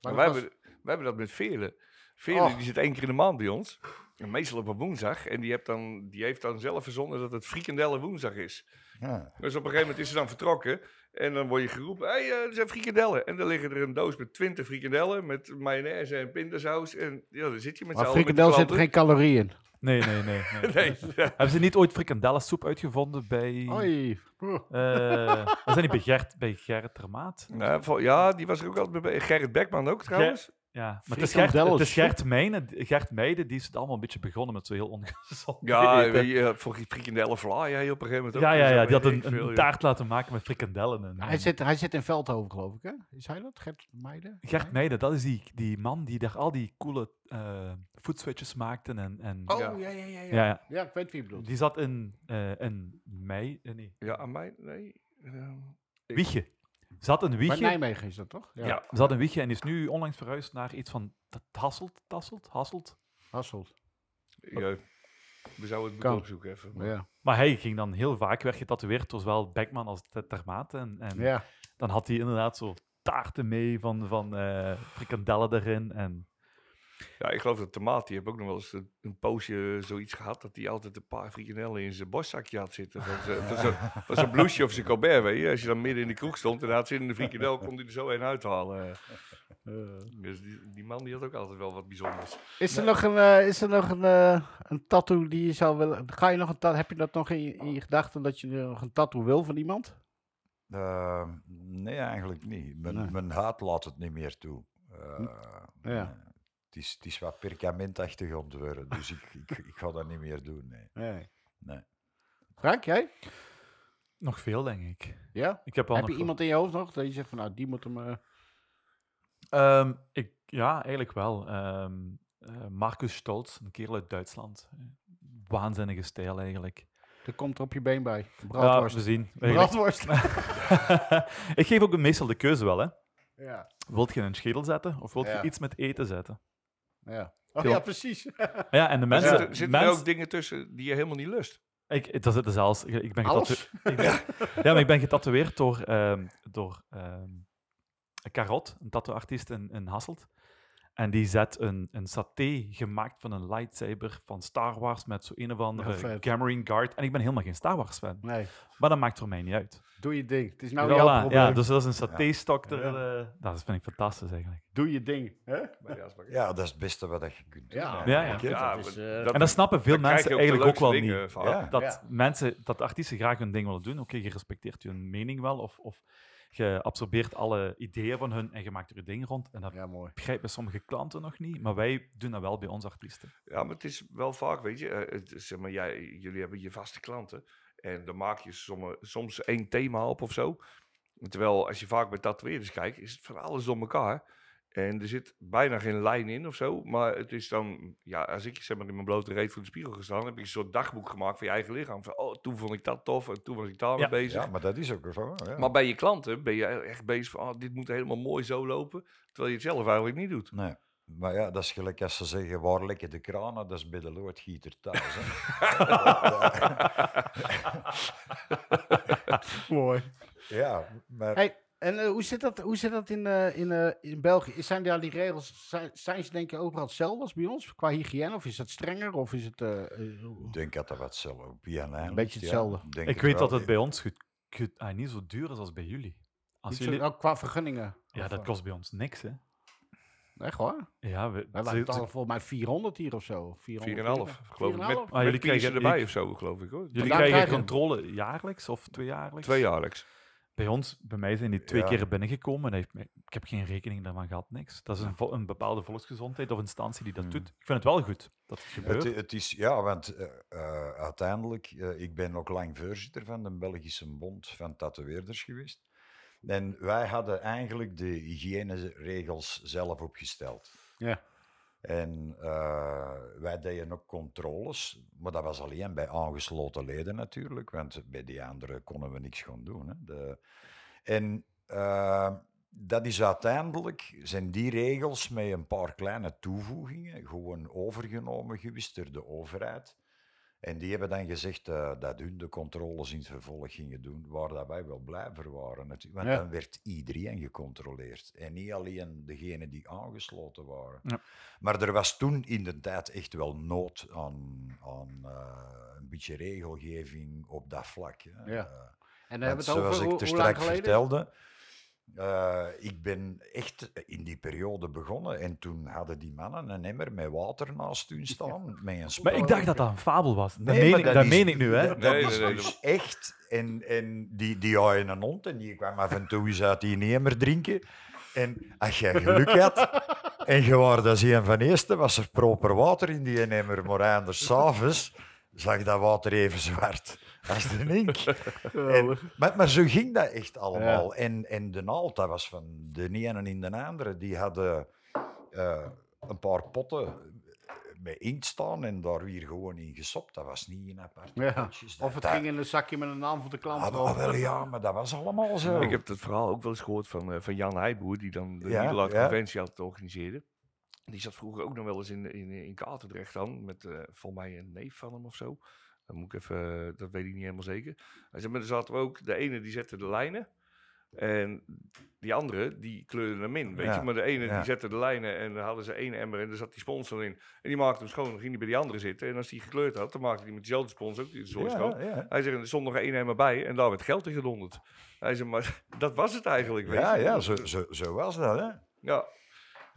Speaker 1: dat
Speaker 4: wij,
Speaker 1: was-
Speaker 4: hebben, wij hebben dat met Veerle. Veerle
Speaker 2: Oh.
Speaker 1: Och.
Speaker 4: die zit één keer in de maand bij ons. En meestal op een woensdag. En die, hebt dan, die heeft dan zelf verzonnen dat het frikandellen woensdag is.
Speaker 3: Ja.
Speaker 4: Dus op een gegeven moment is ze dan vertrokken. En dan word je geroepen, hey, eh, er zijn frikandellen. En dan liggen er een doos met twintig frikandellen. Met mayonaise en pindasaus. En ja, dan zit je met z'n
Speaker 1: Maar
Speaker 4: allen met die
Speaker 1: frikandel zit er
Speaker 4: klanten.
Speaker 1: geen calorie in.
Speaker 2: Nee, nee, nee. nee.
Speaker 4: Nee, ja.
Speaker 2: Hebben ze niet ooit frikandellensoep uitgevonden bij...
Speaker 1: Oei. Brr.
Speaker 2: eh, was dat niet bij Gert, bij Gerrit Termaat?
Speaker 4: Nou, vol- ja, die was er ook altijd bij. Gerrit Bekman ook trouwens.
Speaker 2: Ja, maar het is Gert, het is
Speaker 1: Frikandellensoep?
Speaker 2: Gert, Meijnen- Gert Meijden, die is het allemaal een beetje begonnen met zo heel ongezond
Speaker 4: Ja,
Speaker 2: eten.
Speaker 4: je, je, voor die frikandellen vlaai jij op een gegeven moment ook.
Speaker 2: Ja, ja,
Speaker 4: Dus
Speaker 2: ja,
Speaker 4: dat
Speaker 2: die had
Speaker 4: weet
Speaker 2: een,
Speaker 4: ik veel,
Speaker 2: een
Speaker 4: joh.
Speaker 2: taart laten maken met frikandellen. En,
Speaker 1: Hij zit, hij zit in Veldhoven, geloof ik, hè? Is hij dat? Gert Meijden?
Speaker 2: Gert Meijden, dat is die, die man die daar al die coole eh voetswitches maakte. En, en,
Speaker 1: Oh,
Speaker 4: Ja.
Speaker 1: ja, ja, ja. Ja,
Speaker 2: ja, ja.
Speaker 1: Ja, ik weet wie je bedoelt.
Speaker 2: Die zat in, eh in mei, eh, nee,
Speaker 4: Ja, aan mij, nee. Ehm, Ik-
Speaker 2: Wiegje. Zat een
Speaker 1: Maar
Speaker 2: Wiegje.
Speaker 1: Nijmegen is dat, toch?
Speaker 4: ja.
Speaker 2: Zat een Wiegje en is nu onlangs verhuisd naar iets van T- Hasselt. Tasselt, Hasselt.
Speaker 1: Hasselt.
Speaker 4: Ja, we zouden het
Speaker 1: Kan.
Speaker 4: moeten opzoeken even. maar-
Speaker 1: Ja.
Speaker 2: Maar hij ging dan heel vaak, werd getatoeëerd door zowel Beckman als Ted Termaat. En, en
Speaker 1: ja.
Speaker 2: dan had hij inderdaad zo taarten mee van, van eh, frikandellen erin. En
Speaker 4: Ja, ik geloof dat Tomaat, die heeft ook nog wel eens een, een poosje zoiets gehad... dat hij altijd een paar frikandellen in zijn borstzakje had zitten. Van zijn- van zijn- van zijn blouseje of zijn colbert, weet je. Als je dan midden in de kroeg stond en hij had zin in de frikandel... kon hij er zo een uithalen.
Speaker 2: Eh.
Speaker 4: Dus die, die man die had ook altijd wel wat bijzonders.
Speaker 1: Is er nog een, eh, is er nog een, eh, een tattoo die je zou willen... Ga je nog een tattoo... Heb je dat nog in je, in je gedachten dat je nog een tattoo wil van iemand?
Speaker 3: Eh, nee, eigenlijk niet. Mijn,
Speaker 1: Nee. Hm.
Speaker 3: mijn huid laat het niet meer toe. Eh,
Speaker 1: Ja.
Speaker 3: nee. Het is, het is wat perkamentachtig ontwerpen, dus ik, ik, ik ga dat niet meer doen. Nee.
Speaker 1: Nee.
Speaker 3: Nee.
Speaker 1: Frank, jij?
Speaker 2: nog veel, denk ik.
Speaker 1: Ja?
Speaker 2: Ik heb wel
Speaker 1: Heb je
Speaker 2: nog wel-
Speaker 1: iemand in je hoofd nog dat je zegt van nou, die moet hem... eh,
Speaker 2: Ehm, ik, ja, eigenlijk wel. Ehm, eh, Marcus Stolz, een kerel uit Duitsland. Waanzinnige stijl eigenlijk.
Speaker 1: Dat komt er op je been bij.
Speaker 2: Ja,
Speaker 1: Braadworst.
Speaker 2: we zien. Eigenlijk-
Speaker 1: Braadworst.
Speaker 2: ik geef ook meestal de keuze wel. Hè.
Speaker 1: ja,
Speaker 2: Wilt je een schedel zetten of wilt
Speaker 1: Ja.
Speaker 2: je iets met eten zetten?
Speaker 1: ja. Oh
Speaker 2: Veel-
Speaker 1: ja, precies.
Speaker 2: Ja, en de
Speaker 4: Maar
Speaker 2: mensen...
Speaker 4: Zitten, zitten
Speaker 2: mens-
Speaker 4: er ook dingen tussen die je helemaal niet lust?
Speaker 2: Ik, daar zitten zelfs... Ik, ik ben
Speaker 1: Alles?
Speaker 2: getatoe- ik ben- ja, maar ik ben getatoeëerd door, ehm, door ehm, een Karot, een tattooartiest in, in Hasselt. En die zet een, een saté gemaakt van een lightsaber van Star Wars met zo een of
Speaker 1: Ja,
Speaker 2: andere
Speaker 1: vet.
Speaker 2: Gamering Guard. En ik ben helemaal geen Star Wars fan.
Speaker 1: Nee,
Speaker 2: Maar dat maakt voor mij niet uit.
Speaker 1: doe je ding. Het is nou
Speaker 2: Voilà,
Speaker 1: jouw probleem.
Speaker 2: ja, dus dat is een saté-stok. er, eh, dat vind ik fantastisch eigenlijk.
Speaker 1: Doe je ding. Hè?
Speaker 4: Bij de afspraak.
Speaker 3: Ja, dat is het beste wat dat je kunt doen.
Speaker 1: Ja.
Speaker 2: Ja,
Speaker 3: eigenlijk,
Speaker 2: ja.
Speaker 3: hè.
Speaker 4: Ja,
Speaker 1: dat is,
Speaker 4: maar
Speaker 1: eh,
Speaker 2: En dat snappen veel
Speaker 4: dan krijg
Speaker 2: mensen
Speaker 4: je
Speaker 2: eigenlijk ook
Speaker 4: de eh.
Speaker 2: wel
Speaker 4: leukste
Speaker 2: niet.
Speaker 4: dingen van.
Speaker 3: Ja.
Speaker 2: dat
Speaker 1: Ja.
Speaker 2: mensen, dat artiesten graag hun ding willen doen. Oké, je respecteert hun mening wel. Of, of Je absorbeert alle ideeën van hun en je maakt er je ding rond. En dat
Speaker 1: eh, Ja, mooi.
Speaker 2: begrijpen sommige klanten nog niet, maar wij doen dat wel bij onze artiesten.
Speaker 4: Ja, maar het is wel vaak, weet je, eh, het, zeg maar, jij, jullie hebben je vaste klanten. En dan maak je somme, soms één thema op of zo. Terwijl als je vaak bij tatoeëerders kijkt, is het van alles door elkaar. En er zit bijna geen lijn in of zo. Maar het is dan, ja, als ik zeg maar in mijn blote reet voor de spiegel gestaan, heb ik een soort dagboek gemaakt van je eigen lichaam. Van, oh, toen vond ik dat tof en toen was ik daar mee
Speaker 2: Ja.
Speaker 4: bezig.
Speaker 3: Ja, maar dat is ook zo. Ja.
Speaker 4: Maar bij je klanten ben je echt bezig van, oh, dit moet helemaal mooi zo lopen. Terwijl je het zelf eigenlijk niet doet.
Speaker 3: Nee. Maar ja, dat is gelijk als ze zeggen, waar lekken de kranen? Dat is bij de loodgieter thuis. Hè.
Speaker 1: Mooi.
Speaker 3: ja, maar
Speaker 1: Hey, en eh, hoe, zit dat, hoe zit dat in, eh, in, eh, in België? Is- Zijn daar die regels, zijn, zijn ze denk je overal hetzelfde als bij ons? Qua hygiëne? Of is dat strenger? Of is het... eh, eh,
Speaker 3: ik denk dat dat wat hetzelfde op Biennale ligt,
Speaker 1: beetje
Speaker 3: ja.
Speaker 1: hetzelfde.
Speaker 3: Denk
Speaker 2: Ik
Speaker 3: het
Speaker 2: weet
Speaker 3: wel.
Speaker 2: dat het bij ons goed, goed- ah, niet zo duur is als bij jullie. Als
Speaker 1: niet zo-
Speaker 2: jullie
Speaker 1: ook qua vergunningen?
Speaker 2: ja,
Speaker 1: Of,
Speaker 2: dat
Speaker 1: eh,
Speaker 2: kost bij ons niks, hè?
Speaker 1: Echt hoor?
Speaker 2: Ja, we,
Speaker 1: Wij
Speaker 2: ze-
Speaker 1: waren
Speaker 2: ze-
Speaker 1: al volgens mij 400 hier of zo. 400
Speaker 4: 4,5, geloof ik. Met,
Speaker 1: 4,5?
Speaker 4: met
Speaker 2: Ah, jullie krijgen-
Speaker 4: piercen erbij
Speaker 2: ik-
Speaker 4: of zo, geloof ik hoor.
Speaker 2: jullie
Speaker 1: Vandaag
Speaker 2: krijgen
Speaker 1: krijgen we-
Speaker 2: controle jaarlijks of tweejaarlijks?
Speaker 4: Tweejaarlijks.
Speaker 2: Bij ons, bij mij zijn die twee
Speaker 3: Ja.
Speaker 2: keer binnengekomen. En hij heeft mij- ik heb geen rekening daarvan gehad, niks. Dat is een, vo- een bepaalde volksgezondheid of instantie die dat doet. Ik vind het wel goed dat het gebeurt.
Speaker 3: Hmm. Het, het is, ja, want eh, eh, uiteindelijk, eh, ik ben ook lang voorzitter van de Belgische Bond van Tatoeëerders geweest. En wij hadden eigenlijk de hygiëneregels zelf opgesteld.
Speaker 1: Ja.
Speaker 3: En eh, wij deden ook controles, maar dat was alleen bij aangesloten leden natuurlijk, want bij die anderen konden we niks gaan doen. Hè. De, en eh, dat is uiteindelijk, zijn die regels met een paar kleine toevoegingen gewoon overgenomen geweest door de overheid. En die hebben dan gezegd eh, dat hun de controles in het vervolg gingen doen, waar dat wij wel blij voor waren. natuurlijk. Want
Speaker 1: Ja.
Speaker 3: dan werd iedereen gecontroleerd. En niet alleen degenen die aangesloten waren.
Speaker 2: Ja.
Speaker 3: Maar er was toen in de tijd echt wel nood aan, aan eh, een beetje regelgeving op dat vlak. Hè.
Speaker 1: Ja.
Speaker 3: Eh,
Speaker 1: En dan hebben
Speaker 3: want
Speaker 1: we het over
Speaker 3: zoals
Speaker 1: hoe,
Speaker 3: ik er
Speaker 1: hoe lang
Speaker 3: straks
Speaker 1: geleden?
Speaker 3: vertelde, eh, ik ben echt in die periode begonnen. En toen hadden die mannen een emmer met water naast hun staan. Met een
Speaker 2: maar ik
Speaker 3: speld.
Speaker 2: dacht dat dat een fabel was. Dat,
Speaker 3: Nee,
Speaker 2: meen,
Speaker 3: maar
Speaker 2: ik,
Speaker 3: dat
Speaker 2: dat
Speaker 3: is-
Speaker 2: meen ik nu, hè?
Speaker 3: Dat
Speaker 4: Nee,
Speaker 3: is
Speaker 4: nee, nee,
Speaker 3: dus echt. En, en die, die haaien een hond en die kwam af en toe eens uit die emmer drinken. En als jij geluk had en je was als een van de eerste, was er proper water in die emmer. Maar anders, s'avonds, zag dat water even zwart als de ink. En, maar, maar zo ging dat echt allemaal. En, en de naald, dat was van de ene in de andere. Die hadden eh, een paar potten met inkt staan en daar weer gewoon in gesopt. Dat was niet in apart.
Speaker 1: Ja. Of het ging in een zakje met een naam van de klant.
Speaker 3: Ah,
Speaker 1: erop.
Speaker 3: ah, wel ja, maar dat was allemaal zo.
Speaker 4: Ik heb dat verhaal ook wel eens gehoord van, eh, van Jan Heijboer, die dan de
Speaker 3: Ja,
Speaker 4: Nederlandse
Speaker 3: ja.
Speaker 4: conventie had organiseren. Die zat vroeger ook nog wel eens in, in, in Katendrecht dan, met eh volgens mij een neef van hem of zo. Dan moet ik even, eh, dat weet ik niet helemaal zeker. Hij zei, maar er zaten we ook, de ene die zette de lijnen en die andere die kleurde hem in, weet
Speaker 3: Ja,
Speaker 4: je. Maar de ene
Speaker 3: ja.
Speaker 4: die zette de lijnen en dan hadden ze één emmer en daar zat die sponsor in. En die maakte hem schoon, dan ging die bij die andere zitten. En als die gekleurd had, dan maakte hij met diezelfde sponsor ook die zooi schoon.
Speaker 3: ja, ja.
Speaker 4: Hij zegt, er stond nog één helemaal bij en daar werd geld in gedonderd. Hij zegt, maar dat was het eigenlijk, weet
Speaker 3: Ja,
Speaker 4: je.
Speaker 3: ja, zo, zo, zo was dat. Hè?
Speaker 4: Ja.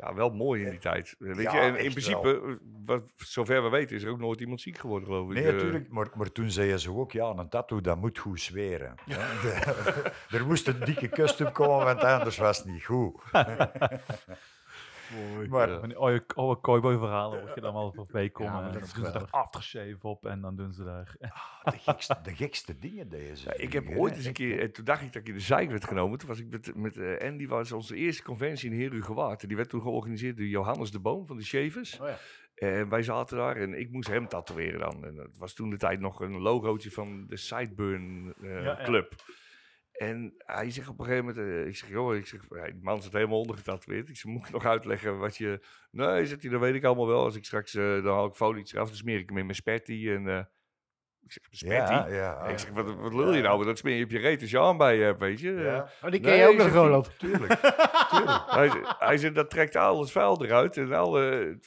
Speaker 4: Ja, wel mooi in die tijd. Weet
Speaker 3: Ja,
Speaker 4: je, en in
Speaker 3: echt
Speaker 4: principe, eh, wat, zover we weten, is er ook nooit iemand ziek geworden, geloof ik.
Speaker 3: Nee,
Speaker 4: Eh,
Speaker 3: natuurlijk. Maar, maar toen zeiden ze ook, ja, een tattoo, dat moet goed zweren. hè. De- er moest een dikke kust op komen, want anders was het niet goed. Maar
Speaker 2: Van die oude, oude cowboy-verhalen hoor je dan wel voorbij komen.
Speaker 1: maar
Speaker 2: en
Speaker 1: dat
Speaker 2: dan
Speaker 1: is
Speaker 2: doen ze daar
Speaker 1: geweldig.
Speaker 2: aftershave op en dan doen ze daar...
Speaker 3: Ah, de gekste, de gekste dingen deden ze.
Speaker 4: Ik heb
Speaker 3: vroeger,
Speaker 4: ooit
Speaker 3: hè.
Speaker 4: eens een keer, eh, toen dacht ik dat ik in de zeik werd genomen. Toen was ik met, met eh, Andy, was onze eerste conventie in Heerhugowaard. En Die werd toen georganiseerd door Johannes de Boom van de Shavers.
Speaker 1: Oh ja.
Speaker 4: En Eh, wij zaten daar en ik moest hem tatoeëren dan. En dat was toen de tijd nog een logootje van de Sideburn eh,
Speaker 2: Ja, ja.
Speaker 4: Club. En hij zegt op een gegeven moment, eh, ik zeg, joh, ik zeg, ja, die man zit helemaal ondergetatoeëerd. Ik zeg, moet ik nog uitleggen wat je... Nee, zegt hij, dat weet ik allemaal wel. Als ik straks, eh, dan haal ik folie eraf, dan smeer ik hem in mijn spetty. En, eh, ik zeg, spetty?
Speaker 3: Ja, ja.
Speaker 4: ik zeg, wat, wat lul je nou? Dat smeer je op je reet als je aan bij je hebt, weet je. Eh,
Speaker 3: Ja,
Speaker 1: Oh, die ken je
Speaker 4: Nee,
Speaker 1: ook nog,
Speaker 4: zegt hij.
Speaker 1: Roland.
Speaker 3: tuurlijk.
Speaker 4: hij, ze- hij zei, dat trekt al het vuil eruit. En alle,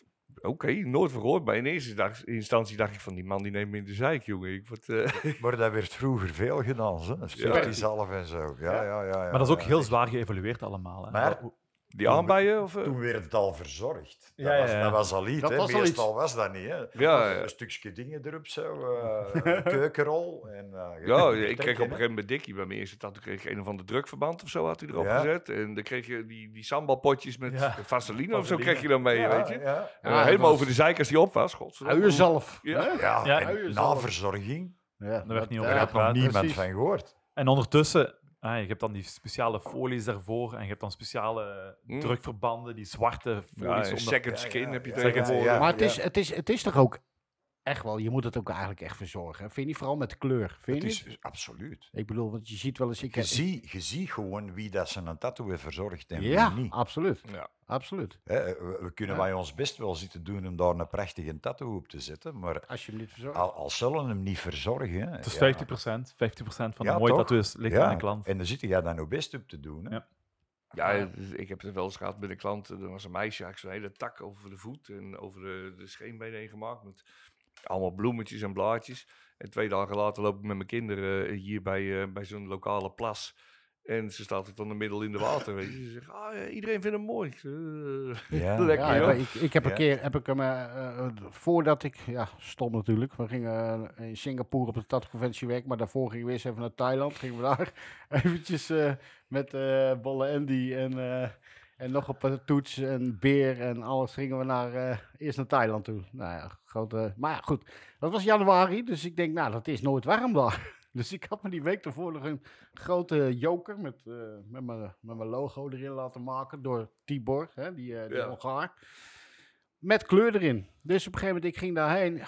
Speaker 4: oké, nooit verhoord. Maar in eerste dag- instantie dacht ik van, die man die neemt me in de zeik, jongen. Ik word, eh,
Speaker 3: Maar dat werd vroeger veel gedaan, hè. Spetty zalf en zo. Ja, ja, ja, ja,
Speaker 2: maar dat is ook
Speaker 3: ja.
Speaker 2: heel zwaar geëvalueerd allemaal. Hè?
Speaker 3: Maar
Speaker 2: Hoe-
Speaker 4: Die aanbijen? Of, eh?
Speaker 3: Toen werd het al verzorgd. Dat,
Speaker 2: Ja, ja,
Speaker 3: was,
Speaker 2: ja.
Speaker 3: dat was al iets.
Speaker 1: Dat
Speaker 3: hè.
Speaker 1: was al
Speaker 3: Meestal was dat niet. Hè.
Speaker 4: ja, ja.
Speaker 3: Een stukje dingen erop zo. eh, een keukenrol. En, eh, je
Speaker 4: Ja,
Speaker 3: kunt het
Speaker 4: ik kreeg op een
Speaker 3: trekken, hè.
Speaker 4: gegeven moment Dikkie bij mijn eerste tattoo. kreeg ik een of ander drukverband of zo had hij erop
Speaker 3: Ja.
Speaker 4: gezet. En dan kreeg je die, die sambalpotjes met
Speaker 2: Ja.
Speaker 4: vaseline of zo
Speaker 2: Vaseline.
Speaker 4: kreeg je dan mee, weet je.
Speaker 3: Ja, ja.
Speaker 4: En
Speaker 1: Ja,
Speaker 4: helemaal
Speaker 1: dat was-
Speaker 4: over de zeikers die op was. Godverdomme.
Speaker 1: Uurzelf.
Speaker 4: Ja.
Speaker 3: Ja,
Speaker 2: Ja,
Speaker 3: en
Speaker 1: jezelf.
Speaker 3: naverzorging.
Speaker 1: Ja,
Speaker 2: werd niet
Speaker 3: Daar
Speaker 2: Ja,
Speaker 3: had nog
Speaker 2: praat,
Speaker 3: niemand
Speaker 1: precies.
Speaker 3: van gehoord.
Speaker 2: En ondertussen, ah, je hebt dan die speciale folies daarvoor en je hebt dan speciale
Speaker 4: Hmm.
Speaker 2: drukverbanden, die zwarte
Speaker 4: Ja,
Speaker 2: folies.
Speaker 4: en
Speaker 2: om dat-
Speaker 4: second
Speaker 3: ja,
Speaker 4: skin
Speaker 3: ja,
Speaker 4: heb je
Speaker 3: ja,
Speaker 4: tegenwoordig.
Speaker 3: ja, ja.
Speaker 1: Maar het is, het, is, het is toch ook echt wel, je moet het ook eigenlijk echt verzorgen. Vind je niet vooral met kleur? Vind
Speaker 3: Het
Speaker 1: je niet?
Speaker 3: is absoluut.
Speaker 1: Ik bedoel, want je ziet wel eens. Ik
Speaker 3: Je
Speaker 1: heb-
Speaker 3: ziet, je ziet gewoon wie dat zijn tattoo heeft verzorgd en
Speaker 1: ja,
Speaker 2: Ah.
Speaker 3: wie niet.
Speaker 1: absoluut.
Speaker 4: Ja.
Speaker 1: Absoluut.
Speaker 3: Hè, we, we kunnen
Speaker 1: Ja.
Speaker 3: bij ons best wel zitten doen om daar een prachtige tattoo op te zetten, maar
Speaker 1: Als je hem niet verzorgt.
Speaker 3: al, al zullen we hem niet verzorgen... hè,
Speaker 2: Het is
Speaker 3: ja.
Speaker 2: 50%, 50% van de
Speaker 3: Ja,
Speaker 2: mooie
Speaker 3: toch?
Speaker 2: tattoos ligt aan de klant.
Speaker 3: En dan zit jij daar nog best op te doen. Hè?
Speaker 2: Ja.
Speaker 4: Ja, het- ik heb het wel eens gehad met een klant. Er was een meisje, had ik zo'n hele tak over de voet en over de, de scheenbeen heen gemaakt. Met allemaal bloemetjes en blaadjes. En twee dagen later loop ik met mijn kinderen eh, hier bij, eh, bij zo'n lokale plas. En ze staat het dan middel in de water. Weet je. Ze zegt, ah, ja, iedereen vindt hem mooi. Ik zeg, eh,
Speaker 3: Ja.
Speaker 4: lekker,
Speaker 1: Ja,
Speaker 4: joh.
Speaker 1: maar ik, ik heb een
Speaker 3: Ja.
Speaker 1: keer, heb ik hem, eh, eh, eh, voordat ik, ja, stom natuurlijk, we gingen eh, in Singapore op de tattoo-conventie werken, maar daarvoor gingen we eerst even naar Thailand, gingen we daar eventjes eh, met eh Bolle Andy en, eh, en nog een paar toets en beer en alles, gingen we naar, eh, eerst naar Thailand toe. Nou ja, grote, maar ja, goed, dat was januari, dus ik denk, nou, dat is nooit warm daar. Dus ik had me die week ervoor nog een grote joker met, eh, met, mijn, met mijn logo erin laten maken door Tibor, hè, die, eh die
Speaker 4: Ja.
Speaker 1: Hongaar. Met kleur erin. Dus op een gegeven moment, ik ging daarheen.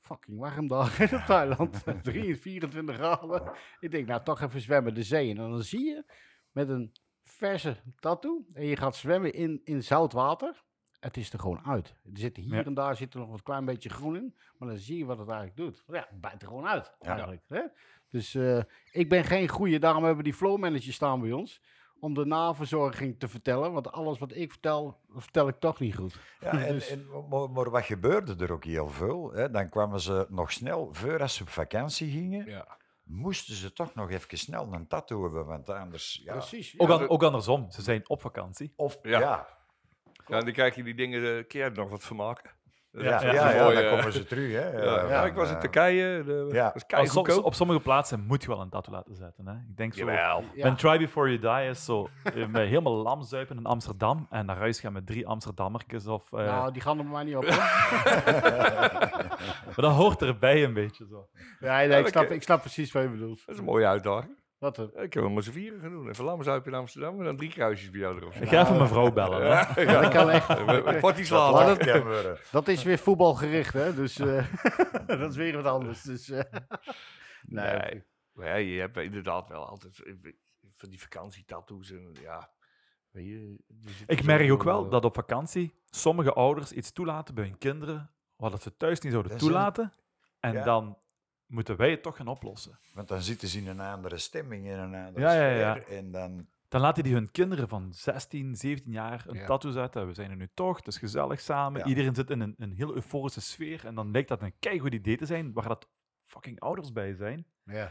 Speaker 1: Fucking warm daar in Thailand. 23, 24 graden. Ik denk, nou toch even zwemmen de zee. in. En dan zie je met een verse tattoo. En je gaat zwemmen in, in zout water. Het is er gewoon uit. Er zit hier
Speaker 2: Ja.
Speaker 1: en daar zit er nog wat klein beetje groen in. Maar dan zie je wat het eigenlijk doet. Ja, het bijt er gewoon uit.
Speaker 3: Ja.
Speaker 1: Eigenlijk, hè? Dus eh, ik ben geen goeie. Daarom hebben we die flow manager staan bij ons. Om de naverzorging te vertellen. Want alles wat ik vertel, vertel ik toch niet goed.
Speaker 3: Ja, en,
Speaker 1: Dus-
Speaker 3: en- maar, maar wat gebeurde er ook heel veel? Hè? Dan kwamen ze nog snel, voor als ze op vakantie gingen,
Speaker 4: Ja.
Speaker 3: moesten ze toch nog even snel een tattoo hebben, want anders... Ja.
Speaker 1: Precies.
Speaker 2: Ook,
Speaker 4: Ja,
Speaker 2: an-
Speaker 4: dat-
Speaker 2: ook andersom, ze zijn op vakantie.
Speaker 3: Of,
Speaker 4: Ja.
Speaker 3: ja. Ja,
Speaker 4: Ja, en dan krijg je die dingen, eh kun jij er nog wat van maken? Dat
Speaker 3: ja,
Speaker 4: is
Speaker 3: ja,
Speaker 4: echt een mooie,
Speaker 3: dan
Speaker 4: eh,
Speaker 3: komen ze terug. Hè?
Speaker 4: ja, ja,
Speaker 3: Eh,
Speaker 4: ik was in
Speaker 3: eh,
Speaker 4: Turkije. De,
Speaker 3: ja.
Speaker 4: ja. was
Speaker 2: Maar soms-
Speaker 4: keigoedkoop.
Speaker 2: op sommige plaatsen moet je wel een tattoo laten zetten. Hè? Ik denk zo,
Speaker 4: Jawel.
Speaker 1: Ja.
Speaker 2: Mijn Try Before You Die is zo eh, me helemaal lam zuipen in Amsterdam en naar huis gaan met drie Amsterdammertjes. Of, eh,
Speaker 1: Nou, die gaan er maar niet op. hoor.
Speaker 2: Maar dat hoort erbij een beetje zo.
Speaker 1: Nee, nee, ik
Speaker 4: dat
Speaker 1: snap,
Speaker 4: ken-
Speaker 1: ik snap precies wat je bedoelt.
Speaker 4: Dat is een mooie uitdaging.
Speaker 1: Wat een...
Speaker 4: Ik heb hem met z'n vieren gaan doen. Even lamzuip in Amsterdam en dan drie kruisjes bij jou erop.
Speaker 2: Ik
Speaker 3: Nou.
Speaker 2: ga even mijn vrouw bellen. hè.
Speaker 1: Dat kan echt.
Speaker 4: Potties
Speaker 3: dat
Speaker 4: later.
Speaker 3: lacht hem weer.
Speaker 1: Dat is weer voetbalgericht, hè? Dus eh, dat is weer wat anders. Dus, eh, nee.
Speaker 4: Nee. Maar ja, je hebt inderdaad wel altijd van die vakantietattoos en ja. Weet je, er zit
Speaker 2: Ik
Speaker 4: zo
Speaker 2: merk ook
Speaker 4: veel, eh,
Speaker 2: wel dat op vakantie sommige ouders iets toelaten bij hun kinderen, wat dat ze thuis niet zouden
Speaker 3: Dat is een-
Speaker 2: toelaten. En
Speaker 3: Ja.
Speaker 2: dan moeten wij het toch gaan oplossen.
Speaker 3: Want dan zitten ze in een andere stemming, in een andere
Speaker 2: Ja, ja, ja.
Speaker 3: sfeer. En dan,
Speaker 2: Dan laten die hun kinderen van 16, 17 jaar een
Speaker 4: Ja.
Speaker 2: tattoo zetten. We zijn er nu toch, het is gezellig samen.
Speaker 3: Ja.
Speaker 2: Iedereen zit in een, een heel euforische sfeer. En dan lijkt dat een keigoed idee te zijn, waar dat fucking ouders bij zijn.
Speaker 1: Ja,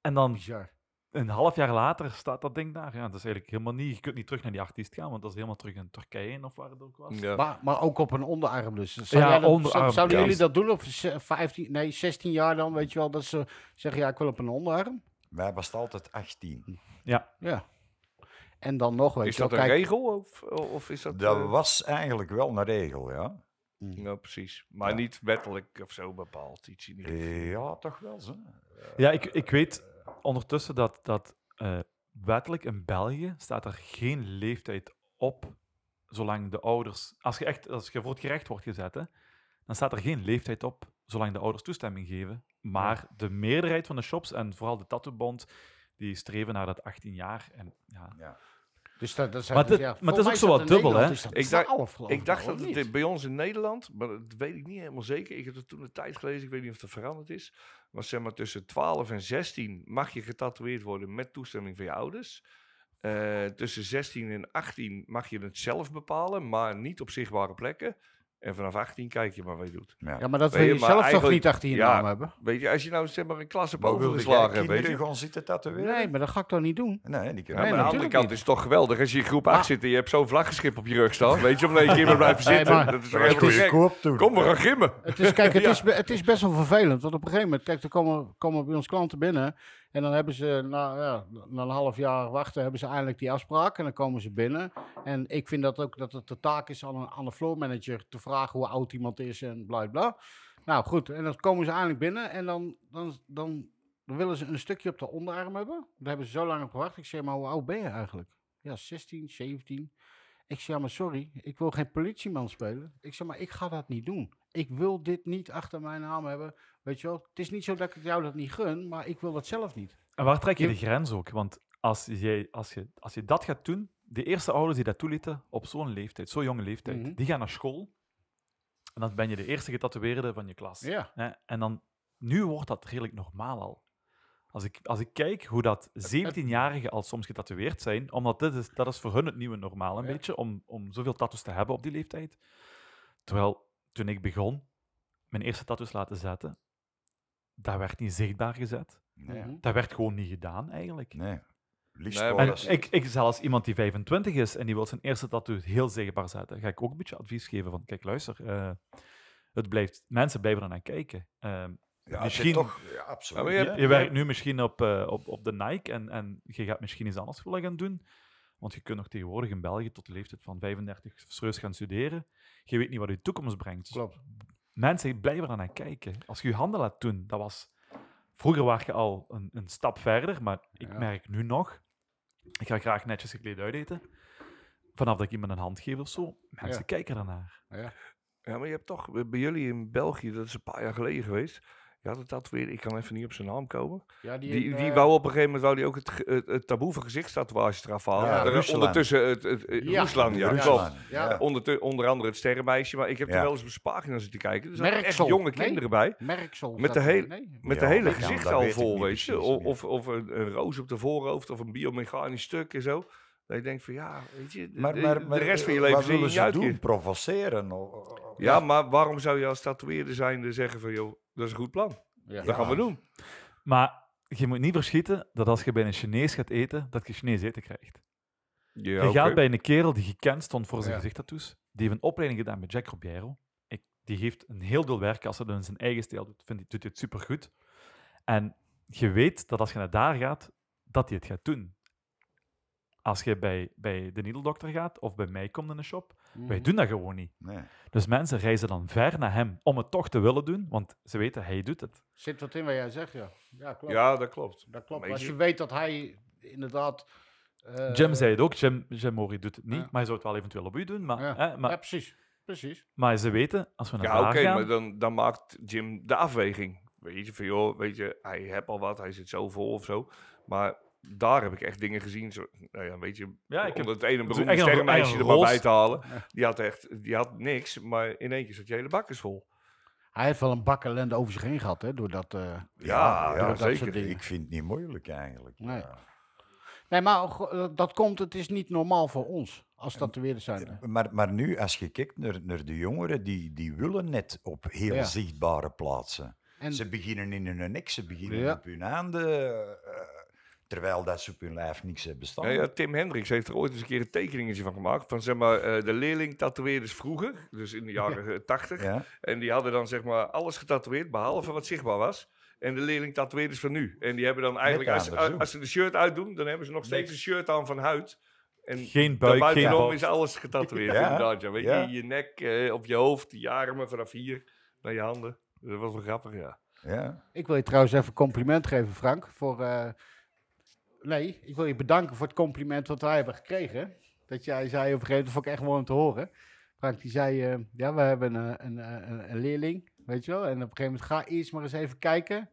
Speaker 2: En dan
Speaker 1: bizar.
Speaker 2: een half jaar later staat dat ding daar. Ja, dat is eigenlijk helemaal niet. Je kunt niet terug naar die artiest gaan, want dat is helemaal terug in Turkije of waar het ook was.
Speaker 4: eh, Ja.
Speaker 1: Maar, maar ook op een onderarm dus. Zou
Speaker 2: Ja,
Speaker 1: jij dat-
Speaker 2: onderarm,
Speaker 1: zou- Zouden
Speaker 2: ja.
Speaker 1: jullie dat doen op ze- 15, nee, 16 jaar dan, weet je wel, dat ze zeggen, ja, ik wil op een onderarm?
Speaker 3: wij was het altijd 18.
Speaker 1: Ja. En dan nog, weet
Speaker 4: is
Speaker 1: je wel,
Speaker 4: dat een
Speaker 1: kijk,
Speaker 4: regel of, of is dat...
Speaker 3: Dat
Speaker 4: eh,
Speaker 3: was eigenlijk wel een regel, ja.
Speaker 4: ja, precies. Maar
Speaker 3: Ja.
Speaker 4: niet wettelijk of zo bepaald. Iets in die
Speaker 3: Ja, toch wel zo.
Speaker 2: Ja, ik, ik weet ondertussen dat, dat eh, wettelijk in België staat er geen leeftijd op, zolang de ouders... Als je, echt, als je voor het gerecht wordt gezet, hè, dan staat er geen leeftijd op, zolang de ouders toestemming geven. Maar de meerderheid van de shops, en vooral de tattoobond, die streven naar dat 18 jaar. En, ja.
Speaker 3: Ja.
Speaker 1: Dus dat, dat zijn
Speaker 2: Maar
Speaker 1: dus,
Speaker 2: het-
Speaker 1: ja,
Speaker 2: maar het
Speaker 1: volgens
Speaker 2: is
Speaker 1: mij
Speaker 2: ook zo
Speaker 1: dat
Speaker 2: wat
Speaker 1: in
Speaker 2: dubbel, hè?
Speaker 1: Nederland is dat
Speaker 4: Ik dacht-
Speaker 1: 12 geloof
Speaker 4: Ik dacht
Speaker 1: wel,
Speaker 4: dat
Speaker 1: of
Speaker 4: het
Speaker 1: niet?
Speaker 4: eh, bij ons in Nederland, maar dat weet ik niet helemaal zeker. Ik heb dat toen een tijd gelezen, ik weet niet of dat veranderd is. Maar zeg maar tussen 12 en 16 mag je getatoeëerd worden met toestemming van je ouders. Eh, tussen 16 en 18 mag je het zelf bepalen, maar niet op zichtbare plekken. En vanaf 18 kijk je maar wat je doet.
Speaker 1: Ja, maar dat wil
Speaker 4: Nee,
Speaker 1: je
Speaker 4: maar
Speaker 1: zelf toch
Speaker 4: eigenlijk-
Speaker 1: niet achter je
Speaker 4: ja.
Speaker 1: naam hebben?
Speaker 4: Weet je, als je nou zeg maar een klas hebt
Speaker 3: Maar wil je
Speaker 4: overgeslagen hebt, weet
Speaker 3: kinderen
Speaker 4: je.
Speaker 3: gewoon zitten tatoeëren?
Speaker 1: Nee, maar dat ga ik toch niet doen?
Speaker 3: Nee, die
Speaker 4: Ja,
Speaker 3: kunnen
Speaker 4: maar aan de andere
Speaker 1: natuurlijk
Speaker 4: kant
Speaker 1: niet. Ah.
Speaker 4: is het toch geweldig als je in groep 8 zit en je hebt zo'n vlaggenschip op je rug staan. Weet je, om een keer maar blijven
Speaker 1: Nee,
Speaker 4: zitten.
Speaker 1: maar-
Speaker 4: dat is toch
Speaker 3: Dat is een
Speaker 4: helemaal
Speaker 3: goede koop
Speaker 4: gek.
Speaker 3: toen.
Speaker 4: Kom, we gaan gimmen.
Speaker 1: Het is, kijk, het, is, be- het is best wel vervelend. Want op een gegeven moment, kijk, er komen, komen bij ons klanten binnen. En dan hebben ze, na, ja, na een half jaar wachten, hebben ze eindelijk die afspraak. En dan komen ze binnen. En ik vind dat ook dat het de taak is aan een, aan de floormanager te vragen hoe oud iemand is en bla bla. Nou goed, en dan komen ze eindelijk binnen. En dan, dan, dan, dan willen ze een stukje op de onderarm hebben. Daar hebben ze zo lang op gewacht. Ik zeg, maar hoe oud ben je eigenlijk? Ja, 16, 17. Ik zeg, ja, maar sorry, ik wil geen politieman spelen. Ik zeg, maar ik ga dat niet doen. Ik wil dit niet achter mijn naam hebben. Weet je wel, het is niet zo dat ik jou dat niet gun, maar ik wil dat zelf niet.
Speaker 2: En waar trek je
Speaker 1: Je-
Speaker 2: de grens ook? Want als, jij, als, je, als je dat gaat doen, de eerste ouders die dat toelieten op zo'n leeftijd, zo'n jonge leeftijd,
Speaker 1: Mhm.
Speaker 2: die gaan naar school. En dan ben je de eerste getatoeëerde van je klas.
Speaker 1: Ja.
Speaker 2: Hè? En dan, nu wordt dat redelijk normaal al. Als ik, als ik kijk hoe dat 17-jarigen al soms getatoeëerd zijn, omdat dit is, dat is voor hun het nieuwe normaal een
Speaker 1: Ja.
Speaker 2: beetje, om, om zoveel tattoos te hebben op die leeftijd. Terwijl, toen ik begon, mijn eerste tattoos laten zetten, dat werd niet zichtbaar gezet.
Speaker 3: Nee.
Speaker 1: Mhm.
Speaker 2: Dat werd gewoon niet gedaan, eigenlijk.
Speaker 3: nee. Liefst
Speaker 4: Nee,
Speaker 3: wel
Speaker 4: maar
Speaker 2: En
Speaker 3: eens-
Speaker 2: ik, ik, zelfs iemand die 25 is en die wil zijn eerste tattoo heel zichtbaar zetten, ga ik ook een beetje advies geven van, kijk, luister, eh, het blijft, mensen blijven er naar kijken. Ehm,
Speaker 3: Ja, als je
Speaker 2: misschien-
Speaker 3: toch... Ja,
Speaker 4: Ja,
Speaker 3: absoluut.
Speaker 4: maar
Speaker 3: Ja,
Speaker 4: je
Speaker 2: je werkt nu misschien op, eh, op, op de Nike en, en je gaat misschien iets anders willen gaan doen, want je kunt nog tegenwoordig in België tot de leeftijd van 35 serieus gaan studeren. Je weet niet wat je toekomst brengt. Dus
Speaker 1: Klopt.
Speaker 2: mensen blijven er naar kijken. Als je je handen laat doen, dat was... Vroeger was je al een, een stap verder, maar ik
Speaker 1: Ja.
Speaker 2: merk nu nog... Ik ga graag netjes gekleed uiteten. Vanaf dat ik iemand een hand geef of zo, mensen
Speaker 1: Ja.
Speaker 2: kijken ernaar.
Speaker 4: Ja, maar je hebt toch eh, bij jullie in België, dat is een paar jaar geleden geweest. Je had het dat weer, ik kan even niet op zijn naam komen.
Speaker 1: Ja, die,
Speaker 4: Die, die
Speaker 1: eh,
Speaker 4: wou op een gegeven moment wou die ook het, ge- het, het taboe van gezichtstatoeages eraf halen.
Speaker 3: Ja,
Speaker 4: Er- eh,
Speaker 3: Rusland.
Speaker 4: Ondertussen het, het, eh,
Speaker 1: Ja.
Speaker 4: Rusland, ja,
Speaker 3: Rusland,
Speaker 4: klopt.
Speaker 1: Ja.
Speaker 3: ja.
Speaker 4: Onder, onder andere het sterrenmeisje, maar ik heb er
Speaker 3: Ja.
Speaker 4: wel eens op zijn pagina zitten kijken. Er zaten echt
Speaker 1: Merksel.
Speaker 4: jonge
Speaker 1: Nee.
Speaker 4: kinderen bij.
Speaker 1: Merksel.
Speaker 4: Met
Speaker 1: dat-
Speaker 4: de hele-
Speaker 1: Nee.
Speaker 4: Met
Speaker 3: Ja,
Speaker 4: de hele
Speaker 3: dat kan,
Speaker 4: gezicht
Speaker 3: dat
Speaker 4: al
Speaker 3: weet ik
Speaker 4: vol,
Speaker 3: niet
Speaker 4: weet je.
Speaker 3: precies,
Speaker 4: O-
Speaker 3: ja.
Speaker 4: Of, of een, een roos op de voorhoofd of een biomechanisch stuk en zo. Dat je denkt van ja, weet je, de-
Speaker 3: Maar,
Speaker 4: de,
Speaker 3: maar,
Speaker 4: de
Speaker 3: maar eh,
Speaker 4: rest van je
Speaker 3: wat
Speaker 4: leven zie je
Speaker 3: willen
Speaker 4: niet
Speaker 3: ze
Speaker 4: uit.
Speaker 3: doen?
Speaker 4: hier.
Speaker 3: Provoceren? O- o- o-
Speaker 4: Ja, maar waarom zou je als tatoeëerder zijnde zeggen van joh, dat is een goed plan.
Speaker 1: Ja.
Speaker 4: Dat gaan we doen.
Speaker 2: Maar je moet niet verschieten dat als je bij een Chinees gaat eten, dat je Chinees eten krijgt.
Speaker 4: Ja,
Speaker 2: je
Speaker 4: oké.
Speaker 2: gaat bij een kerel die gekend stond voor zijn
Speaker 1: Ja.
Speaker 2: gezichttattoos, die heeft een opleiding gedaan bij Jack Robiero. Ik, die heeft een heel deel werk. Als hij dan zijn eigen stijl doet, vindt, hij- doet hij het supergoed. En je weet dat als je naar daar gaat, dat hij het gaat doen. Als je bij, bij de niedeldokter gaat of bij mij komt in de shop,
Speaker 1: Mhm.
Speaker 2: wij doen dat gewoon niet.
Speaker 3: Nee.
Speaker 2: Dus mensen reizen dan ver naar hem om het toch te willen doen, want ze weten, hij doet het.
Speaker 1: Zit wat in wat jij zegt, ja. Ja, klopt.
Speaker 4: Ja, dat klopt.
Speaker 1: Dat klopt.
Speaker 4: Weet
Speaker 1: Als
Speaker 4: je-
Speaker 1: je weet dat hij inderdaad... eh,
Speaker 2: Jim zei het ook, Jim, Jim Mori doet het niet,
Speaker 1: Ja.
Speaker 2: maar hij zou het wel eventueel op u doen. Maar,
Speaker 1: Ja.
Speaker 2: hè, maar,
Speaker 1: Ja, precies. Precies.
Speaker 2: maar ze weten, als we naar
Speaker 4: Ja,
Speaker 2: daar
Speaker 4: oké,
Speaker 2: gaan...
Speaker 4: maar dan, dan maakt Jim de afweging. Weet je, van joh, weet je, hij heeft al wat, hij zit zo vol of zo. Maar daar heb ik echt dingen gezien. Zo, nou ja, weet je,
Speaker 2: Ja,
Speaker 4: ja,
Speaker 2: ik
Speaker 4: ik
Speaker 2: heb-
Speaker 4: om dat ene beroemde
Speaker 2: echt een ro-
Speaker 4: sterrenmeisje
Speaker 2: echt
Speaker 4: er
Speaker 2: een
Speaker 4: maar
Speaker 2: roze-
Speaker 4: bij te halen. Die had echt, die had niks, maar in één keer zat je hele bak is vol.
Speaker 1: Hij heeft wel een bak ellende over zich heen gehad, hè, door dat... eh,
Speaker 3: Ja,
Speaker 4: ja,
Speaker 3: ja,
Speaker 1: dat soort
Speaker 4: zeker.
Speaker 1: dingen.
Speaker 3: Ik vind het niet moeilijk eigenlijk.
Speaker 1: Nee.
Speaker 3: Ja.
Speaker 1: Nee, maar go- eh, dat komt, het is niet normaal voor ons, als dat de weer zijn.
Speaker 3: Maar, maar nu, als je kijkt naar, naar de jongeren, die, die willen net op heel
Speaker 1: Ja.
Speaker 3: zichtbare plaatsen.
Speaker 1: En
Speaker 3: Ze beginnen in hun nek, ze beginnen
Speaker 1: Ja.
Speaker 3: op hun handen, eh, terwijl dat ze op hun lijf niks hebben staan.
Speaker 4: Nou ja, Tim Hendricks heeft er ooit eens een keer een tekeningetje van gemaakt. Van zeg maar, eh, de leerling tatoeëerders vroeger, dus in de jaren eh, 80.
Speaker 3: Ja.
Speaker 4: En die hadden dan zeg maar alles getatoeëerd, behalve wat zichtbaar was. En de leerling tatoeëerders van nu. En die hebben dan eigenlijk, als, ze-
Speaker 3: andersom.
Speaker 4: als ze de shirt uitdoen, dan hebben ze nog
Speaker 3: Niks.
Speaker 4: steeds een shirt aan van huid. En
Speaker 2: Geen buik, geen
Speaker 4: daarbuitenom
Speaker 2: borst.
Speaker 4: is alles getatoeëerd,
Speaker 3: Ja,
Speaker 4: inderdaad. Ja. Weet
Speaker 3: ja.
Speaker 4: je, je nek, eh, op je hoofd, je armen, vanaf hier naar je handen. Dat was wel grappig, ja.
Speaker 3: Ja.
Speaker 1: ik wil je trouwens even compliment geven, Frank, voor... eh, nee, ik wil je bedanken voor het compliment wat wij hebben gekregen. Dat jij zei op een gegeven moment, dat vond ik echt mooi om te horen. Frank, die zei, eh, ja, we hebben een, een, een, een leerling, weet je wel. En op een gegeven moment, ga eerst maar eens even kijken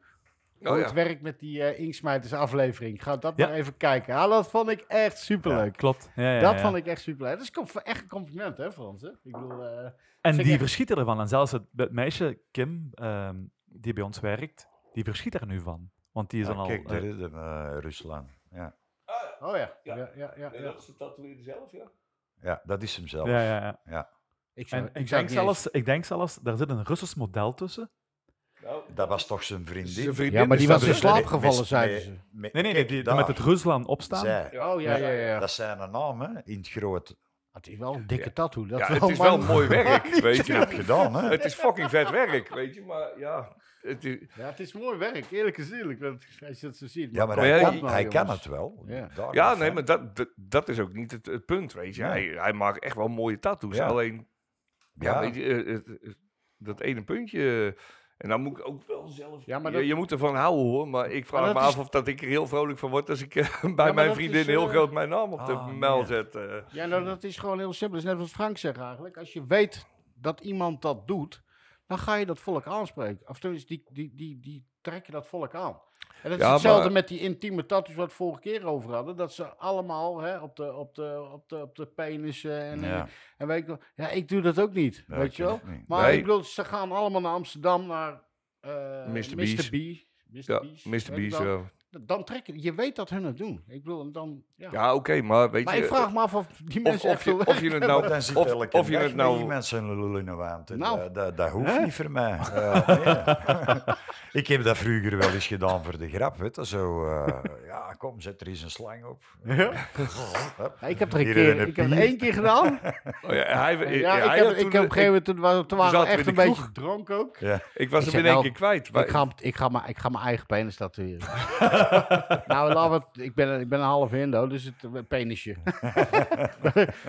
Speaker 4: Oh
Speaker 1: hoe
Speaker 4: ja.
Speaker 1: het werkt met die eh Inksmijters aflevering. Ga dat
Speaker 2: Ja.
Speaker 1: maar even kijken. Ah, dat vond ik echt superleuk.
Speaker 2: Klopt. Ja, ja,
Speaker 1: dat
Speaker 2: ja.
Speaker 1: vond ik echt super. Dat is kom- echt een compliment, hè, voor ons. Hè? Ik bedoel, eh,
Speaker 2: En
Speaker 1: Zeg
Speaker 2: die
Speaker 1: echt-
Speaker 2: verschieten ervan. En zelfs het, het meisje, Kim, ehm, die bij ons werkt, die verschiet er nu van. Want die is dan
Speaker 3: Ah,
Speaker 2: al...
Speaker 3: Kijk, daar
Speaker 2: eh,
Speaker 3: is hem, eh, Rusland. Ja.
Speaker 1: oh ja. Ja,
Speaker 4: Ja.
Speaker 1: ja, ja, ja.
Speaker 4: de tatoeëerder zelf, ja.
Speaker 3: ja, dat is hem zelf.
Speaker 2: ja, ja, ja.
Speaker 3: Ja.
Speaker 1: Ik zou,
Speaker 2: En
Speaker 1: ik zou
Speaker 2: ik denk,
Speaker 1: het niet eens-
Speaker 2: zelfs, ik denk zelfs, daar zit een Russisch model tussen.
Speaker 4: Nou,
Speaker 3: Dat was toch zijn vriendin?
Speaker 1: Ja, maar die was in
Speaker 3: Dus dat-
Speaker 1: slaap
Speaker 3: met-
Speaker 1: gevallen,
Speaker 3: met-
Speaker 1: zeiden
Speaker 3: met-
Speaker 1: ze.
Speaker 3: met-
Speaker 2: Nee, nee, nee
Speaker 3: kijk,
Speaker 2: die, die
Speaker 3: daar.
Speaker 2: met het Rusland opstaan.
Speaker 3: Zij.
Speaker 1: Oh, ja, ja, ja.
Speaker 3: Dat zijn een naam, hè? In het groot.
Speaker 1: Het is wel een dikke tattoo. Dat
Speaker 4: Ja,
Speaker 1: wel,
Speaker 4: het is wel
Speaker 1: man.
Speaker 4: mooi werk, weet
Speaker 3: Dat heb
Speaker 4: je.
Speaker 3: je gedaan, hè?
Speaker 4: Het is fucking vet werk, weet je. Maar ja, het is,
Speaker 1: Ja, het is mooi werk, eerlijk gezegd. want Als je dat zo ziet.
Speaker 3: Ja, maar
Speaker 4: Maar
Speaker 3: hij,
Speaker 4: ja,
Speaker 3: kan,
Speaker 4: je-
Speaker 3: hij kan
Speaker 1: jongens.
Speaker 3: het wel.
Speaker 1: Ja.
Speaker 3: Daar
Speaker 4: Ja,
Speaker 3: is
Speaker 4: nee,
Speaker 3: het.
Speaker 4: maar dat, dat, dat is ook niet het, het punt, weet je.
Speaker 3: Ja.
Speaker 4: Hij, hij maakt echt wel mooie tattoos.
Speaker 3: Ja.
Speaker 4: Alleen, ja.
Speaker 3: Ja.
Speaker 4: weet je, eh, het- het- dat ene puntje... eh, En dan moet ik ook wel zelf...
Speaker 1: Ja, maar
Speaker 4: je,
Speaker 1: dat-
Speaker 4: je moet ervan houden, hoor. Maar ik vraag
Speaker 1: Maar
Speaker 4: me
Speaker 1: dat
Speaker 4: af
Speaker 1: is-
Speaker 4: of dat ik er heel vrolijk van word... als ik eh, bij
Speaker 1: maar
Speaker 4: mijn
Speaker 1: dat
Speaker 4: vriendin
Speaker 1: is,
Speaker 4: heel
Speaker 1: eh,
Speaker 4: groot mijn naam op de
Speaker 2: ah,
Speaker 4: mijl
Speaker 2: nee.
Speaker 4: zet. eh.
Speaker 1: Ja, nou, dat is gewoon heel simpel. Dat is net wat Frank zegt eigenlijk. Als je weet dat iemand dat doet, dan ga je dat volk aanspreken. Of tenminste, die, die, die, die trekken dat volk aan. En dat is
Speaker 4: Ja,
Speaker 1: hetzelfde
Speaker 4: maar-
Speaker 1: met die intieme tattoos wat we vorige keer over hadden. Dat ze allemaal hè, op, de, op, de, op, de, op de penissen en,
Speaker 3: Ja.
Speaker 1: en weet ik wel. Ja, ik doe dat ook niet,
Speaker 3: Ja, ik
Speaker 1: weet je wel.
Speaker 3: het niet.
Speaker 1: Maar
Speaker 4: Nee.
Speaker 1: ik bedoel, ze gaan allemaal naar Amsterdam, naar eh
Speaker 4: Mr.
Speaker 1: Mr.
Speaker 4: Beast.
Speaker 1: B. Mr.
Speaker 4: ja,
Speaker 1: Beast, weet
Speaker 4: Mr.
Speaker 1: ik
Speaker 4: Beast,
Speaker 1: wel.
Speaker 4: ja.
Speaker 1: Dan trekken, je weet dat hun het doen. Ik bedoel, en dan, ja.
Speaker 4: Ja, oké, maar weet
Speaker 1: maar
Speaker 4: je... eh,
Speaker 1: ik vraag me af of die
Speaker 4: of,
Speaker 1: mensen
Speaker 4: of, je,
Speaker 1: echt
Speaker 4: of je het
Speaker 3: Maar
Speaker 4: nou...
Speaker 3: dan zit
Speaker 4: Of,
Speaker 3: elke
Speaker 4: of je
Speaker 3: dag
Speaker 4: het
Speaker 3: met die
Speaker 4: nou...
Speaker 3: mensen een lul in de wand. En
Speaker 1: Nou.
Speaker 3: dat- dat, dat hoeft
Speaker 1: Hè?
Speaker 3: niet voor mij. Eh, nee. ik heb dat vroeger wel eens gedaan voor de grap. Weet je, zo, eh, ja, kom, zet er eens een slang op. Hup.
Speaker 1: Ja, ik heb er een
Speaker 3: Hier in
Speaker 1: keer,
Speaker 3: een
Speaker 1: ik heb het
Speaker 3: pier.
Speaker 1: één keer gedaan.
Speaker 4: Oh ja, hij,
Speaker 1: Ja,
Speaker 4: ja,
Speaker 1: ik
Speaker 4: hij
Speaker 1: heb,
Speaker 4: had
Speaker 1: ik
Speaker 4: toen-
Speaker 1: heb op een gegeven moment, toen waren- toen waren we
Speaker 4: zaten we
Speaker 1: echt
Speaker 4: in
Speaker 1: een
Speaker 4: de
Speaker 1: beetje
Speaker 4: kroeg.
Speaker 1: dronk ook.
Speaker 3: Ja.
Speaker 4: Ik was
Speaker 1: Ik
Speaker 4: hem
Speaker 1: zeg,
Speaker 4: in één
Speaker 1: nou,
Speaker 4: keer kwijt.
Speaker 1: Ik ga, ik, ga mijn, ik ga mijn eigen penis tatoeëren. nou, laat wat, ik, ben, ik ben een half Indo, dus het eh, penisje.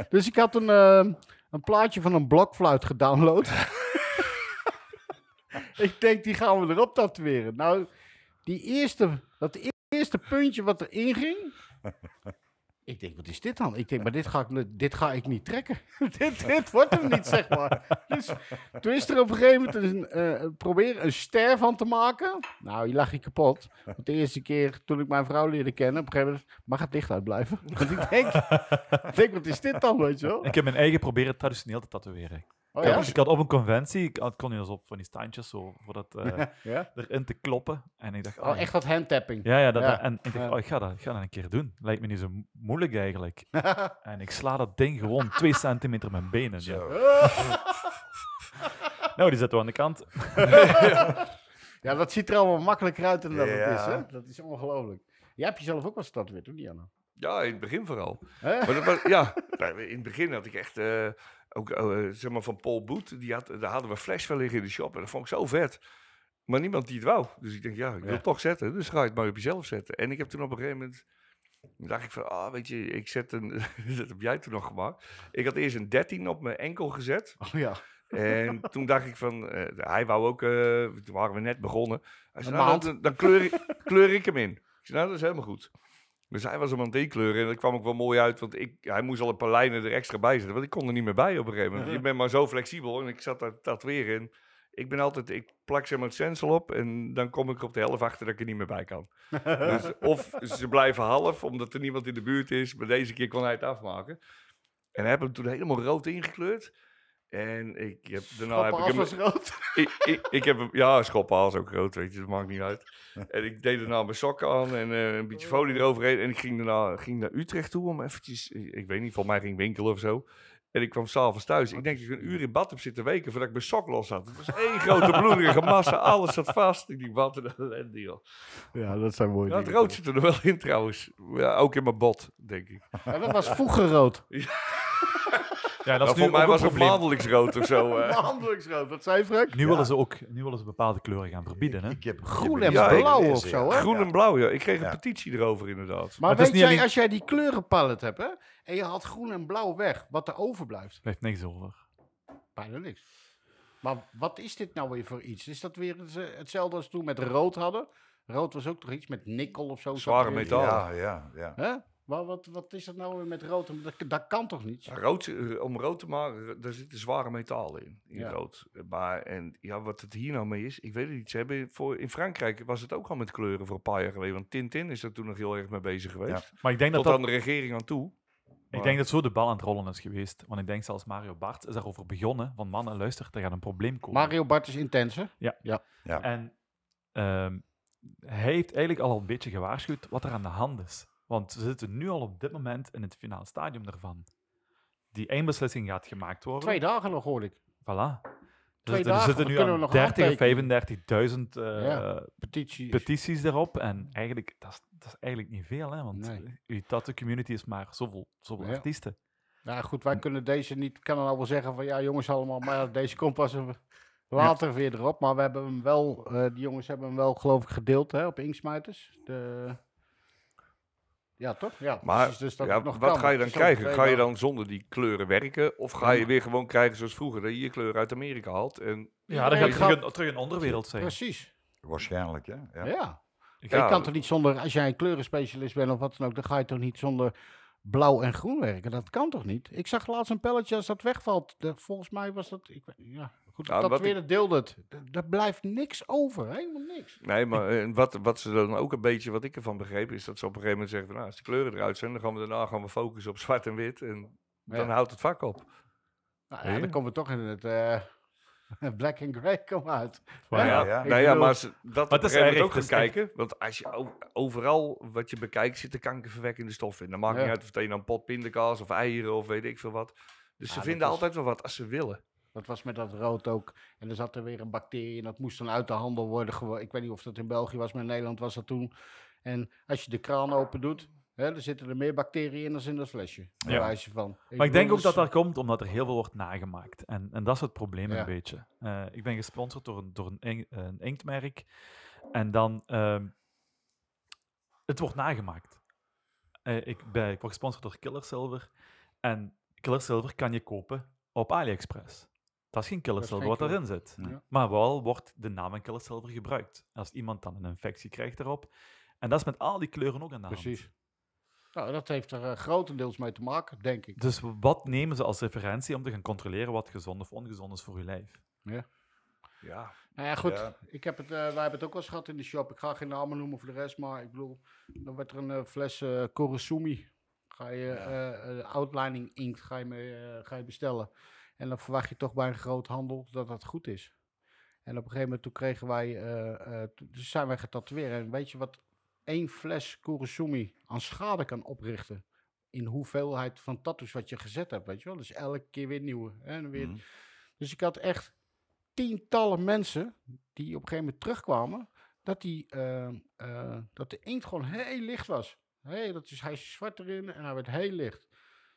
Speaker 1: dus ik had een, eh, een plaatje van een blokfluit gedownload. ik denk, die gaan we erop tatoeëren. Nou, die eerste, dat eerste puntje wat erin ging. Ik denk, wat is dit dan? Ik denk, maar dit ga ik, nu- dit ga ik niet trekken. dit, dit wordt hem niet, zeg maar. Dus toen is er op een gegeven moment een, eh, proberen een ster van te maken. Nou, je lag je kapot. Want de eerste keer toen ik mijn vrouw leerde kennen, op een gegeven moment mag het licht uitblijven. Want ik denk, ik denk, wat is dit dan, weet je wel?
Speaker 2: Ik heb mijn eigen proberen traditioneel te tatoeëren.
Speaker 1: Oh
Speaker 2: Ik
Speaker 1: ja?
Speaker 2: had- Ik had op een conventie, ik had, kon niet eens op van die standjes zo, voor dat eh,
Speaker 1: ja?
Speaker 2: erin te kloppen. En ik dacht, ah,
Speaker 1: Oh, echt dat handtapping.
Speaker 2: Ja, ja, dat,
Speaker 1: Ja.
Speaker 2: dat- en ik dacht,
Speaker 1: Ja.
Speaker 2: oh, ik ga dat, ik ga dat een keer doen. Lijkt me niet zo mo- moeilijk eigenlijk. en ik sla dat ding gewoon twee centimeter met mijn benen. Ja.
Speaker 3: Zo.
Speaker 2: Nou, die zetten we aan de kant.
Speaker 1: Ja, dat ziet er allemaal makkelijker uit dan dat het is,
Speaker 3: Ja.
Speaker 1: hè? Dat is ongelooflijk. Jij hebt jezelf ook wel stad weer, toch, Diana?
Speaker 4: Ja, in het begin vooral.
Speaker 1: Hè?
Speaker 4: Maar dat was, ja, nou, in het begin had ik echt, eh, ook eh, zeg maar van Paul Boet, die had, daar hadden we flash van liggen in de shop. En dat vond ik zo vet. Maar niemand die het wou. Dus ik denk, ja, ik wil het toch zetten. Dus ga je het maar op jezelf zetten. En ik heb toen op een gegeven moment, dacht ik van, ah, weet je, ik zet een, dat heb jij toen nog gemaakt. Ik had eerst een 13 op mijn enkel gezet.
Speaker 1: Oh ja,
Speaker 4: En toen dacht ik van, eh, hij wou ook, eh, toen waren we net begonnen. Hij zei,
Speaker 1: Een
Speaker 4: nou,
Speaker 1: maand.
Speaker 4: dan, dan kleur, ik, kleur ik hem in. Ik zei, nou, dat is helemaal goed. Dus hij was hem aan het inkleuren en dat kwam ook wel mooi uit, want ik, hij moest al een paar lijnen er extra bij zetten, want ik kon er niet meer bij op een gegeven moment. Je bent maar zo flexibel en ik zat daar dat weer in. Ik ben altijd, ik plak zeg maar het stencil op en dan kom ik er op de helft achter dat ik er niet meer bij kan. dus of ze blijven half, omdat er niemand in de buurt is, maar deze keer kon hij het afmaken. En heb hem toen helemaal rood ingekleurd. En ik heb, daarna heb ik
Speaker 1: Papa
Speaker 4: hem
Speaker 1: was rood.
Speaker 4: ik, ik, ik heb hem, ja, schoppenhaal is ook rood, weet je, dat maakt niet uit. En ik deed daarna mijn sokken aan en eh, een beetje folie eroverheen. En ik ging daarna ging naar Utrecht toe om eventjes, eh, ik weet niet, volgens mij ging ik winkelen of zo. En ik kwam s'avonds thuis. Ik denk dat ik een uur in bad heb zitten weken voordat ik mijn sok los had. Het was één grote bloederige massa, alles zat vast. Ik die wat een ellende, joh.
Speaker 1: Ja, dat zijn mooie
Speaker 4: Ja, het rood zit er nog wel in trouwens. Ja, ook in mijn bot, denk ik.
Speaker 1: Ja, dat was vroeger rood.
Speaker 2: Ja, dat
Speaker 4: Maar
Speaker 2: is nu
Speaker 4: voor mij
Speaker 2: ook
Speaker 4: was
Speaker 2: een
Speaker 4: het
Speaker 2: probleem.
Speaker 4: maandelijks rood of zo. eh.
Speaker 1: Maandelijks rood, dat zei Frank.
Speaker 2: Nu willen ze ook nu willen ze bepaalde kleuren gaan verbieden. Hè?
Speaker 3: Ik heb,
Speaker 1: Groen
Speaker 3: ik
Speaker 1: en
Speaker 3: heb
Speaker 4: Ja,
Speaker 3: het
Speaker 1: blauw
Speaker 3: gelezen,
Speaker 1: of
Speaker 3: ja.
Speaker 1: zo, hè?
Speaker 4: Groen en blauw, ja. Ik kreeg een
Speaker 3: Ja.
Speaker 4: petitie erover inderdaad.
Speaker 1: Maar,
Speaker 2: het is
Speaker 1: weet
Speaker 2: niet
Speaker 1: jij,
Speaker 2: alleen-
Speaker 1: als jij die kleurenpalet hebt, hè, en je haalt groen en blauw weg, wat er overblijft,
Speaker 2: Blijft niks over.
Speaker 1: bijna niks. Maar wat is dit nou weer voor iets? Is dat weer eens, eh, hetzelfde als toen we met rood hadden? Rood was ook toch iets met nikkel of zo? zat
Speaker 4: Zware
Speaker 1: erin.
Speaker 4: metaal.
Speaker 3: Ja, ja, ja.
Speaker 1: Hè? Maar wat, wat is dat nou weer met rood? Dat, dat kan toch niet?
Speaker 4: Ja, rood, eh, om rood te maken, daar zitten zware metalen in, in
Speaker 1: Ja.
Speaker 4: rood. Maar en, ja, wat het hier nou mee is, ik weet het niet. Ze hebben voor, in Frankrijk was het ook al met kleuren voor een paar jaar geleden. Want Tintin is er toen nog heel erg mee bezig geweest.
Speaker 2: Maar ik denk dat,
Speaker 4: Tot
Speaker 2: dat,
Speaker 4: aan de regering aan toe.
Speaker 2: ik denk dat zo de bal aan het rollen is geweest. Want ik denk zelfs Mario Bart is daarover begonnen. Van mannen, luister, er gaat een probleem komen.
Speaker 1: Mario Bart is intenser.
Speaker 2: En ehm, hij heeft eigenlijk al een beetje gewaarschuwd wat er aan de hand is. Want we zitten nu al op dit moment in het finale stadium daarvan. die één beslissing gaat gemaakt worden.
Speaker 1: Twee dagen nog, hoor ik.
Speaker 2: Voilà. Er
Speaker 1: Twee
Speaker 2: zitten-
Speaker 1: dagen,
Speaker 2: er zitten
Speaker 1: dan
Speaker 2: nu
Speaker 1: kunnen we
Speaker 2: aan
Speaker 1: nog
Speaker 2: 30 of
Speaker 1: aantekenen.
Speaker 2: 35.000 eh,
Speaker 1: Ja. Petitie.
Speaker 2: petities erop. En eigenlijk, dat is, dat is eigenlijk niet veel, hè? want
Speaker 1: Nee.
Speaker 2: eh, uw tattoo community is maar zoveel, zoveel
Speaker 1: Ja.
Speaker 2: artiesten.
Speaker 1: nou goed, wij kunnen deze niet... kan dan al wel zeggen van, ja jongens allemaal, maar ja, deze komt pas een- later weer erop. Maar we hebben hem wel, eh die jongens hebben hem wel geloof ik gedeeld hè, op Inksmijters. De... Ja, toch? Ja,
Speaker 4: Maar
Speaker 1: precies, dus dat
Speaker 4: ja,
Speaker 1: het nog
Speaker 4: wat
Speaker 1: kan.
Speaker 4: ga
Speaker 1: Dat
Speaker 4: je dan
Speaker 1: is
Speaker 4: krijgen?
Speaker 1: ook
Speaker 4: Ga je
Speaker 1: twee
Speaker 4: dan zonder die kleuren werken? Of ga je weer gewoon krijgen zoals vroeger, dat je je kleur uit Amerika haalt? En,
Speaker 2: Ja, dan
Speaker 1: Iedereen
Speaker 2: gaat terug
Speaker 1: gaat-
Speaker 2: een, terug een onderwereld
Speaker 1: dagen.
Speaker 2: zijn.
Speaker 1: Precies,
Speaker 3: Waarschijnlijk, hè? Ja.
Speaker 1: ja.
Speaker 2: Ik-
Speaker 1: Je
Speaker 4: Ja.
Speaker 1: kan toch niet zonder, als jij een kleurenspecialist bent of wat dan ook, dan ga je toch niet zonder blauw en groen werken? Dat kan toch niet? Ik zag laatst een pelletje als dat wegvalt. de- volgens mij was dat, ik, weet- ja, goed,
Speaker 4: Ja,
Speaker 1: dat
Speaker 4: wat
Speaker 1: weer
Speaker 4: ik-
Speaker 1: dat deelde het. D- Daar blijft niks over, helemaal niks.
Speaker 4: Nee, maar eh, wat, wat ze dan ook een beetje, wat ik ervan begreep, is dat ze op een gegeven moment zeggen: van, nou, als de kleuren eruit zijn, dan gaan we daarna gaan we focussen op zwart en wit. En dan
Speaker 1: Ja.
Speaker 4: houdt het vak op.
Speaker 1: Nou ja,
Speaker 4: Nee.
Speaker 1: dan komen we toch in het eh, black and grey kom uit.
Speaker 2: Maar
Speaker 4: ja,
Speaker 2: ja,
Speaker 3: ja.
Speaker 4: Nou
Speaker 1: Ik
Speaker 4: ja,
Speaker 1: bedoel-
Speaker 4: maar ze, dat
Speaker 2: Maar het
Speaker 4: moet
Speaker 2: is
Speaker 4: je
Speaker 2: erg,
Speaker 4: ook gaan
Speaker 2: het is echt-
Speaker 4: kijken. Want als je o- overal wat je bekijkt, zit er kankerverwekkende stof in. Dan maakt
Speaker 1: Ja.
Speaker 4: niet uit of het een dan pot pindakaas of eieren of weet ik veel wat. Dus
Speaker 1: Ja,
Speaker 4: ze
Speaker 1: dat
Speaker 4: vinden
Speaker 1: is-
Speaker 4: altijd wel wat als ze willen.
Speaker 1: Dat was met dat rood ook. En er zat er weer een bacterie en dat moest dan uit de handel worden. gewo- Ik weet niet of dat in België was, maar in Nederland was dat toen. En als je de kraan open doet, hè, dan zitten er meer bacteriën in dan in dat flesje. Bij
Speaker 2: Ja.
Speaker 1: wijze van.
Speaker 2: Maar ik denk
Speaker 1: bedoel,
Speaker 2: ook dat
Speaker 1: dus-
Speaker 2: dat komt omdat er heel veel wordt nagemaakt. En, en dat is het probleem
Speaker 1: Ja.
Speaker 2: een beetje. Eh, ik ben gesponsord door een, door een, ink- een inktmerk. En dan... ehm, het wordt nagemaakt. Eh, ik, ben, ik word gesponsord door Killer Silver. En Killer Silver kan je kopen op AliExpress. Dat is geen Killer
Speaker 1: Dat is
Speaker 2: Silver
Speaker 1: geen
Speaker 2: wat daarin zit.
Speaker 1: Nee. Ja.
Speaker 2: Maar wel wordt de naam van Killer Silver gebruikt. Als iemand dan een infectie krijgt erop. En dat is met al die kleuren ook aan de hand.
Speaker 1: Precies. Nou, dat heeft er eh, grotendeels mee te maken, denk ik.
Speaker 2: Dus wat nemen ze als referentie om te gaan controleren wat gezond of ongezond is voor je lijf?
Speaker 4: Ja.
Speaker 1: Nou ja, goed.
Speaker 3: Ja.
Speaker 1: Ik heb het, eh, wij hebben het ook wel eens gehad in de shop. Ik ga geen namen noemen voor de rest, maar ik bedoel, dan werd er een eh, fles eh Korosumi. Ga je eh, eh, outlining inkt ga je, mee, eh, ga je bestellen. En dan verwacht je toch bij een groot handel dat dat goed is. En op een gegeven moment toen kregen wij, eh, eh, toen zijn wij getatoeëerd. En weet je wat één fles Kurosumi aan schade kan oprichten? In hoeveelheid van tattoos wat je gezet hebt, weet je wel? Dus elke keer weer nieuwe. hè, En weer.
Speaker 3: Mhm.
Speaker 1: Dus ik had echt tientallen mensen die op een gegeven moment terugkwamen, dat, die, eh, eh, dat de inkt gewoon heel licht was. Hey, dat is, hij is zwart erin en hij werd heel licht.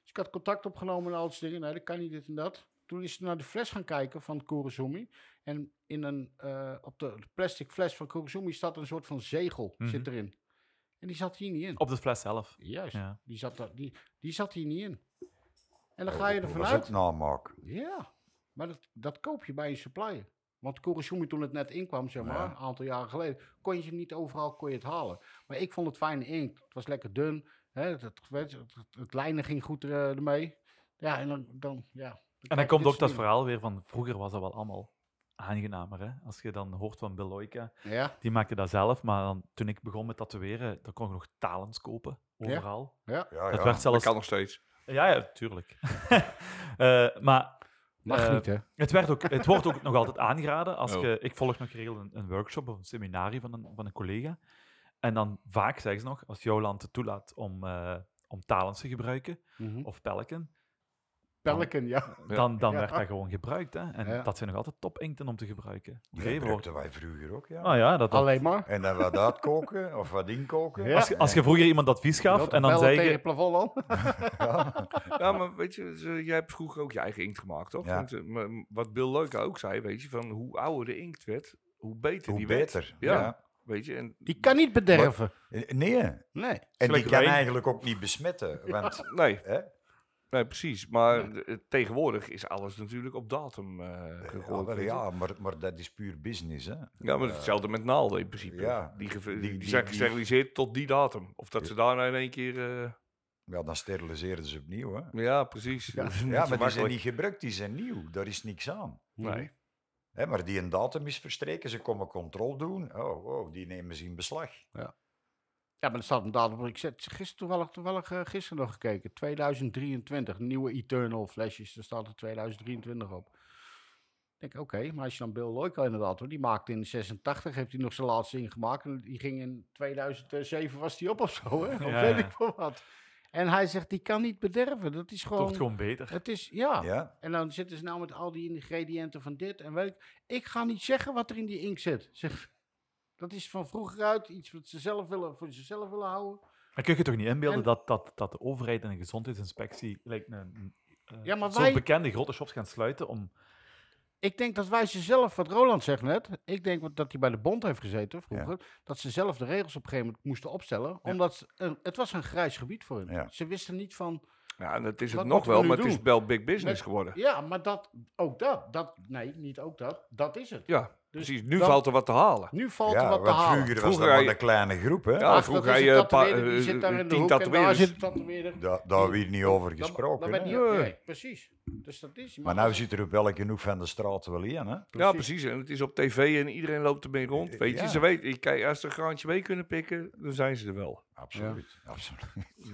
Speaker 1: Dus ik had contact opgenomen en al dat soort dingen. Nee, dat kan niet, dit en dat. Toen is ze naar de fles gaan kijken van Kurosumi. En in een, eh, op de plastic fles van Kurosumi staat een soort van zegel
Speaker 2: Mhm.
Speaker 1: zit erin. En die zat hier niet in.
Speaker 2: Op de fles zelf.
Speaker 1: Juist,
Speaker 2: Ja.
Speaker 1: die, zat daar- die, die zat hier niet in. En dan ga je ervan
Speaker 3: Oh, Dat is
Speaker 1: uit.
Speaker 3: ook namaak.
Speaker 1: Ja, maar dat, dat koop je bij een supplier. Want Kurosumi, toen het net inkwam, zeg maar,
Speaker 3: Ja.
Speaker 1: een aantal jaren geleden, kon je ze niet overal kon je het halen. Maar ik vond het fijne inkt. Het was lekker dun. Hè, het, het, het, het- het lijnen ging goed er, eh, ermee. Ja, en dan... dan ja,
Speaker 2: En
Speaker 1: krijg dus je
Speaker 2: dan komt
Speaker 1: dit
Speaker 2: ook dat
Speaker 1: soort
Speaker 2: verhaal weer van vroeger was dat wel allemaal aangenamer. Hè? Als je dan hoort van Beloika,
Speaker 1: dingen. Ja,
Speaker 2: die maakte dat zelf. Maar dan, toen ik begon met tatoeëren, dan kon ik nog talens kopen. Overal.
Speaker 1: ja.
Speaker 3: Ja,
Speaker 2: Dat
Speaker 3: ja.
Speaker 2: werd
Speaker 4: Dat
Speaker 2: zelfs...
Speaker 4: kan nog steeds.
Speaker 2: Ja, ja, tuurlijk. Eh, maar
Speaker 1: Mag
Speaker 2: Eh,
Speaker 1: niet, hè?
Speaker 2: Het, werd ook, het wordt ook nog altijd aangeraden. Als
Speaker 4: Oh.
Speaker 2: je, ik volg nog geregeld een, een workshop of een seminarie van een, van een collega. En dan vaak zeggen ze nog, als jouw land het toelaat om, eh, om talens te gebruiken,
Speaker 1: Mhm.
Speaker 2: of pelken,
Speaker 1: Pelican, ja.
Speaker 4: Ja.
Speaker 2: dan, dan
Speaker 1: Ja.
Speaker 2: werd dat gewoon gebruikt. Hè? En
Speaker 1: Ja.
Speaker 2: dat zijn nog altijd top inkten om te gebruiken.
Speaker 3: Die
Speaker 2: Gegeven wordt.
Speaker 3: gebruikten wij vroeger ook,
Speaker 4: Ah,
Speaker 3: ja.
Speaker 2: Nou ja, dat, dat-
Speaker 1: Alleen maar.
Speaker 3: En dan wat uitkoken of wat inkoken.
Speaker 1: Ja.
Speaker 2: als, je, als je vroeger iemand advies gaf en dan zei
Speaker 1: tegen
Speaker 2: je...
Speaker 1: het plafond aan.
Speaker 4: Ja, maar weet je, ze- jij hebt vroeger ook je eigen inkt gemaakt, toch?
Speaker 3: Ja.
Speaker 4: Want, eh, maar wat Bill Leuke ook zei, weet je, van hoe ouder de inkt werd, hoe beter
Speaker 3: Hoe
Speaker 4: die werd.
Speaker 3: beter.
Speaker 4: Ja.
Speaker 3: Ja.
Speaker 4: Weet je, en
Speaker 1: Die kan niet bederven.
Speaker 3: Eh, Nee.
Speaker 1: Nee.
Speaker 3: En die
Speaker 2: Gelijk
Speaker 3: kan
Speaker 2: wijn.
Speaker 3: eigenlijk ook niet besmetten. Want
Speaker 4: nee,
Speaker 3: hè,
Speaker 4: nee, precies. Maar eh, tegenwoordig is alles natuurlijk op datum eh, gegooid.
Speaker 3: ja,
Speaker 4: weet je.
Speaker 3: ja maar, maar dat is puur business. Hè.
Speaker 4: Ja, maar hetzelfde met naalden in principe.
Speaker 3: Eh, ja,
Speaker 4: die, geve-
Speaker 3: die-
Speaker 4: die,
Speaker 3: die-
Speaker 4: zijn
Speaker 3: die-
Speaker 4: gesteriliseerd tot die datum. Of dat
Speaker 3: Ja.
Speaker 4: ze daarna in één keer... eh,
Speaker 3: Ja, dan steriliseren ze opnieuw. Hè.
Speaker 4: ja, precies.
Speaker 1: Ja.
Speaker 4: Dat is niet
Speaker 3: Ja, maar
Speaker 4: zo
Speaker 3: die zijn
Speaker 4: makkelijk.
Speaker 3: niet gebruikt, die zijn nieuw. Daar is niks aan.
Speaker 4: Nee.
Speaker 3: Hè, maar die een datum is verstreken, ze komen controle doen. Oh, oh, die nemen ze in beslag.
Speaker 1: Ja, maar er staat een datum. op. Ik zet gisteren toevallig, toevallig eh, gisteren nog gekeken. 2023, nieuwe Eternal flesjes. Daar staat er 2023 op. Ik denk, oké, maar als je dan Bill Loika inderdaad, hoor, die maakte in 86, heeft hij nog zijn laatste ingemaakt. En die ging in 2007, was die op of zo, hè? Of
Speaker 2: Ja,
Speaker 1: weet
Speaker 2: ja.
Speaker 1: ik veel wat. En hij zegt, die kan niet bederven. Dat is
Speaker 2: Het
Speaker 1: gewoon...
Speaker 2: wordt gewoon beter.
Speaker 1: Het is,
Speaker 4: Ah,
Speaker 1: ja.
Speaker 3: Ja?
Speaker 1: En dan zitten ze nou met al die ingrediënten van dit en weet ik. Ik ga niet zeggen wat er in die inkt zit. Zeg, dat is van vroeger uit iets wat ze zelf willen, voor zichzelf willen houden.
Speaker 2: Maar kun je toch niet inbeelden
Speaker 1: En-
Speaker 2: dat, dat, dat de overheid en de gezondheidsinspectie lijkt een, eh,
Speaker 1: Ja, maar
Speaker 2: zo'n
Speaker 1: wij-
Speaker 2: bekende grote shops gaan sluiten om...
Speaker 1: Ik denk dat wij ze zelf, wat Roland zegt net, ik denk wat- dat hij bij de bond heeft gezeten vroeger, dat ze zelf de regels op een gegeven moment moesten opstellen, omdat ze- eh, het was een grijs gebied voor hen.
Speaker 3: Ja.
Speaker 1: Ze wisten niet van,
Speaker 4: Ja, en dat is het
Speaker 1: Wat
Speaker 4: nog
Speaker 1: moeten we
Speaker 4: wel,
Speaker 1: nu
Speaker 4: maar het is
Speaker 1: doen?
Speaker 4: wel big business
Speaker 1: Met-
Speaker 4: geworden.
Speaker 1: ja, maar dat, ook dat, dat, nee, niet ook dat, dat is het.
Speaker 4: Ja,
Speaker 1: Dus
Speaker 4: precies. Nu
Speaker 1: dan-
Speaker 4: valt er wat te halen.
Speaker 1: Nu valt er
Speaker 3: ja,
Speaker 1: wat te
Speaker 3: want
Speaker 1: halen.
Speaker 3: vroeger, was
Speaker 4: Vroeger
Speaker 3: dat
Speaker 4: had
Speaker 3: maar
Speaker 4: je-
Speaker 3: een kleine groep, hè?
Speaker 4: Ja,
Speaker 1: Ach,
Speaker 4: vroeger
Speaker 1: dat
Speaker 4: had
Speaker 1: is
Speaker 4: je
Speaker 1: een
Speaker 4: een paar-
Speaker 1: tatoeëerder, die
Speaker 4: eh,
Speaker 1: zit daar in de
Speaker 4: tien
Speaker 1: hoek en daar
Speaker 4: tatoeëerders.
Speaker 1: zit een tatoeëerder.
Speaker 3: Daar, daar werd niet over
Speaker 1: Dan- dan
Speaker 3: gesproken.
Speaker 1: werd
Speaker 3: hè?
Speaker 1: niet-
Speaker 4: Nee.
Speaker 1: nee, precies. Dus dat is.
Speaker 3: Maar nou zit er op welke hoek van de straat wel in, hè?
Speaker 4: Ja, precies. En het is op tv en iedereen loopt ermee rond. Weet je,
Speaker 3: Ja.
Speaker 4: ze weten, ik kijk, als ze een graantje mee kunnen pikken, dan zijn ze er wel.
Speaker 3: Absoluut. absoluut.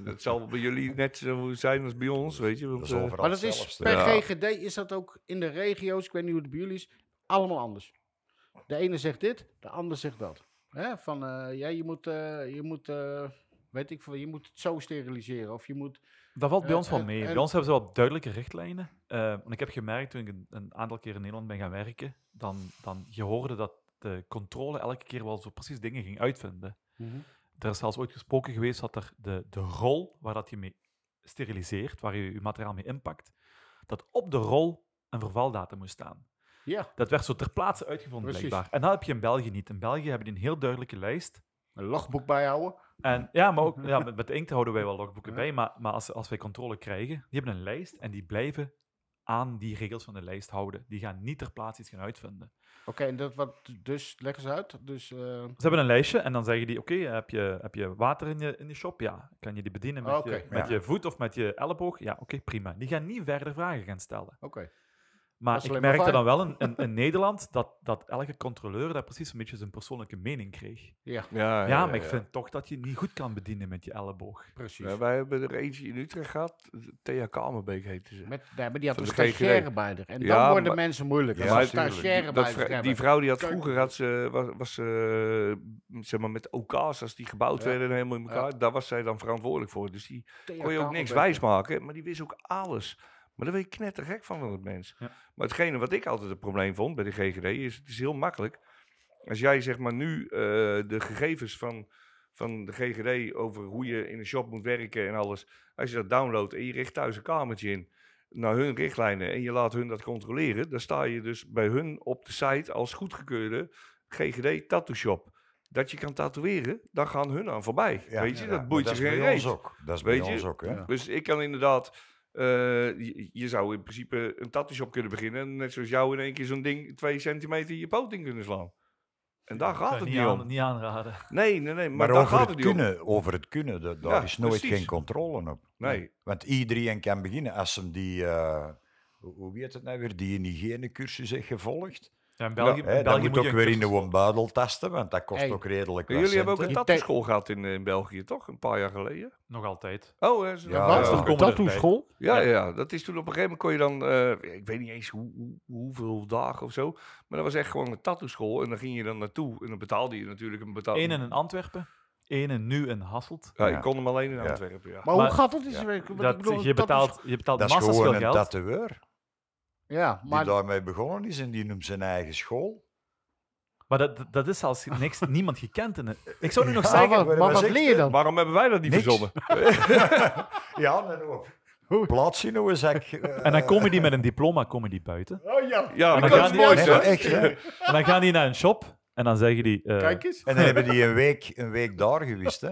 Speaker 4: Dat zal bij jullie net zo zijn als bij ons, weet je.
Speaker 3: Dat
Speaker 4: Want,
Speaker 3: is
Speaker 4: eh,
Speaker 3: overal
Speaker 1: Maar dat is
Speaker 3: hetzelfde.
Speaker 1: per
Speaker 4: Ja.
Speaker 1: GGD is dat ook in de regio's, ik weet niet hoe het bij jullie is, allemaal anders. De ene zegt dit, de ander zegt dat. Hè? Van eh, ja, je moet, eh, je moet, eh, weet ik veel, je moet het zo steriliseren of je moet.
Speaker 2: Dat valt bij
Speaker 1: Eh,
Speaker 2: ons wel
Speaker 1: en-
Speaker 2: mee.
Speaker 1: en-
Speaker 2: Bij ons hebben ze wel duidelijke richtlijnen. Eh, want ik heb gemerkt toen ik een, een aantal keer in Nederland ben gaan werken, dan, dan je hoorde dat de controle elke keer wel zo precies dingen ging uitvinden.
Speaker 4: Mhm.
Speaker 2: Er is zelfs ooit gesproken geweest dat er de, de rol waar dat je mee steriliseert, waar je je materiaal mee inpakt, dat op de rol een vervaldatum moest staan.
Speaker 1: Ja,
Speaker 2: Dat werd zo ter plaatse uitgevonden,
Speaker 1: Precies.
Speaker 2: blijkbaar. En dat heb je in België niet. In België hebben die een heel duidelijke lijst.
Speaker 1: een logboek bijhouden.
Speaker 2: En ja, maar ook ja, met, met inkt houden wij wel logboeken
Speaker 1: Ja.
Speaker 2: bij, maar, maar als, als wij controle krijgen, die hebben een lijst en die blijven aan die regels van de lijst houden. Die gaan niet ter plaatse iets gaan uitvinden.
Speaker 1: Oké, en dat wat dus leg eens uit. Dus eh,
Speaker 2: Ze hebben een lijstje en dan zeggen die, oké, heb, je, heb je water in je, in je shop? Ja. Kan je die bedienen met,
Speaker 1: Oké,
Speaker 2: je, met
Speaker 3: ja.
Speaker 2: je voet of met je elleboog? Ja, oké, prima. Die gaan niet verder vragen gaan stellen.
Speaker 1: oké. Dat
Speaker 2: Maar
Speaker 1: is
Speaker 2: ik
Speaker 1: alleen maar
Speaker 2: merkte
Speaker 1: fijn.
Speaker 2: dan wel in, in, in Nederland dat, dat elke controleur daar precies een beetje zijn persoonlijke mening kreeg.
Speaker 1: Ja,
Speaker 4: ja,
Speaker 2: Ja, maar ik
Speaker 4: ja.
Speaker 2: vind toch dat je niet goed kan bedienen met je elleboog.
Speaker 1: precies.
Speaker 4: Ja, wij hebben er eentje in Utrecht gehad. Thea Kamerbeek heette ze.
Speaker 1: Met, nee, maar die had
Speaker 4: Van
Speaker 1: een
Speaker 4: de GGD.
Speaker 1: stagiaire bij haar. En
Speaker 4: Ja,
Speaker 1: dan worden
Speaker 4: maar-
Speaker 1: mensen moeilijk.
Speaker 3: Ja,
Speaker 1: als ze een
Speaker 3: tuurlijk.
Speaker 1: stagiaire
Speaker 4: Dat
Speaker 1: bij zich
Speaker 4: vrou- die
Speaker 1: hebben.
Speaker 4: vrouw die had
Speaker 1: Kijk.
Speaker 4: vroeger had ze, was, was eh, zeg maar met OK's, als die gebouwd
Speaker 1: Ja.
Speaker 4: werden en helemaal in elkaar, daar was zij dan verantwoordelijk voor. Dus die
Speaker 1: Thea
Speaker 4: kon je ook niks
Speaker 1: Kamerbeek.
Speaker 4: wijs maken, maar die wist ook alles. Maar daar weet je knettergek van van dat mens.
Speaker 2: Ja.
Speaker 4: Maar hetgene wat ik altijd het probleem vond bij de GGD is, het is heel makkelijk. Als jij zeg maar nu eh, de gegevens van, van de GGD over hoe je in een shop moet werken en alles, als je dat downloadt en je richt thuis een kamertje in naar hun richtlijnen en je laat hun dat controleren, dan sta je dus bij hun op de site als goedgekeurde GGD tattoo shop. Dat je kan tatoeëren, dan gaan hun aan voorbij.
Speaker 3: Ja,
Speaker 4: Weet je,
Speaker 3: ja,
Speaker 4: dat
Speaker 3: maar
Speaker 4: boeit je
Speaker 3: dat is
Speaker 4: geen
Speaker 3: bij ons
Speaker 4: reet.
Speaker 3: ook. Dat is
Speaker 4: Weet
Speaker 3: bij
Speaker 4: je?
Speaker 3: ons ook, hè?
Speaker 1: Ja.
Speaker 4: Dus ik kan inderdaad. eh, je, je zou in principe een tattoo shop kunnen beginnen. en Net zoals jou in één keer zo'n ding twee centimeter in je poot in kunnen slaan. En daar gaat
Speaker 2: Zou
Speaker 4: het
Speaker 2: ik
Speaker 4: niet
Speaker 2: aan-
Speaker 4: om.
Speaker 2: niet aanraden.
Speaker 4: Nee, nee, nee. Maar,
Speaker 3: Maar,
Speaker 4: daar
Speaker 3: over,
Speaker 4: gaat
Speaker 3: het
Speaker 4: het niet om.
Speaker 3: kunnen, over het kunnen, da- daar
Speaker 4: Ja,
Speaker 3: is nooit
Speaker 4: precies.
Speaker 3: geen controle op.
Speaker 4: Nee.
Speaker 3: Want iedereen kan beginnen. Als ze die, eh, hoe hoe heet het nou weer, die hygiënecursus heeft gevolgd.
Speaker 2: Ja, in België,
Speaker 3: Hè,
Speaker 2: in
Speaker 3: dan
Speaker 2: België
Speaker 3: moet
Speaker 2: moet je
Speaker 3: ook
Speaker 2: een
Speaker 3: weer in
Speaker 2: cursus-
Speaker 3: de woonbuidel tasten, want dat kost
Speaker 1: Hey.
Speaker 3: ook redelijk wat
Speaker 4: Jullie hebben ook
Speaker 3: centen.
Speaker 4: een
Speaker 1: Die
Speaker 4: tattoo-school gehad in, eh, in België, toch? Een paar jaar geleden.
Speaker 2: Nog altijd.
Speaker 4: Oh, hè, ze-
Speaker 3: Ja,
Speaker 4: ja,
Speaker 3: dat
Speaker 1: Wat?
Speaker 3: is
Speaker 4: ja,
Speaker 2: toch
Speaker 4: oké.
Speaker 2: kom-
Speaker 1: Een
Speaker 2: komen erbij.
Speaker 1: tattoo-school?
Speaker 4: ja,
Speaker 2: Ja.
Speaker 4: ja, dat is toen op een gegeven moment kon je dan, eh, ik weet niet eens hoe, hoe- hoeveel dagen of zo, maar dat was echt gewoon een tattoo-school en dan ging je dan naartoe en dan betaalde je natuurlijk een betaal.
Speaker 2: Eén in Antwerpen, één nu in Hasselt.
Speaker 4: Ja,
Speaker 3: Ja.
Speaker 4: ik kon hem alleen in
Speaker 3: Ja.
Speaker 4: Antwerpen, ja.
Speaker 1: Maar,
Speaker 2: Maar-
Speaker 1: hoe gaat dat in zijn
Speaker 3: Ja,
Speaker 1: werk? Want ik
Speaker 2: Dat,
Speaker 1: bedoel,
Speaker 2: je
Speaker 1: een tattoo-school-
Speaker 2: betaalt, je betaalt
Speaker 3: Dat is
Speaker 2: massas
Speaker 3: gewoon
Speaker 2: veel
Speaker 3: een
Speaker 2: geld.
Speaker 3: tatoeur
Speaker 1: Ja,
Speaker 3: die
Speaker 1: maar
Speaker 3: daarmee begonnen is en die noemt zijn eigen school.
Speaker 2: Maar dat, dat- dat is als niks, niemand gekend. In het- ik zou nu nog
Speaker 3: Ja,
Speaker 2: zeggen...
Speaker 1: maar,
Speaker 3: wat-
Speaker 1: maar
Speaker 3: wat
Speaker 1: wat
Speaker 3: zegt
Speaker 1: leer je dan?
Speaker 4: Waarom hebben wij dat niet
Speaker 3: Niks.
Speaker 4: verzonnen?
Speaker 3: Ja, nee,
Speaker 1: Hoe?
Speaker 3: ook. Plaats in hoe zak. eh,
Speaker 2: En dan komen die met een diploma komen die buiten.
Speaker 1: Oh ja.
Speaker 4: Ja,
Speaker 2: En dan
Speaker 4: dat is
Speaker 2: gaan
Speaker 4: het
Speaker 2: die-
Speaker 3: nee,
Speaker 4: mooiste.
Speaker 3: maar
Speaker 4: hè?
Speaker 3: echt, hè.
Speaker 2: En dan gaan die naar een shop en dan zeggen die... eh,
Speaker 1: Kijk eens.
Speaker 3: En dan hebben die een week, een week daar geweest, hè?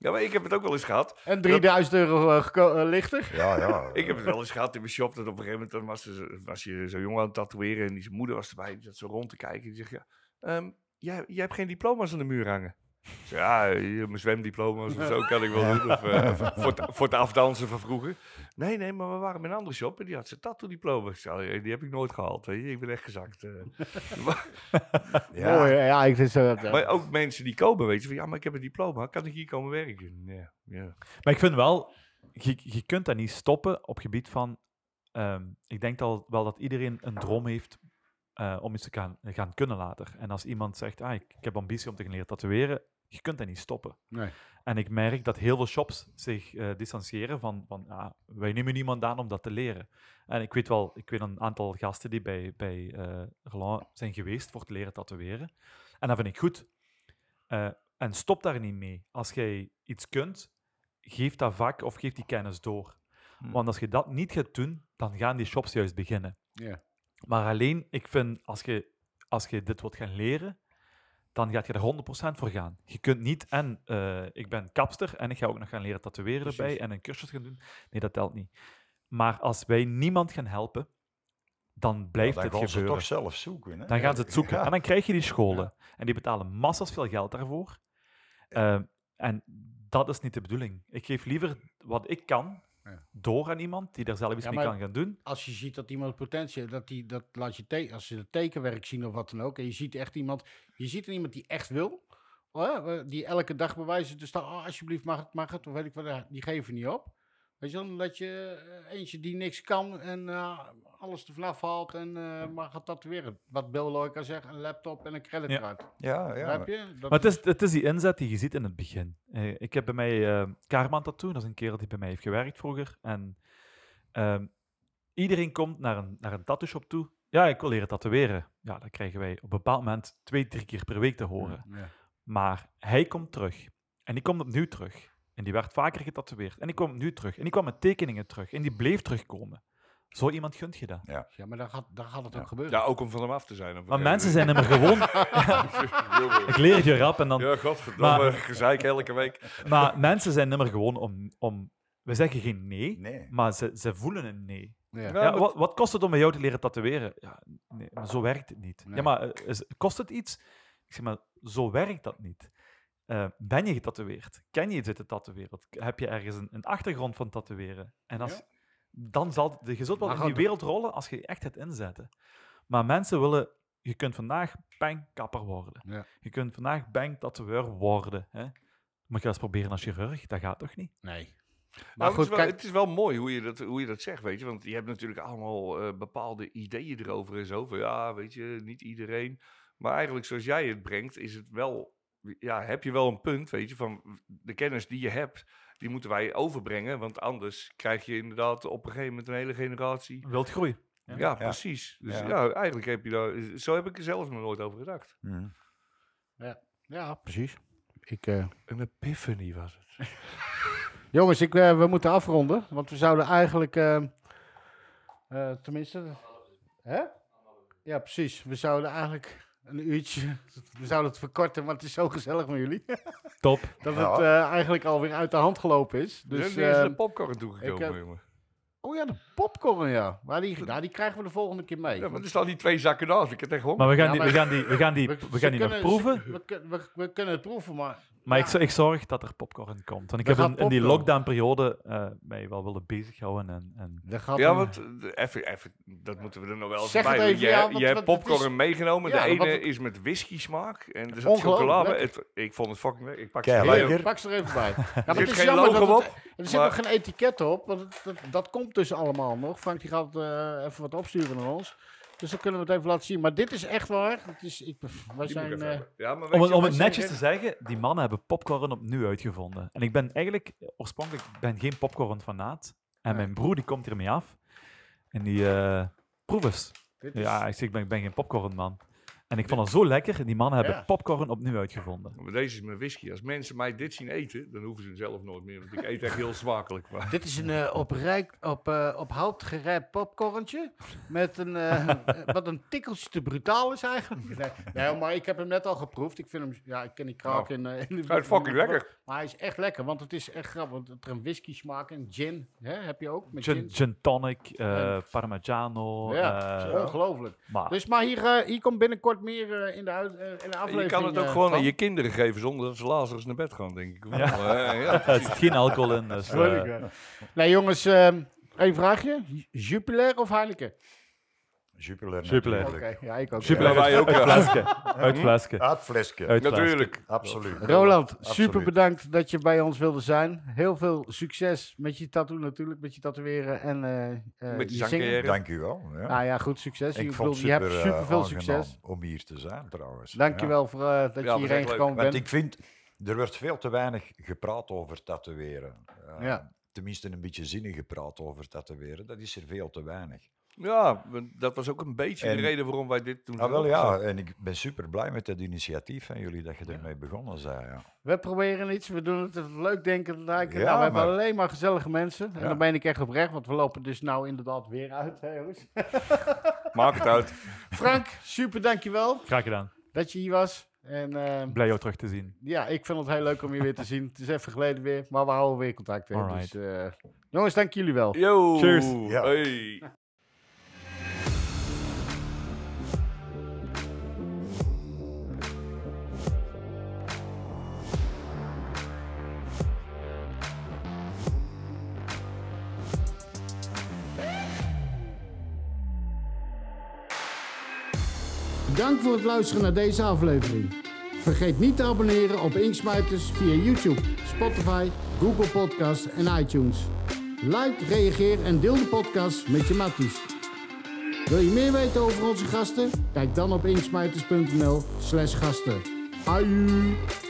Speaker 4: Ja, maar ik heb het ook wel eens gehad.
Speaker 1: En 3000 euro eh, geko- eh, lichter.
Speaker 3: Ja, ja.
Speaker 4: Ik heb het wel eens gehad in mijn shop. Dat op een gegeven moment dan was, er- was je zo'n jongen aan het tatoeëren. En die zijn moeder was erbij. Die zat zo rond te kijken. Die zegt, ja, ehm, jij, jij hebt geen diploma's aan de muur hangen. Ik zeg, ja, hier, mijn zwemdiploma's of zo kan ik wel doen. Of, eh, voor, het, voor het afdansen van vroeger. Nee, nee, maar we waren in een andere shop. En die had zijn tattoo-diploma. Ik zei, "Ja, die heb ik nooit gehaald. Weet je. Ik ben echt gezakt. eh."
Speaker 3: ja.
Speaker 1: Mooi, hè? Oh, ja, ik vind zo dat.
Speaker 4: maar ook mensen die komen, weet je. Van, ja, maar ik heb een diploma. Kan ik hier komen werken? Ja, ja.
Speaker 2: Maar ik vind wel, je, je kunt dat niet stoppen op gebied van... ehm, ik denk al wel dat iedereen een droom heeft eh, om iets te gaan, gaan kunnen later. En als iemand zegt, ah, ik, ik heb ambitie om te gaan leren tatoeëren, je kunt dat niet stoppen.
Speaker 1: Nee.
Speaker 2: En En ik merk dat heel veel shops zich eh, distancieren van, van ja, wij nemen niemand aan om dat te leren. En ik weet wel, ik weet een aantal gasten die bij, bij eh Roland zijn geweest voor het leren tatoeëren. En dat vind ik goed. Eh, en stop daar niet mee. Als jij iets kunt, geef dat vak of geef die kennis door.
Speaker 4: Hmm.
Speaker 2: Want als je dat niet gaat doen, dan gaan die shops juist beginnen.
Speaker 1: Ja.
Speaker 2: Maar alleen, ik vind, als je, als je dit wilt gaan leren, dan gaat je er 100% voor gaan. Je kunt niet, en eh, ik ben kapster en ik ga ook nog gaan leren tatoeëren erbij en een cursus gaan doen. Nee, dat telt niet. Maar als wij niemand gaan helpen, dan blijft
Speaker 3: dan
Speaker 2: het
Speaker 3: gaan ze
Speaker 2: gebeuren.
Speaker 3: toch zelf zoeken. Hè?
Speaker 2: Dan gaan ze het zoeken.
Speaker 3: Ja.
Speaker 2: En dan krijg je die scholen. En die betalen massas veel geld daarvoor. Ehm, en dat is niet de bedoeling. Ik geef liever wat ik kan
Speaker 1: Ja.
Speaker 2: door aan iemand die daar zelf iets
Speaker 1: Ja,
Speaker 2: mee
Speaker 1: maar-
Speaker 2: kan gaan doen.
Speaker 1: Als je ziet dat iemand potentie heeft, dat die, dat laat je te- als ze het tekenwerk zien of wat dan ook. En je ziet echt iemand, je ziet er iemand die echt wil. hè, Die elke dag bewijzen, dus dan, oh, alsjeblieft mag het, mag het, of weet ik wat, ja, die geven niet op. Weet je wel, dat je eh, eentje die niks kan en eh, alles er vanaf haalt en eh, maar gaat tatoeëren. Wat Bill Loika zegt, een laptop en een creditcard.
Speaker 3: Ja, ja.
Speaker 1: Begrijp je? Dat
Speaker 2: Maar het is, het is die inzet die je ziet in het begin. Eh, ik heb bij mij eh Karman Tattoo, dat is een kerel die bij mij heeft gewerkt vroeger. En ehm, iedereen komt naar een, naar een tattoo shop toe. Ja, ik wil leren tatoeëren. Ja, dat krijgen wij op een bepaald moment twee, drie keer per week te horen.
Speaker 1: Ja.
Speaker 2: Maar hij komt terug. En die komt opnieuw terug. En die werd vaker getatoeëerd. En die kwam opnieuw terug. En die kwam met tekeningen terug. En die bleef terugkomen. Zo iemand gunt je dat.
Speaker 1: Ja, maar dan gaat, dan gaat het ook gebeuren.
Speaker 4: Ja, ook om van hem af te zijn. of
Speaker 2: Maar
Speaker 4: wat?
Speaker 2: mensen zijn hem gewoon... Ik leer het je rap en dan...
Speaker 4: Ja, godverdomme,
Speaker 2: Maar-
Speaker 4: gezeik elke week.
Speaker 2: Maar mensen zijn nimmer gewoon om, om... We zeggen geen nee,
Speaker 3: Nee.
Speaker 2: maar ze, ze voelen een nee.
Speaker 1: Ja.
Speaker 4: Nou,
Speaker 2: Ja, wat, wat kost het om bij jou te leren tatoeëren? Ja, nee, maar zo werkt het niet.
Speaker 1: Nee.
Speaker 2: Ja, maar eh, is- kost het iets? Ik zeg maar, zo werkt dat niet. Eh, ben je getatoeëerd? Ken je iets uit de tatoeëren? Heb je ergens een, een achtergrond van tatoeëren? En als,
Speaker 1: Ja.
Speaker 2: dan zal de, je zult wel
Speaker 1: Maar
Speaker 2: in die
Speaker 1: gaat-
Speaker 2: wereld rollen als je echt het inzetten. Maar mensen willen... Je kunt vandaag pijnkapper worden.
Speaker 1: Ja.
Speaker 2: Je kunt vandaag pijntatoeëur worden. Hè? Maar ga eens proberen als chirurg. Dat gaat toch niet?
Speaker 1: Nee. Maar
Speaker 4: Maar
Speaker 1: goed,
Speaker 4: Nou, het, is wel,
Speaker 1: kijk,
Speaker 4: het is wel mooi hoe je, dat, hoe je dat zegt, weet je. Want je hebt natuurlijk allemaal eh, bepaalde ideeën erover en zo. Van ja, weet je, niet iedereen. Maar eigenlijk zoals jij het brengt, is het wel... Ja, heb je wel een punt, weet je, van de kennis die je hebt... Die moeten wij overbrengen, want anders krijg je inderdaad op een gegeven moment een hele generatie.
Speaker 2: Wilt groeien.
Speaker 4: Ja,
Speaker 2: Ja.
Speaker 4: precies. Dus ja.
Speaker 3: Ja.
Speaker 4: eigenlijk heb je daar. Zo heb ik er zelf nog nooit over gedacht.
Speaker 3: Hm.
Speaker 1: ja, precies. Ik, eh,
Speaker 4: Een epiphany was het.
Speaker 1: Jongens, ik, eh, we moeten afronden. Want we zouden eigenlijk. eh, eh, tenminste. Hè? Ja, precies. We zouden eigenlijk een uurtje. We zouden het verkorten, want het is zo gezellig met jullie.
Speaker 2: Top.
Speaker 1: Dat
Speaker 3: Ja.
Speaker 1: het eh eigenlijk alweer uit de hand gelopen is.
Speaker 4: Dus
Speaker 1: Dus,
Speaker 4: nu is
Speaker 1: eh,
Speaker 4: de popcorn toegekomen,
Speaker 1: ik heb-
Speaker 4: jongen.
Speaker 1: oh ja, de popcorn, ja. Maar die, nou, die krijgen we de volgende keer mee.
Speaker 4: Ja, maar er staan die twee zakken naast. Ik heb echt honger.
Speaker 2: Maar we gaan,
Speaker 1: Ja,
Speaker 2: die,
Speaker 1: maar-
Speaker 2: we gaan die, we gaan die, we
Speaker 1: ze
Speaker 2: gaan die nog
Speaker 1: kunnen-
Speaker 2: proeven.
Speaker 1: ze- we, kun- we- we kunnen het proeven, maar.
Speaker 2: Maar
Speaker 1: Ja.
Speaker 2: ik, zo- ik zorg dat er popcorn komt. Want ik
Speaker 1: Er
Speaker 2: heb
Speaker 1: gaat
Speaker 2: in, in die
Speaker 1: popcorn.
Speaker 2: lockdownperiode eh mij wel willen bezighouden. En, en...
Speaker 1: daar gaat
Speaker 4: Ja,
Speaker 1: een-
Speaker 4: want eh, even, even, dat moeten we er nog wel eens
Speaker 1: Zeg
Speaker 4: bij
Speaker 1: het
Speaker 4: doen.
Speaker 1: even,
Speaker 4: je
Speaker 1: ja,
Speaker 4: hebt-
Speaker 1: want-
Speaker 4: je hebt
Speaker 1: want het
Speaker 4: popcorn
Speaker 1: is-
Speaker 4: meegenomen.
Speaker 1: Ja,
Speaker 4: de
Speaker 1: want
Speaker 4: ene
Speaker 1: het-
Speaker 4: is met whisky smaak en er zat
Speaker 1: Ongelooflijk
Speaker 4: chocolade. bij.
Speaker 1: lekker.
Speaker 4: Het- ik vond het fucking lekker. Ik pak
Speaker 3: Kei
Speaker 4: het
Speaker 3: lekker.
Speaker 1: Ik pak ze er even bij. Ja, maar
Speaker 4: Er
Speaker 1: het
Speaker 4: zit
Speaker 1: is
Speaker 4: geen
Speaker 1: jammer
Speaker 4: logo
Speaker 1: dat het-
Speaker 4: op.
Speaker 1: Er zit
Speaker 4: maar-
Speaker 1: nog geen etiket op, want het- dat, dat komt dus allemaal nog. Frank die gaat eh, even wat opsturen naar ons. Dus dan kunnen we het even laten zien. Maar dit is echt waar. Het is, ik, wij
Speaker 4: Die moet ik
Speaker 1: zijn...
Speaker 4: even
Speaker 1: eh,
Speaker 4: hebben. Ja, maar weet
Speaker 2: Om, het-
Speaker 4: je
Speaker 2: om
Speaker 4: wat
Speaker 2: het
Speaker 4: zij
Speaker 2: netjes te
Speaker 4: zeggen?
Speaker 2: zeggen, die mannen hebben popcorn opnieuw uitgevonden. En ik ben eigenlijk, eh, oorspronkelijk ben geen popcorn fanaat. En mijn broer die komt hiermee af. En die eh proef eens.
Speaker 1: dit is,
Speaker 2: Ja, ik zeg, ik ben, ik ben geen popcorn man. En ik vond het zo lekker. Die mannen hebben
Speaker 1: Ja.
Speaker 2: popcorn opnieuw uitgevonden.
Speaker 4: Maar deze is mijn whisky. Als mensen mij dit zien eten, dan hoeven ze het zelf nooit meer. Want ik eet echt heel smakelijk. Maar
Speaker 1: dit is een eh, op, rijk, op, eh, op hout gerijpt popcorntje. Met een, eh, eh, wat een tikkeltje te brutaal is eigenlijk. Nee, nee, maar ik heb hem net al geproefd. Ik vind hem... Ja, ik ken die kraak in, eh, in de...
Speaker 4: Nou. Ja, het is fucking lekker.
Speaker 1: Maar hij is echt lekker, want het is echt grappig. Want er een whisky smaak en gin hè, heb je ook. Met gin.
Speaker 2: Gin, gin tonic, eh, Parmigiano.
Speaker 1: Ja,
Speaker 2: eh,
Speaker 1: ongelooflijk.
Speaker 2: maar
Speaker 1: Dus maar hier, eh, hier komt binnenkort meer eh, in, de uit- eh, in de aflevering.
Speaker 4: je kan het ook
Speaker 1: eh,
Speaker 4: gewoon
Speaker 1: van.
Speaker 4: aan je kinderen geven zonder dat ze lazers naar bed gaan, denk ik. Ja.
Speaker 2: er zit geen alcohol in. Dus,
Speaker 1: Leuk,
Speaker 2: eh,
Speaker 1: hè? Nee, jongens, ehm één vraagje. J- Jupiler of Heineken?
Speaker 3: Jupiler.
Speaker 2: Jupiler.
Speaker 1: Oké,
Speaker 3: natuurlijk.
Speaker 1: ja, ik ook.
Speaker 2: Jupiler
Speaker 4: Ja, wij
Speaker 2: uit- Hm?
Speaker 4: ook, ja.
Speaker 2: Uit flesken. eh, Uit flesken.
Speaker 3: Ah, het flesje.
Speaker 2: Uit flesken.
Speaker 4: Natuurlijk.
Speaker 3: Absoluut.
Speaker 1: Roland,
Speaker 3: Absoluut.
Speaker 1: super bedankt dat je bij ons wilde zijn. Heel veel succes met je tattoo natuurlijk, met je tatoeëren en eh, eh,
Speaker 4: Met je
Speaker 1: je zingen.
Speaker 4: zangcarrière.
Speaker 3: Dank u wel. Ja.
Speaker 1: Nou ja, goed succes.
Speaker 3: ik
Speaker 1: Ik
Speaker 3: vond
Speaker 1: bedoel,
Speaker 3: het
Speaker 1: je
Speaker 3: super,
Speaker 1: hebt
Speaker 3: eh,
Speaker 1: super veel
Speaker 3: aangenaam
Speaker 1: succes.
Speaker 3: om hier te zijn trouwens.
Speaker 1: Dankjewel voor eh, dat
Speaker 4: Ja,
Speaker 1: je
Speaker 4: was echt
Speaker 1: hierheen
Speaker 4: leuk.
Speaker 1: gekomen
Speaker 3: Ja. Want
Speaker 1: bent.
Speaker 3: ik vind, Er werd veel te weinig gepraat over tatoeëren. Eh,
Speaker 1: Ja.
Speaker 3: Tenminste, een beetje zinnig gepraat over tatoeëren. Dat is er veel te weinig.
Speaker 4: Ja, want dat was ook een beetje
Speaker 3: En-
Speaker 4: de reden waarom wij dit toen
Speaker 3: Ah, wel
Speaker 4: hebben
Speaker 3: ja,
Speaker 4: opgezet.
Speaker 3: en ik ben super blij met dat initiatief van jullie dat je ermee begonnen bent. Ja.
Speaker 1: We proberen iets, we doen het leuk denken lijken.
Speaker 3: Ja,
Speaker 1: nou, we hebben
Speaker 3: maar-
Speaker 1: alleen maar gezellige mensen. En
Speaker 3: Ja.
Speaker 1: dan ben ik echt oprecht, want we lopen dus nou inderdaad weer uit. Hè, jongens.
Speaker 4: Maak het uit.
Speaker 1: Frank, super dankjewel
Speaker 2: Graag gedaan.
Speaker 1: dat je hier was. En ehm,
Speaker 2: Blij jou terug te zien.
Speaker 1: ja, ik vind het heel leuk om je weer te zien. Het is even geleden weer, maar we houden weer contact weer.
Speaker 2: Alright.
Speaker 1: Dus, eh, jongens, dank jullie wel.
Speaker 4: Yo.
Speaker 2: Cheers.
Speaker 3: Ja.
Speaker 4: Hey.
Speaker 5: Dank voor het luisteren naar deze aflevering. Vergeet niet te abonneren op Inksmijters via YouTube, Spotify, Google Podcast en iTunes. Like, reageer en deel de podcast met je matties. Wil je meer weten over onze gasten? Kijk dan op inksmijters.nl slash gasten. Aju!